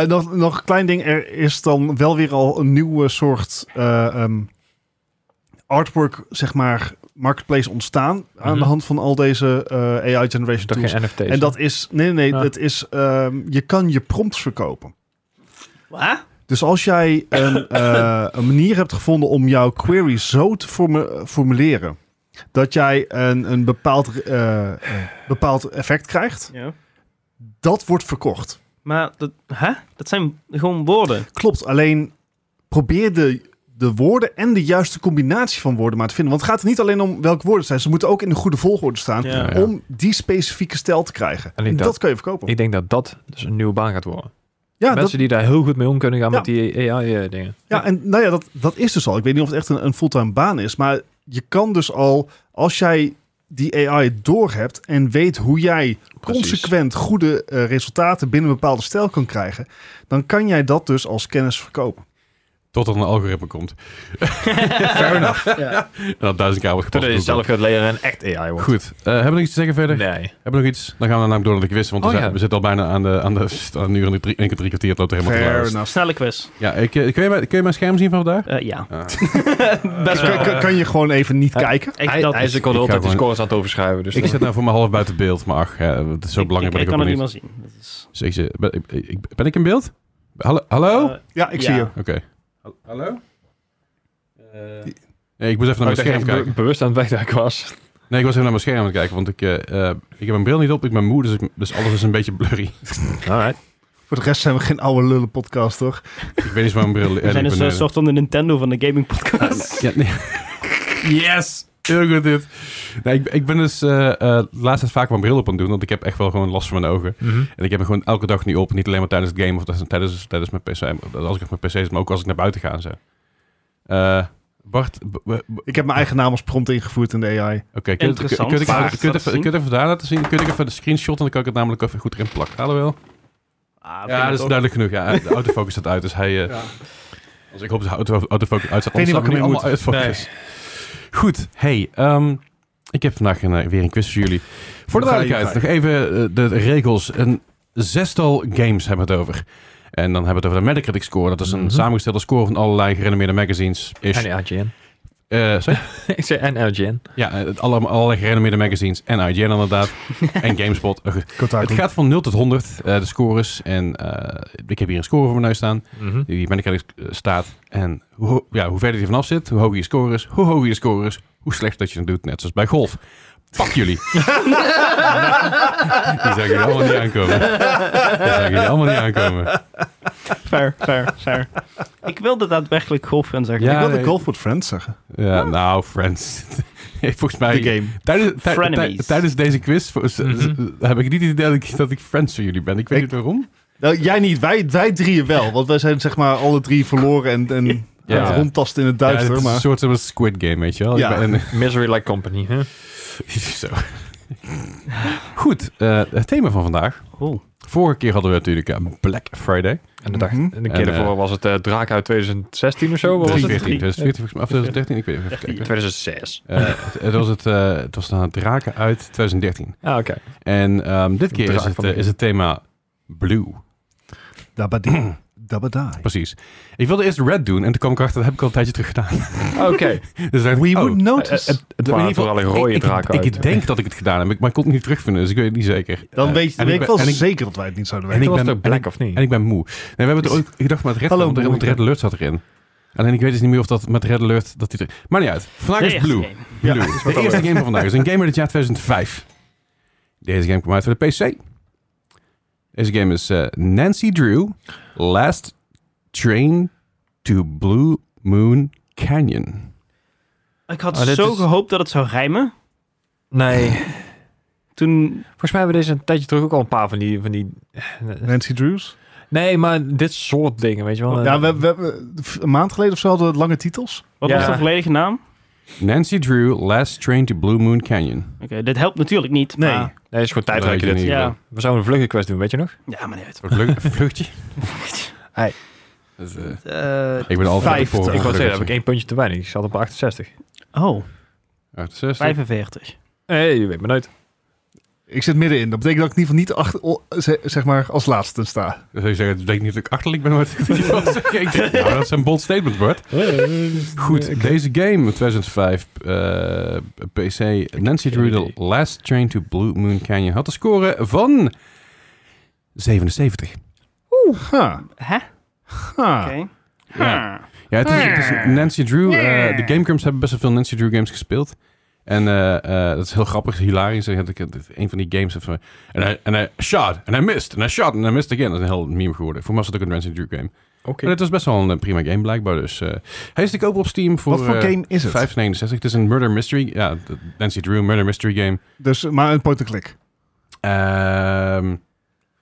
Speaker 3: Eh, nog, nog een klein ding. Er is dan wel weer al een nieuwe soort eh, ehm, artwork, zeg maar, marketplace ontstaan. Aan
Speaker 4: Mhm.
Speaker 3: de hand van al deze eh, AI generation
Speaker 4: Toch
Speaker 3: tools.
Speaker 4: Dus geen NFT's.
Speaker 3: En dat is, nee, nee, nee,
Speaker 4: Ja.
Speaker 3: het is, ehm, je kan je prompts verkopen.
Speaker 2: Wat?
Speaker 3: Dus als jij een, eh, een manier hebt gevonden om jouw query zo te formu- formuleren, dat jij een, een bepaald, eh, eh, bepaald effect krijgt,
Speaker 2: Ja.
Speaker 3: dat wordt verkocht.
Speaker 2: Maar dat, hè? dat zijn gewoon woorden.
Speaker 3: Klopt, alleen probeer de, de woorden en de juiste combinatie van woorden maar te vinden. Want het gaat er niet alleen om welke woorden het zijn, ze moeten ook in de goede volgorde staan.
Speaker 2: Ja.
Speaker 1: Ja.
Speaker 3: eh, Om die specifieke stijl te krijgen.
Speaker 4: En
Speaker 3: En,
Speaker 4: ik
Speaker 3: dat,
Speaker 4: dat-
Speaker 3: kun je verkopen.
Speaker 4: Ik denk dat dat dus een nieuwe baan gaat worden.
Speaker 3: ja, dat,
Speaker 4: Mensen die daar heel goed mee om kunnen gaan
Speaker 3: Ja.
Speaker 4: met die eh, AI-dingen.
Speaker 3: Ja, en nou ja, dat, dat is dus al. Ik weet niet of het echt een, een fulltime baan is. Maar je kan dus al, als jij die AI doorhebt en weet hoe jij consequent goede eh, resultaten binnen een bepaalde stijl kan krijgen, dan kan jij dat dus als kennis verkopen.
Speaker 1: Tot er een algoritme komt. Fair enough. En dat duizend keer wordt
Speaker 4: Totdat je
Speaker 1: gepast.
Speaker 4: zelf gaat leren en echt AI wordt.
Speaker 1: Goed. eh, hebben we nog iets te zeggen verder?
Speaker 4: Nee.
Speaker 1: Hebben we nog iets? Dan gaan we namelijk door naar de quiz. Want we,
Speaker 4: Oh,
Speaker 1: zijn-
Speaker 4: ja.
Speaker 1: we zitten al bijna aan de, aan de aan een uur en drie, en drie kwartier. Het loopt er helemaal te
Speaker 3: Fair
Speaker 1: luisteren.
Speaker 3: enough.
Speaker 2: Snelle quiz.
Speaker 1: Ja, ik, eh, kun, je, mijn- kun je mijn scherm zien van vandaag?
Speaker 2: Eh, ja,
Speaker 1: Ah.
Speaker 2: best wel.
Speaker 3: Kan, kan, kan je gewoon even niet
Speaker 4: Ja.
Speaker 3: kijken?
Speaker 2: Ik-
Speaker 4: hij,
Speaker 2: dat- dus.
Speaker 4: hij is ook
Speaker 1: Ik
Speaker 4: al
Speaker 1: ga
Speaker 4: altijd die
Speaker 1: gewoon-
Speaker 4: scores aan het overschrijven. Dus
Speaker 1: ik
Speaker 4: dan-
Speaker 1: zit nou voor mijn half buiten beeld. Maar ach, ja, het is zo belangrijk
Speaker 2: Ik, ik
Speaker 1: ben
Speaker 2: kan
Speaker 1: ik ook
Speaker 2: het
Speaker 1: weer
Speaker 2: niet
Speaker 1: niet.
Speaker 2: meer zien. Dat is-
Speaker 1: Dus ik zit- ben, ik- ik- ben ik in beeld? Hallo? Hallo?
Speaker 2: Eh,
Speaker 3: Ja, ik
Speaker 2: Ja.
Speaker 3: zie je.
Speaker 1: Oké. Hallo?
Speaker 2: Eh,
Speaker 1: Nee, ik moest even
Speaker 4: Oh,
Speaker 1: naar
Speaker 4: ik
Speaker 1: mijn
Speaker 4: dacht
Speaker 1: scherm
Speaker 4: echt
Speaker 1: kijken.
Speaker 4: be- bewust aan het wegduiken was.
Speaker 1: Nee, ik was even naar mijn scherm aan het kijken, want ik, eh, eh, ik heb mijn bril niet op, ik ben moe, dus, ik- dus alles is een beetje blurry.
Speaker 4: Alright.
Speaker 3: Voor de rest zijn we geen oude lullen podcast, toch?
Speaker 1: ik weet niet waar mijn bril eh, ligt.
Speaker 2: we zijn dus een soort van de Nintendo van de gaming podcast.
Speaker 1: Ja, nee. Yes! Heel goed dit. Nee, ik, ik ben dus eh eh de laatste tijd vaak mijn bril op aan het doen, want ik heb echt wel gewoon last van mijn ogen.
Speaker 4: Mhm.
Speaker 1: En ik heb hem gewoon elke dag nu op, niet alleen maar tijdens het game of tijdens, tijdens, tijdens mijn pc, als ik op mijn pc zit, maar ook als ik naar buiten ga en zo. Eh, Bart, b- b- b-
Speaker 3: Ik heb mijn eigen naam als prompt ingevoerd in de AI.
Speaker 1: Oké, kun je- kun je- kun je- kun
Speaker 2: Interessant.
Speaker 1: je- kun je- kun je- kun je even daar laten zien? Kun je even de screenshot en dan kan ik het namelijk even goed erin plakken. Hallo wel.
Speaker 2: Ah, vind
Speaker 1: Ja, dus
Speaker 2: ik
Speaker 1: dat is
Speaker 2: ook.
Speaker 1: duidelijk genoeg. Ja, de autofocus staat uit, dus hij... eh, Dus ik hoop dat de auto, autofocus uit staat.
Speaker 3: Ik weet niet
Speaker 1: anders
Speaker 3: wat ik
Speaker 1: staan we
Speaker 3: ermee
Speaker 1: nu allemaal uit focus. Goed, hey, ehm, ik heb vandaag een, eh, weer een quiz voor jullie. Voor de
Speaker 3: Ga je,
Speaker 1: duidelijkheid, nog
Speaker 3: ga
Speaker 1: even eh, de, de regels. Een zestal games hebben we het over. En dan hebben we het over de Metacritic score. Dat is een
Speaker 4: Mhm.
Speaker 1: samengestelde score van allerlei gerenommeerde magazines. Ish.
Speaker 4: En IGN.
Speaker 1: Eh, sorry?
Speaker 4: ik zei en IGN.
Speaker 1: Ja, eh, het alle, allerlei gerenommeerde magazines en IGN inderdaad. en GameSpot. Eh, goed. Het gaat van 0 tot 100, eh, de scores. En eh, ik heb hier een score voor mijn neus staan.
Speaker 3: Mhm.
Speaker 1: Die ben ik eigenlijk eh, staat. En hoe, ho- ja, hoe verder je vanaf zit, hoe hoger je score is, hoe hoger je score is, hoe slecht dat je het doet. Net zoals bij golf. Pak jullie. Die zag jullie allemaal niet aankomen. Die zag jullie allemaal niet aankomen.
Speaker 2: Fair, fair, fair. ik wilde daadwerkelijk golf gaan zeggen.
Speaker 1: Ja,
Speaker 3: ik wilde
Speaker 1: nee.
Speaker 3: Golf with Friends zeggen.
Speaker 1: Ja, nou, friends. Volgens mij...
Speaker 3: De game.
Speaker 1: Tijdens, tij-
Speaker 2: Frenemies.
Speaker 1: tij- tijdens deze quiz voor- z- z-
Speaker 4: Mhm.
Speaker 1: heb ik niet het idee dat ik, dat ik friends voor jullie ben. Ik weet
Speaker 3: Ik-
Speaker 1: niet waarom.
Speaker 3: Nou, jij niet, wij, wij drieën wel. Want wij zijn zeg maar alle drie verloren en, en
Speaker 1: Ja.
Speaker 3: aan het rondtasten in het
Speaker 1: Ja,
Speaker 3: duister.
Speaker 1: het is
Speaker 3: maar...
Speaker 1: een soort van Squid Game, weet je wel.
Speaker 3: Ja.
Speaker 1: Ik ben-
Speaker 4: Misery Like Company. Hè?
Speaker 1: en- zo. Goed, eh, het thema van vandaag.
Speaker 3: Oh.
Speaker 2: Cool.
Speaker 1: Vorige keer hadden we natuurlijk eh, Black Friday.
Speaker 4: En de, dag,
Speaker 3: Mhm.
Speaker 4: en de
Speaker 1: En,
Speaker 4: keer daarvoor
Speaker 1: eh,
Speaker 4: was het eh Draak uit 2016 of zo. Wat was het?
Speaker 1: 2014, 2014 volgens mij. Of 2013, ik weet even kijken.
Speaker 4: 2006.
Speaker 1: Eh, het, het was het, eh, het was een draken uit 2013.
Speaker 4: Ah, oké.
Speaker 1: En ehm, dit keer
Speaker 4: Draak
Speaker 1: is het,
Speaker 4: van
Speaker 1: eh,
Speaker 4: Blue.
Speaker 1: is het thema Blue.
Speaker 3: Dabadee, dabadai.
Speaker 1: Precies. Ik wilde eerst Red doen en toen kwam ik achter, dat heb ik al een tijdje terug gedaan.
Speaker 4: Oké.
Speaker 1: Dus dacht ik,
Speaker 3: We
Speaker 1: oh.
Speaker 3: would
Speaker 4: Eh,
Speaker 3: notice.
Speaker 4: het- het
Speaker 1: In ieder
Speaker 4: waren
Speaker 1: geval,
Speaker 4: vooral een rode
Speaker 1: ik-
Speaker 4: draak
Speaker 1: ik,
Speaker 4: uit.
Speaker 1: ik denk dat ik het gedaan heb, maar ik kon het niet terugvinden, dus ik weet het niet zeker.
Speaker 3: dan
Speaker 1: Eh,
Speaker 3: weet je,
Speaker 1: en
Speaker 3: dan weet
Speaker 1: ik
Speaker 3: ik
Speaker 1: ben-
Speaker 3: wel
Speaker 1: en ik-
Speaker 3: zeker dat wij het niet zouden
Speaker 1: en
Speaker 3: weten.
Speaker 1: ik
Speaker 4: ik was
Speaker 1: ben-
Speaker 4: toch black of niet?
Speaker 1: En ik ben moe. Nee, we hebben het ook, ik dacht met Red,
Speaker 3: Hallo,
Speaker 1: want, er- want
Speaker 3: moe.
Speaker 1: Red Alert zat erin. Alleen ik weet dus niet meer of dat met Red Alert, dat die er... Maar niet uit. Vandaag
Speaker 2: De
Speaker 1: is
Speaker 2: eerste
Speaker 1: Blue.
Speaker 2: game.
Speaker 1: Blue.
Speaker 3: Ja,
Speaker 1: de eerste game van vandaag is een game uit het jaar 2005. Deze game kwam uit voor de PC. Deze game is eh, Nancy Drew Last Train to Blue Moon Canyon.
Speaker 2: Ik had
Speaker 4: Oh, dit
Speaker 2: zo
Speaker 4: is-
Speaker 2: gehoopt dat het zou rijmen.
Speaker 4: Nee.
Speaker 2: Toen...
Speaker 4: Volgens mij hebben we deze een tijdje terug ook al een paar van die... Van die
Speaker 3: Nancy Drews.
Speaker 4: nee, maar dit soort dingen, weet je wel. Eh,
Speaker 2: eh,
Speaker 3: Ja, we, we, we- f- een maand geleden of zo hadden we lange titels.
Speaker 2: Wat
Speaker 4: Ja.
Speaker 2: was de volledige naam?
Speaker 1: Nancy Drew Last Train to Blue Moon Canyon.
Speaker 2: Oké, dit helpt natuurlijk niet.
Speaker 3: Nee.
Speaker 2: maar-
Speaker 4: Nee, is gewoon
Speaker 1: Dat weet je
Speaker 4: tijdrekken dit.
Speaker 1: niet.
Speaker 2: Ja.
Speaker 4: We zouden een vluggenquest doen, weet je nog?
Speaker 2: ja, maar nee. Het...
Speaker 1: Een vlug- een vluchtje.
Speaker 4: Hey.
Speaker 1: Dus, eh,
Speaker 2: Eh,
Speaker 1: ik ben altijd voor.
Speaker 3: 50.
Speaker 1: een
Speaker 4: Ik wou zeggen, daar heb ik
Speaker 1: vluchtje.
Speaker 4: één puntje te weinig. Ik zat op 68.
Speaker 2: oh,
Speaker 1: 68.
Speaker 2: 45.
Speaker 4: Nee, je weet maar nooit.
Speaker 3: Ik zit middenin. Dat betekent dat ik in ieder geval niet achter, o- ze- zeg maar als laatste sta.
Speaker 1: Dan zou je zeggen, het betekent niet dat ik achterlijk ben. Maar ik denk, nou, dat is een bold statement, Bart. Goed, deze game, 2005, eh, PC, Nancy
Speaker 4: geen
Speaker 1: Drew,
Speaker 4: idee.
Speaker 1: The Last Train to Blue Moon Canyon, had een score van 77.
Speaker 3: Huh.
Speaker 2: Hè?
Speaker 3: Huh.
Speaker 2: Oké.
Speaker 1: Ah.
Speaker 2: Ah.
Speaker 1: Ja. Ja, het is, het is Nancy Drew. eh, de Gamecrums hebben best wel veel Nancy Drew games gespeeld. En eh, eh, dat is heel grappig, hilarisch. En ik had een van die games van... En hij- en hij shot, en hij missed, en hij shot, en hij missed again. Dat is een heel meme geworden. Voor mij was dat ook een Nancy Drew game.
Speaker 4: Oké.
Speaker 1: Maar het was best wel een eh, prima game blijkbaar. Dus eh, hij is te koop op Steam voor...
Speaker 3: Wat voor
Speaker 1: eh,
Speaker 3: game is het?
Speaker 1: 5,69. Het is een murder mystery. Ja, de Nancy Drew murder mystery game.
Speaker 3: Dus, maar een point-and-click.
Speaker 1: Ehm,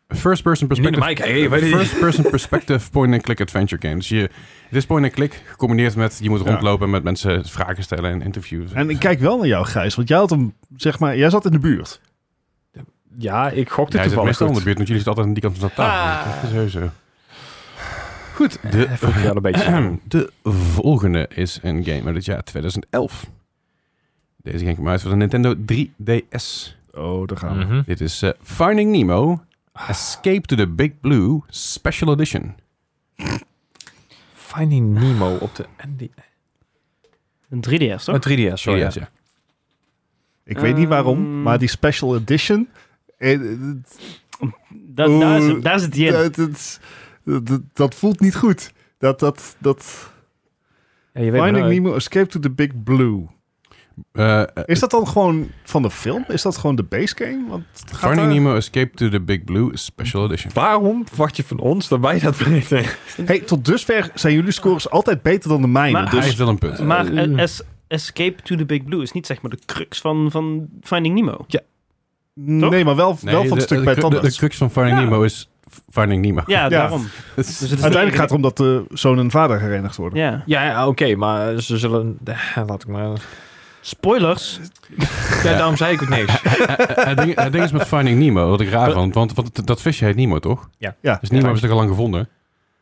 Speaker 1: first person
Speaker 4: Niet naar
Speaker 1: perspective.
Speaker 4: mij kijken, je weet het niet.
Speaker 1: first person perspective point-and-click adventure game. Dus je, het is point-and-click gecombineerd met je moet
Speaker 3: Ja.
Speaker 1: rondlopen en met mensen vragen stellen en interviews.
Speaker 3: En ik kijk wel naar jou, Gijs. Want jij, had hem, zeg maar, jij zat in de buurt.
Speaker 4: Ja, ik gokte
Speaker 1: Jij zit
Speaker 4: toevallig
Speaker 1: meestal in de
Speaker 4: goed.
Speaker 1: buurt, want jullie zitten altijd aan die kant van de tafel.
Speaker 4: Ah.
Speaker 1: Dat is sowieso. Goed,
Speaker 4: Dat vond ik
Speaker 1: de,
Speaker 4: wel een beetje...
Speaker 1: de volgende is een game uit het jaar 2011. Deze game kwam uit voor de Nintendo 3DS.
Speaker 3: Oh, daar gaan we.
Speaker 4: Mhm.
Speaker 1: Dit is eh, Finding Nemo Escape to the Big Blue Special Edition.
Speaker 4: Finding Nemo op de... en die-
Speaker 2: Een 3DS, toch?
Speaker 4: Oh, 3DS, sorry.
Speaker 1: Ja, ja.
Speaker 3: Ik weet niet waarom,
Speaker 2: Ehm.
Speaker 3: maar die special edition... eh, het-
Speaker 2: Da- daar, is,
Speaker 3: Oeh,
Speaker 2: daar zit die in.
Speaker 3: het- het- het- Dat voelt niet goed. Dat, dat, dat...
Speaker 4: Ja, je weet maar
Speaker 3: Finding
Speaker 1: nou,
Speaker 4: nooit.
Speaker 3: Nemo, Escape to the Big Blue.
Speaker 1: Eh, eh,
Speaker 3: Is dat dan gewoon van de film? Is dat gewoon de base game? Want het gaat
Speaker 1: Finding
Speaker 3: daar-
Speaker 1: Nemo Escape to the Big Blue Special Edition.
Speaker 4: Waarom verwacht je van ons dat wij dat weten?
Speaker 3: Hey, tot dusver zijn jullie scores altijd beter dan de mijne.
Speaker 2: Maar-
Speaker 1: Hij
Speaker 3: Dus
Speaker 1: heeft wel een punt.
Speaker 2: Maar
Speaker 4: Eh,
Speaker 2: eh, es- Escape to the Big Blue is niet zeg maar de crux van, van Finding Nemo.
Speaker 3: nee, maar wel, wel
Speaker 1: Nee,
Speaker 3: van het
Speaker 1: de,
Speaker 3: stuk
Speaker 1: de-
Speaker 3: bij
Speaker 1: de-
Speaker 3: Tandarts.
Speaker 1: de crux van Finding
Speaker 2: Ja.
Speaker 1: Nemo is Finding Nemo.
Speaker 2: Ja, daarom.
Speaker 1: Dat is-
Speaker 2: Dus het is
Speaker 3: Uiteindelijk gaat het om dat de zoon en vader herenigd worden.
Speaker 2: Ja.
Speaker 4: Ja, ja, oké, maar ze zullen... eh, Laat ik maar...
Speaker 2: Spoilers.
Speaker 4: Ja, daarom zei ik ook niks.
Speaker 1: het, ding, het ding is met Finding Nemo, wat ik raar vond, want, want dat visje heet Nemo, toch?
Speaker 3: Ja.
Speaker 1: Dus Nemo is toch al lang gevonden?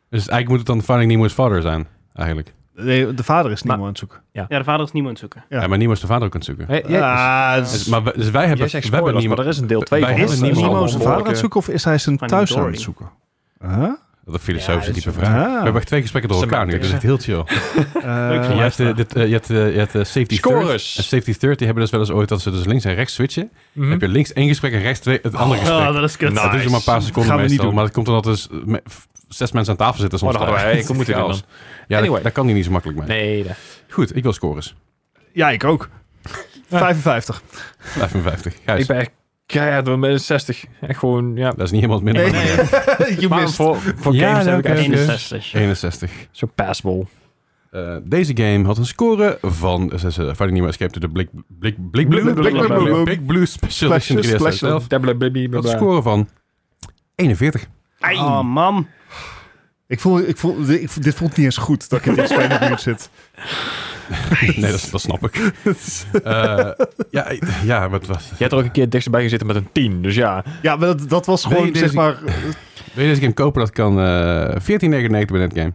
Speaker 1: Dus eigenlijk moet het dan Finding Nemo's vader zijn, eigenlijk.
Speaker 3: Nee, de vader is
Speaker 4: Maar-
Speaker 3: Nemo aan het zoeken.
Speaker 2: Ja, de vader is Nemo aan het zoeken.
Speaker 1: Ja.
Speaker 3: Ja.
Speaker 1: maar Nemo is de vader ook aan het zoeken.
Speaker 4: Hey, jij-
Speaker 3: Ah,
Speaker 4: eh,
Speaker 1: Dus, maar we- dus wij
Speaker 4: jij
Speaker 1: hebben,
Speaker 4: zegt
Speaker 1: we hebben
Speaker 4: spoilers,
Speaker 1: Nemo.
Speaker 4: maar er is een deel 2
Speaker 1: Wij
Speaker 4: van.
Speaker 1: hebben
Speaker 3: is
Speaker 1: Nemo
Speaker 3: Nemo,
Speaker 1: allemaal eh,
Speaker 3: zijn vader aan het zoeken of is hij zijn
Speaker 2: Finding
Speaker 3: thuis aan
Speaker 2: Dory.
Speaker 3: het zoeken? Huh?
Speaker 1: Dat is filosofisch
Speaker 4: Ja,
Speaker 1: niet
Speaker 4: dat
Speaker 1: meer
Speaker 4: is-
Speaker 1: vraag. We hebben
Speaker 3: Ah.
Speaker 1: echt twee gesprekken door elkaar nu, dus het is heel chill.
Speaker 3: Eh,
Speaker 1: je hebt, eh, dit, eh, je hebt, eh, je hebt eh, Safety
Speaker 4: Scores.
Speaker 1: Third. En Safety Third, die hebben dus wel eens ooit dat ze dus links en rechts switchen.
Speaker 4: Mhm.
Speaker 1: eh, heb je links één gesprek en rechts twee, het andere gesprek.
Speaker 2: Oh, dat is kut.
Speaker 4: Nou,
Speaker 1: Dat is maar een paar seconden
Speaker 3: Gaan we niet
Speaker 1: meestal,
Speaker 3: doen.
Speaker 1: maar dat komt omdat er dus me- f- zes mensen aan tafel zitten soms.
Speaker 4: Oh, dat hadden wij
Speaker 1: thuis.
Speaker 4: eigenlijk
Speaker 1: Chaos.
Speaker 4: moeten doen
Speaker 1: Ja,
Speaker 4: Anyway.
Speaker 1: dat, daar kan hij niet zo makkelijk mee.
Speaker 4: Nee, dat-
Speaker 1: Goed, ik wil scores.
Speaker 3: ja, ik ook. 55.
Speaker 1: 55. Gijs,
Speaker 4: ik ben echt keihard door mijn 60. Echt gewoon, ja.
Speaker 1: dat is niet helemaal het midden.
Speaker 3: Nee, je
Speaker 4: Maar
Speaker 3: mist.
Speaker 4: voor, voor
Speaker 1: Ja,
Speaker 4: games heb ik
Speaker 1: oké,
Speaker 4: echt
Speaker 1: oké.
Speaker 2: 61.
Speaker 1: 61.
Speaker 4: zo passable.
Speaker 1: Eh, deze game had een score van... eh, eh, Finding Nemo Escape to the Big, Big, Big Blue...
Speaker 3: Big Blue-
Speaker 1: Big Blue-
Speaker 3: Blue-
Speaker 1: Big Blue Special Edition
Speaker 3: Special-
Speaker 1: 3DS
Speaker 3: Special.
Speaker 1: zelf.
Speaker 4: Dabbler, baby,
Speaker 1: Had een score van 41.
Speaker 2: Ai, Oh, man.
Speaker 3: Ik voel, ik voel, ik- dit voelt niet eens goed dat ik in dit spel buurt zit.
Speaker 1: Nee, dat, dat snap ik. Eh, ja, eh, ja, wat was...
Speaker 4: Je hebt er ook een keer dichterbij gezeten met een 10, dus ja.
Speaker 3: Ja, maar dat, dat was gewoon,
Speaker 1: Nee, deze-
Speaker 3: zeg maar...
Speaker 1: Wil je deze game kopen? Dat kan eh 14,99 bij Netgame.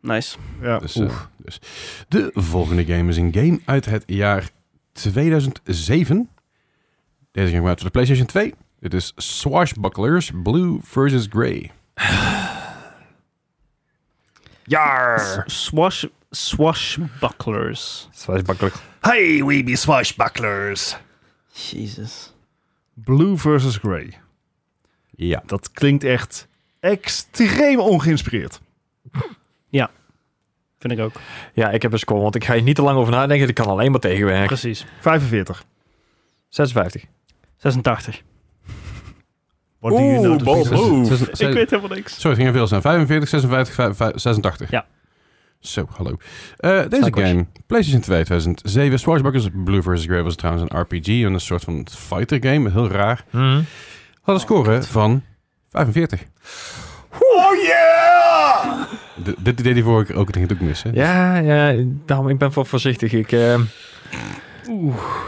Speaker 2: Nice.
Speaker 3: Ja,
Speaker 1: Dus,
Speaker 3: oeh.
Speaker 1: eh, dus. De volgende game is een game uit het jaar 2007. Deze game uit voor de PlayStation 2. Dit is Swashbucklers Blue vs. Grey.
Speaker 2: S- Swash, swashbucklers.
Speaker 4: Dat is makkelijk.
Speaker 3: Hey, we be swashbucklers.
Speaker 2: Jezus.
Speaker 3: Blue versus Grey.
Speaker 1: Ja.
Speaker 3: Dat klinkt echt extreem ongeïnspireerd.
Speaker 2: Vind ik ook.
Speaker 4: Ja, ik heb een score, want ik ga hier niet te lang over nadenken. Ik kan alleen maar tegenwerken.
Speaker 2: Precies.
Speaker 3: 45.
Speaker 4: 56.
Speaker 2: 86.
Speaker 3: Wat
Speaker 4: Oeh,
Speaker 3: Oh,
Speaker 4: Bob.
Speaker 1: Zes-
Speaker 4: Oeh.
Speaker 1: zes- zes-
Speaker 2: helemaal niks.
Speaker 1: Sorry, het ging er veel zijn. 45, 56, vijf- vijf- 86.
Speaker 2: Ja.
Speaker 1: Zo, hallo. Eh, deze
Speaker 4: Snackers.
Speaker 1: game, PlayStation 2 2007. Swashbucklers Blue vs. Grey was trouwens een RPG. en Een soort van fighter game. Heel raar. Had een score van 45.
Speaker 3: Oh yeah!
Speaker 1: D- dit deed hij vorige keer ook. Het ging het ook mis, hè?
Speaker 4: Ja, ja, daarom, ik ben wel voorzichtig. Ik, ehm,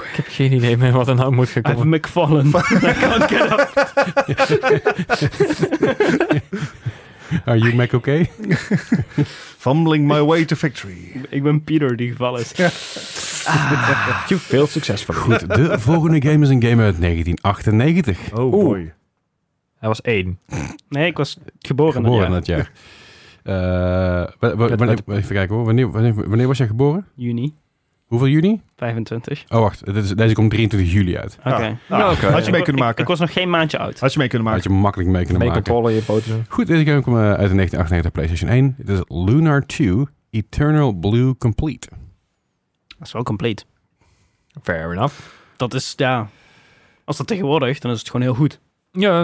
Speaker 4: ik heb geen idee meer wat er nou moet gaan
Speaker 2: I've
Speaker 4: komen.
Speaker 2: McFallen. I can't get up.
Speaker 1: Are you Mac oké?
Speaker 3: Fumbling my way to victory.
Speaker 2: Ik ben Pieter die gevallen is.
Speaker 3: Ah.
Speaker 4: Je veel succesvol.
Speaker 1: Goed, de volgende game is een game uit 1998.
Speaker 3: Oh
Speaker 4: Oeh.
Speaker 3: boy.
Speaker 4: Hij was één.
Speaker 2: Nee, ik was geboren. dat
Speaker 1: Geboren
Speaker 2: jaar.
Speaker 1: dat jaar. Eh, wa- wa-
Speaker 4: Met-
Speaker 1: wanneer- even kijken hoor. Wanneer, wanneer, wanneer was jij geboren?
Speaker 2: Juni
Speaker 1: Hoeveel juni?
Speaker 2: 25.
Speaker 1: Oh, wacht. Dit is, deze komt 23 juli uit.
Speaker 2: Oké. Nou,
Speaker 3: Ah, ah,
Speaker 4: oké.
Speaker 3: Had je mee
Speaker 2: Ik-
Speaker 3: kunnen
Speaker 2: ik-
Speaker 3: maken.
Speaker 2: Ik was nog geen maandje oud.
Speaker 3: Had je mee kunnen
Speaker 1: Had
Speaker 3: maken.
Speaker 1: je makkelijk mee kunnen
Speaker 4: Mee
Speaker 1: maken.
Speaker 4: controle je poten.
Speaker 1: Goed, deze game komt eh, uit de 1998 PlayStation 1. Dit is Lunar 2 Eternal Blue Complete.
Speaker 2: Dat is wel compleet.
Speaker 4: Fair enough.
Speaker 2: Dat is, ja... Als dat tegenwoordig, dan is het gewoon heel goed.
Speaker 4: Ja.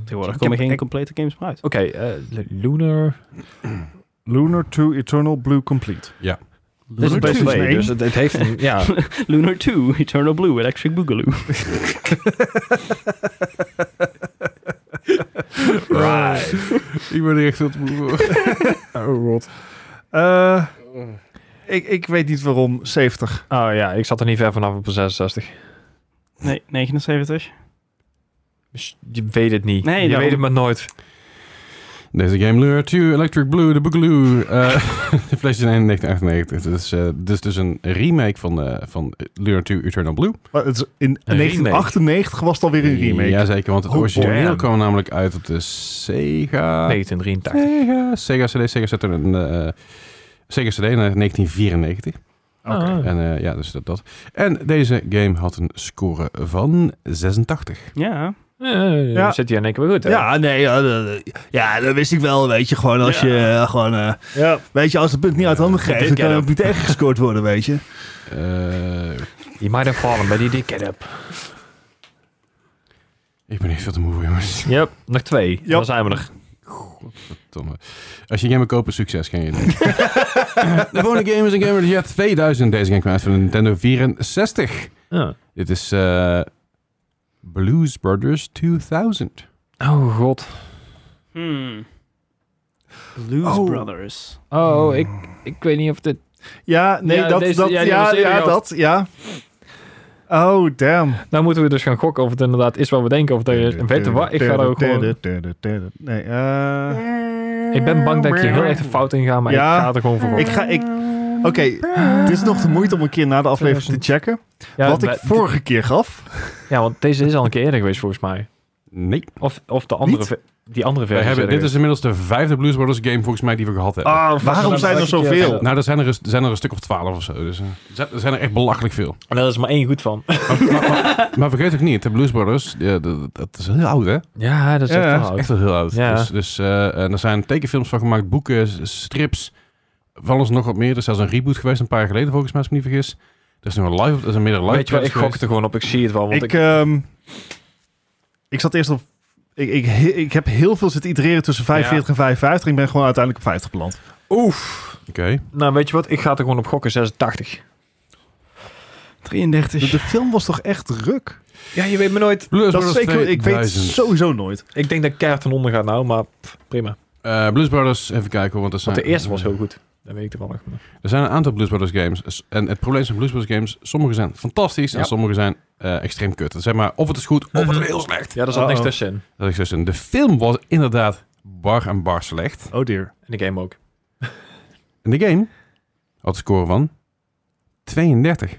Speaker 2: Tegenwoordig
Speaker 4: Ik
Speaker 2: komen
Speaker 4: heb-
Speaker 2: geen
Speaker 4: ik-
Speaker 2: complete games meer uit.
Speaker 4: Oké, eh, Lunar.
Speaker 3: Lunar 2 Eternal Blue Complete.
Speaker 4: Dit is
Speaker 3: Lunar
Speaker 4: best
Speaker 3: Two is
Speaker 4: twee,
Speaker 3: één.
Speaker 4: dus het, het heeft een, ja.
Speaker 2: Lunar 2, Eternal Blue, Electric Boogaloo.
Speaker 4: right.
Speaker 1: Ik word er echt wat moe voor.
Speaker 3: Oh, rot. Eh, ik, ik weet niet waarom. 70.
Speaker 4: Oh ja, ik zat er niet ver vanaf op een 66.
Speaker 2: Nee, 79.
Speaker 4: Dus je weet het niet.
Speaker 2: Nee,
Speaker 4: je
Speaker 2: daarom.
Speaker 4: weet het maar nooit.
Speaker 1: Deze game Lunar 2 Electric Blue, de Boogaloo. eh, de PlayStation 1 1998. Het is, eh, dit is dus een remake van, eh, van Lunar 2 Eternal Blue.
Speaker 3: Maar het is in
Speaker 4: Een
Speaker 3: 1998 was het alweer een remake.
Speaker 1: Jazeker, want het
Speaker 3: Oh,
Speaker 1: origineel
Speaker 4: damn.
Speaker 1: kwam namelijk uit op de Sega...
Speaker 4: 1983.
Speaker 1: Sega, Sega CD, Sega Saturn en eh, Sega CD in eh, 1994.
Speaker 3: Oké.
Speaker 4: Ah.
Speaker 1: En eh, ja, dus dat, dat. En deze game had een score van 86.
Speaker 2: Ja.
Speaker 4: Eh,
Speaker 3: Ja.
Speaker 4: Zit hij in één keer weer goed, hè?
Speaker 3: Ja, nee, ja, dat- ja, dat wist ik wel, weet je. Gewoon als
Speaker 2: Ja.
Speaker 3: je eh, gewoon, eh,
Speaker 4: Ja.
Speaker 3: weet je, als het punt niet uit handen geeft,
Speaker 4: Dit
Speaker 3: dan kan
Speaker 4: ken
Speaker 3: het
Speaker 4: ik.
Speaker 3: ook niet tegengescoord worden, weet je.
Speaker 1: Eh,
Speaker 4: You might have fallen, but he did get up.
Speaker 1: ik ben echt veel te moe voor, jongens.
Speaker 4: Yep, nog twee. Dan zijn we er.
Speaker 1: Godverdomme. Als je een game wil kopen, succes, geen je De volgende game is een game uit het jaar 2000. Deze game kwam uit van de Nintendo 64.
Speaker 4: Ja.
Speaker 1: Dit is eh, Blues Brothers 2000.
Speaker 4: Oh god.
Speaker 2: Hmm. Blues
Speaker 3: Oh.
Speaker 2: Brothers.
Speaker 4: Oh, ik, ik weet niet of dit...
Speaker 3: Ja, nee,
Speaker 4: Ja,
Speaker 3: dat,
Speaker 4: deze-
Speaker 3: dat,
Speaker 4: ja,
Speaker 3: ja,
Speaker 4: die was
Speaker 3: ja,
Speaker 4: eerder gehad.
Speaker 3: dat, ja. Oh, damn.
Speaker 4: Nou moeten we dus gaan gokken of het inderdaad is wat we denken. Of dat je... Weet je wat? Ik ga er ook gewoon...
Speaker 3: Nee, eh,
Speaker 4: Ik ben bang dat ik je heel echt een fout in ga, maar
Speaker 3: Ja.
Speaker 4: ik ga er gewoon voor
Speaker 3: ik
Speaker 4: gokken.
Speaker 3: ga, ik... Oké, het is nog de moeite om een keer na de aflevering te checken.
Speaker 4: Ja, Ah,
Speaker 3: wat ik
Speaker 4: we-
Speaker 3: vorige keer gaf.
Speaker 4: ja, want deze is al een keer eerder geweest volgens mij.
Speaker 1: Nee.
Speaker 4: Of, of de andere...
Speaker 3: Niet?
Speaker 4: ver- Die andere
Speaker 1: Wij
Speaker 4: versie.
Speaker 1: hebben, dit
Speaker 4: eerder
Speaker 1: is inmiddels de vijfde Blues Brothers game volgens mij die we gehad hebben.
Speaker 3: Ah, waarom
Speaker 4: dat
Speaker 3: zijn er
Speaker 4: elke keer
Speaker 3: zoveel?
Speaker 4: zo?
Speaker 1: Nou, er zijn er, een- er zijn er een stuk of twaalf of zo. Dus, eh, er zijn- er zijn er echt belachelijk veel.
Speaker 4: geweest. En daar is maar één goed van.
Speaker 1: Maar, maar- maar- maar vergeet ook niet, de Blues Brothers, ja, dat, dat is heel oud, hè?
Speaker 4: Ja, dat is
Speaker 3: Ja,
Speaker 4: echt
Speaker 3: dat
Speaker 4: wel
Speaker 1: Dat is echt
Speaker 4: oud.
Speaker 1: wel heel oud.
Speaker 4: Ja.
Speaker 1: Dus, dus, eh, en er zijn tekenfilms van gemaakt, boeken, s- strips, van alles en nog wat meer. Er is zelfs een reboot geweest een paar jaar geleden, volgens mij, als ik me niet vergis. Er is nog een live, er is een meerdere live
Speaker 4: Weet je wat, ik
Speaker 1: tracks
Speaker 4: gok er gewoon op. Ik zie het wel, want
Speaker 3: Ik,
Speaker 4: ik...
Speaker 3: ehm, ik zat eerst op... Ik, ik, ik heb heel veel zitten itereren tussen 45 en 55. Ik ben gewoon uiteindelijk op 50 beland.
Speaker 4: Oef.
Speaker 1: geweest. Oké.
Speaker 4: Nou, weet je wat? Ik ga er gewoon op gokken. 86.
Speaker 2: 33.
Speaker 3: De, de film was toch echt ruk?
Speaker 4: Ja, je weet me nooit.
Speaker 1: Blues
Speaker 3: Dat is
Speaker 1: Brothers
Speaker 3: zeker, ik weet
Speaker 1: 2000.
Speaker 3: sowieso nooit.
Speaker 4: Ik denk dat Kaart ten onder gaat nou, maar pff, prima.
Speaker 1: Eh, Blues Brothers, even kijken, hoor, want er zijn...
Speaker 4: Want de eerste was heel goed. Dat weet ik er wel nog.
Speaker 1: Er zijn een aantal Blues Brothers games. En het probleem van Blues Brothers games, sommige zijn fantastisch en
Speaker 4: Ja. Mhm.
Speaker 1: sommige zijn eh, extreem kut. Zeg maar, of het is goed, of het is heel slecht.
Speaker 4: Ja, daar zat
Speaker 3: Mhm. Uh-oh.
Speaker 4: niks tussenin.
Speaker 1: Dat is dus een, de film was inderdaad bar en bar slecht.
Speaker 3: Oh dear.
Speaker 4: En de game ook.
Speaker 1: En de game had een score van 32.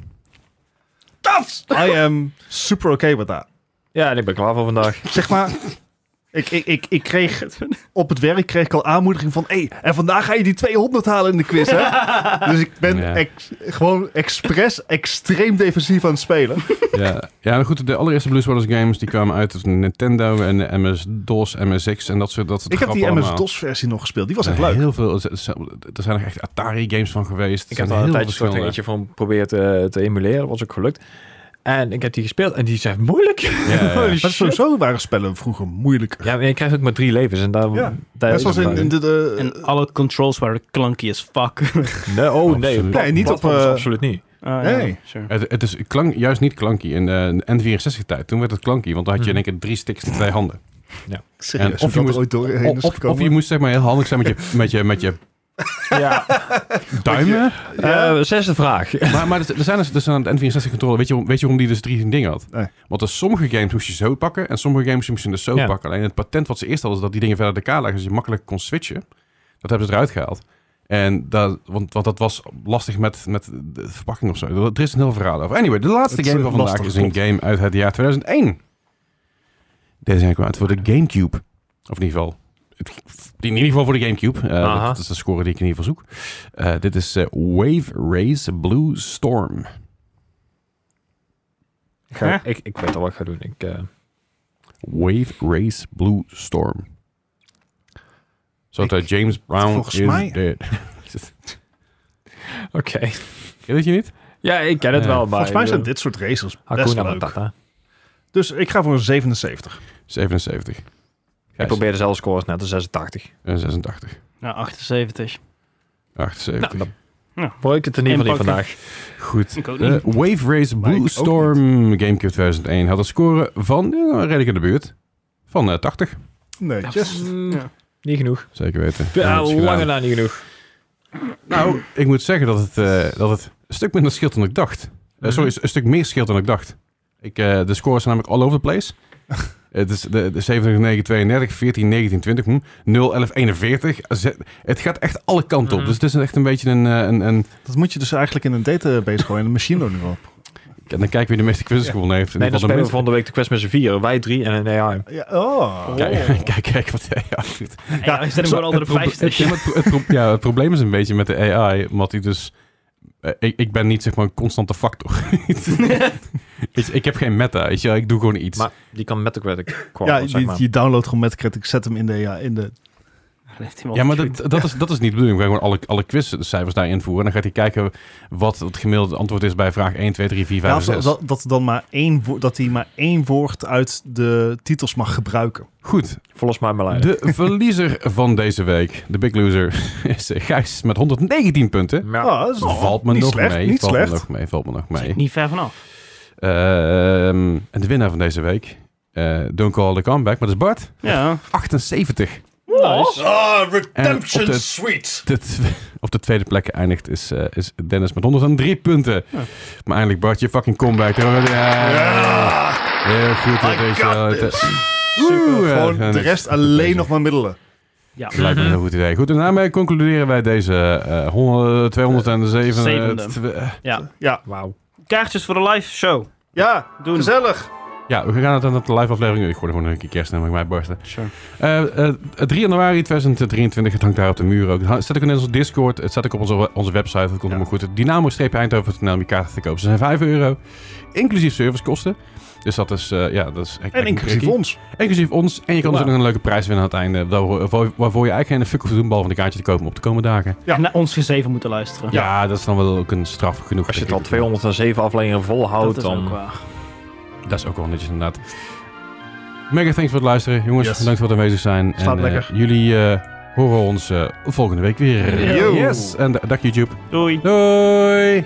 Speaker 3: I am super okay with that.
Speaker 4: Ja, en ik ben klaar voor vandaag.
Speaker 3: Zeg maar, ik, ik, ik, ik kreeg op het werk kreeg ik al aanmoediging van... Hey, en vandaag ga je die 200 halen in de quiz, hè? Dus ik ben
Speaker 1: Ja.
Speaker 3: ex- gewoon expres extreem defensief aan het spelen.
Speaker 1: ja, ja, maar goed, de allereerste Blues Brothers games die kwamen uit op de Nintendo en de MS-DOS, MSX en dat soort dat soort
Speaker 3: Ik heb die
Speaker 1: grappen allemaal.
Speaker 3: MS-DOS versie nog gespeeld. Die was
Speaker 1: Er
Speaker 3: echt
Speaker 1: zijn
Speaker 3: leuk.
Speaker 1: Heel veel, er zijn- er zijn nog echt Atari-games van geweest.
Speaker 4: Ik
Speaker 1: Er
Speaker 4: heb
Speaker 1: zijn
Speaker 4: daar een
Speaker 1: heel
Speaker 4: tijdje
Speaker 1: veel
Speaker 4: terug
Speaker 1: verschillende.
Speaker 4: eentje van geprobeerd eh, te emuleren. Dat was ook gelukt. En ik heb die gespeeld en die zijn moeilijk.
Speaker 1: ja, ja.
Speaker 4: Holy
Speaker 3: Maar
Speaker 4: shit.
Speaker 3: sowieso waren spellen vroeger moeilijker.
Speaker 4: Ja, maar je krijgt ook maar drie levens. En daar,
Speaker 3: Ja,
Speaker 4: daar
Speaker 3: Net zoals
Speaker 4: het
Speaker 3: in, in de... de- eh,
Speaker 2: En alle controls waren clunky as fuck.
Speaker 4: Nee, oh nee.
Speaker 1: Absoluut.
Speaker 3: Nee, niet op,
Speaker 4: platforms
Speaker 3: eh,
Speaker 4: Absoluut niet.
Speaker 2: Ah,
Speaker 3: Nee.
Speaker 2: Ja, sure.
Speaker 1: Het, het is klank, juist niet klanky. In de N64-tijd, toen werd het klanky, want dan had je in één keer drie sticks in twee handen.
Speaker 3: Serieus,
Speaker 1: en of
Speaker 3: of
Speaker 1: je
Speaker 3: je
Speaker 1: moest-
Speaker 3: ooit doorheen
Speaker 1: Of,
Speaker 3: is
Speaker 1: of,
Speaker 3: gekomen.
Speaker 1: je moest zeg maar heel handig zijn met je, met je, met je
Speaker 4: Ja.
Speaker 1: Duimen?
Speaker 4: Eh, zesde vraag.
Speaker 1: maar maar er zijn dus, dus aan de N64 controller, weet je, weet je waarom die dus drie dingen had?
Speaker 3: Nee.
Speaker 1: Want er sommige games moest je zo pakken en sommige games moest je dus zo
Speaker 4: Ja.
Speaker 1: pakken. Alleen het patent wat ze eerst hadden is dat die dingen verder de elkaar lagen, dus je makkelijk kon switchen. Dat hebben ze eruit gehaald. En dat, want, want dat was lastig met, met de verpakking of zo. Er is een heel verhaal over. Anyway, de laatste
Speaker 3: Het is
Speaker 1: game van vandaag
Speaker 3: lastig,
Speaker 1: is een game uit het jaar 2001. Deze game kwam uit voor de Gamecube. Of in ieder geval... het- In ieder geval voor de Gamecube. Eh,
Speaker 4: Aha.
Speaker 1: dat is de score die ik in ieder geval zoek. Eh, dit is eh, Wave Race Blue Storm.
Speaker 4: Ik ga- ik, ik weet al wat ik ga doen. Ik, eh,
Speaker 1: Wave Race Blue Storm. Zo
Speaker 3: Ik-
Speaker 1: dat James Brown
Speaker 3: volgens
Speaker 1: is
Speaker 3: mij-
Speaker 1: dead.
Speaker 4: Oké.
Speaker 1: Ken je dat je niet?
Speaker 4: Ja, ik ken het
Speaker 1: Ja.
Speaker 4: wel, maar...
Speaker 3: Volgens mij zijn
Speaker 4: eh,
Speaker 3: dit soort racers best
Speaker 4: Hakuna
Speaker 3: leuk.
Speaker 4: Matata.
Speaker 3: Dus ik ga voor een 77.
Speaker 1: 77.
Speaker 4: Ik probeer dezelfde scores net, de 86.
Speaker 1: En 86.
Speaker 2: Nou, 78.
Speaker 1: 78.
Speaker 4: Nou, Hoor ik het in ieder geval niet
Speaker 2: Inpakken.
Speaker 4: vandaag.
Speaker 1: Goed.
Speaker 2: Ik ook
Speaker 1: Eh,
Speaker 2: niet.
Speaker 1: Wave Race
Speaker 3: Maar ik
Speaker 1: Blue
Speaker 3: ook
Speaker 1: Storm Gamecube 2001 had een score van eh, redelijk in de buurt. Van eh, 80.
Speaker 3: Nee,
Speaker 1: Mm,
Speaker 2: Ja.
Speaker 4: Niet genoeg.
Speaker 1: Zeker weten.
Speaker 4: Ja,
Speaker 1: Dat is
Speaker 4: lange
Speaker 1: gedaan.
Speaker 4: na niet genoeg.
Speaker 1: Nou, ik moet zeggen dat het, eh, dat het een stuk minder scheelt dan ik dacht. Eh, sorry, een stuk meer scheelt dan ik dacht. Ik, eh, de scores zijn namelijk all over the place. Het is de, de 37, 9, 32, 14, 19, 20, hm, 0, 11, 41. Ze- Het gaat echt alle kanten op.
Speaker 4: Mhm.
Speaker 1: Dus het is echt een beetje een... eh, een, een
Speaker 3: Dat moet je dus eigenlijk in een database gooien. Een machine learning op.
Speaker 1: en dan kijken wie de meeste quizzes
Speaker 3: Ja.
Speaker 1: gewonnen heeft. In
Speaker 4: Nee,
Speaker 1: ieder
Speaker 4: dan
Speaker 1: geval de
Speaker 4: spelen we volgende week de quest met z'n vier. Wij drie en een AI.
Speaker 3: Ja, oh.
Speaker 1: minst- Kijk, kijk, kijk wat hij doet.
Speaker 2: Ja, ik zet hem gewoon onder
Speaker 1: Het
Speaker 2: de
Speaker 1: proble-
Speaker 2: 50.
Speaker 1: het- het pro- het pro- Ja, het probleem is een beetje met de AI, omdat hij dus... eh, ik, ik ben niet zeg maar een constante factor. Weet je, ik heb geen meta, weet je, wel, ik doe gewoon iets.
Speaker 4: Maar die kan met de credit
Speaker 3: Ja,
Speaker 4: kwam, zeg
Speaker 3: je,
Speaker 4: maar.
Speaker 3: je download gewoon met credit. Ik zet hem in de... Ja, in de
Speaker 1: ja, maar dat, dat, is, dat is niet de bedoeling. We gaan gewoon alle, alle quizcijfers daar invoeren. En dan gaat hij kijken wat het gemiddelde antwoord is bij vraag 1, 2, 3, 4, 5
Speaker 3: ja,
Speaker 1: en 6.
Speaker 3: Nou, dat, dat, dat er dan maar één, wo- dat hij maar één woord uit de titels mag gebruiken.
Speaker 1: Goed,
Speaker 4: Verlos mij mijn lijden.
Speaker 1: de verliezer van deze week, de big loser, is eh, Gijs met 119 punten.
Speaker 4: Ja.
Speaker 3: Ah, dat is-
Speaker 1: valt me
Speaker 3: niet
Speaker 1: nog
Speaker 3: slecht,
Speaker 1: mee.
Speaker 3: Niet
Speaker 1: valt
Speaker 3: slecht.
Speaker 1: me nog mee, valt me nog mee.
Speaker 2: Niet ver vanaf.
Speaker 1: Ehm, en de winnaar van deze week, eh, Don't Call the Comeback, maar dat is Bart,
Speaker 2: Ja.
Speaker 1: 78.
Speaker 2: Nice.
Speaker 5: Ah,
Speaker 1: En op
Speaker 5: Redemption
Speaker 1: de-
Speaker 5: Sweet.
Speaker 1: De tw- op de tweede plek eindigt is, eh, is Dennis met 103 punten.
Speaker 2: Ja.
Speaker 1: Maar eindelijk Bart, je fucking comeback. Ja. Heel goed. dat
Speaker 5: I
Speaker 1: weet je
Speaker 5: got
Speaker 1: wel.
Speaker 5: this.
Speaker 1: Oeh, ja,
Speaker 3: Gewoon
Speaker 1: en
Speaker 3: de
Speaker 1: het-
Speaker 3: rest alleen nog maar middelen.
Speaker 2: Ja.
Speaker 1: het Lijkt me een heel goed idee. Goed, en daarmee concluderen wij deze eh 100, 207...
Speaker 2: Zevende.
Speaker 1: eh, tw- eh,
Speaker 2: ja.
Speaker 3: Ja,
Speaker 4: Wauw.
Speaker 2: Kaartjes voor de live show.
Speaker 3: ja
Speaker 2: Doen.
Speaker 3: gezellig.
Speaker 1: ja, we gaan het aan de live aflevering... Oh, Ik gooi er gewoon een keer kerstnummer bij mij barsten.
Speaker 2: Sure.
Speaker 1: Eh, eh, 3 januari 2023, het hangt daar op de muur ook. Het ha- staat ook in onze Discord, het staat ook op onze, onze website, dat komt helemaal goed. Dynamo-eindhoven.nl om je kaarten te kopen. Ze zijn 5 euro, inclusief servicekosten. Dus dat is, eh, ja, dat is echt-
Speaker 3: En
Speaker 1: echt
Speaker 3: inclusief
Speaker 1: prikkie.
Speaker 3: ons.
Speaker 1: Inclusief ons. En je kan dus ook
Speaker 2: Wauw.
Speaker 1: nog een leuke prijs winnen aan het einde. Waarvoor, waarvoor je eigenlijk geen fuck hoeft te doen, behalve een kaartje te kopen om op de komende dagen.
Speaker 3: Ja.
Speaker 2: En naar ons gezeven moeten luisteren.
Speaker 1: Ja, dat is dan wel ook een straf genoeg.
Speaker 4: Als je het
Speaker 1: denk
Speaker 4: al
Speaker 1: ik.
Speaker 4: 207 afleveringen
Speaker 2: dat
Speaker 4: volhoudt,
Speaker 2: is
Speaker 4: dan...
Speaker 2: ook waar.
Speaker 1: Dat is ook wel netjes inderdaad. Mega thanks voor het luisteren. Jongens,
Speaker 3: Yes.
Speaker 1: bedankt voor het aanwezig zijn.
Speaker 3: Slaap
Speaker 1: en, eh,
Speaker 3: lekker.
Speaker 1: jullie eh, horen ons eh, volgende week weer.
Speaker 2: Yo.
Speaker 1: Yes. En da- dag YouTube.
Speaker 2: Doei.
Speaker 1: Doei.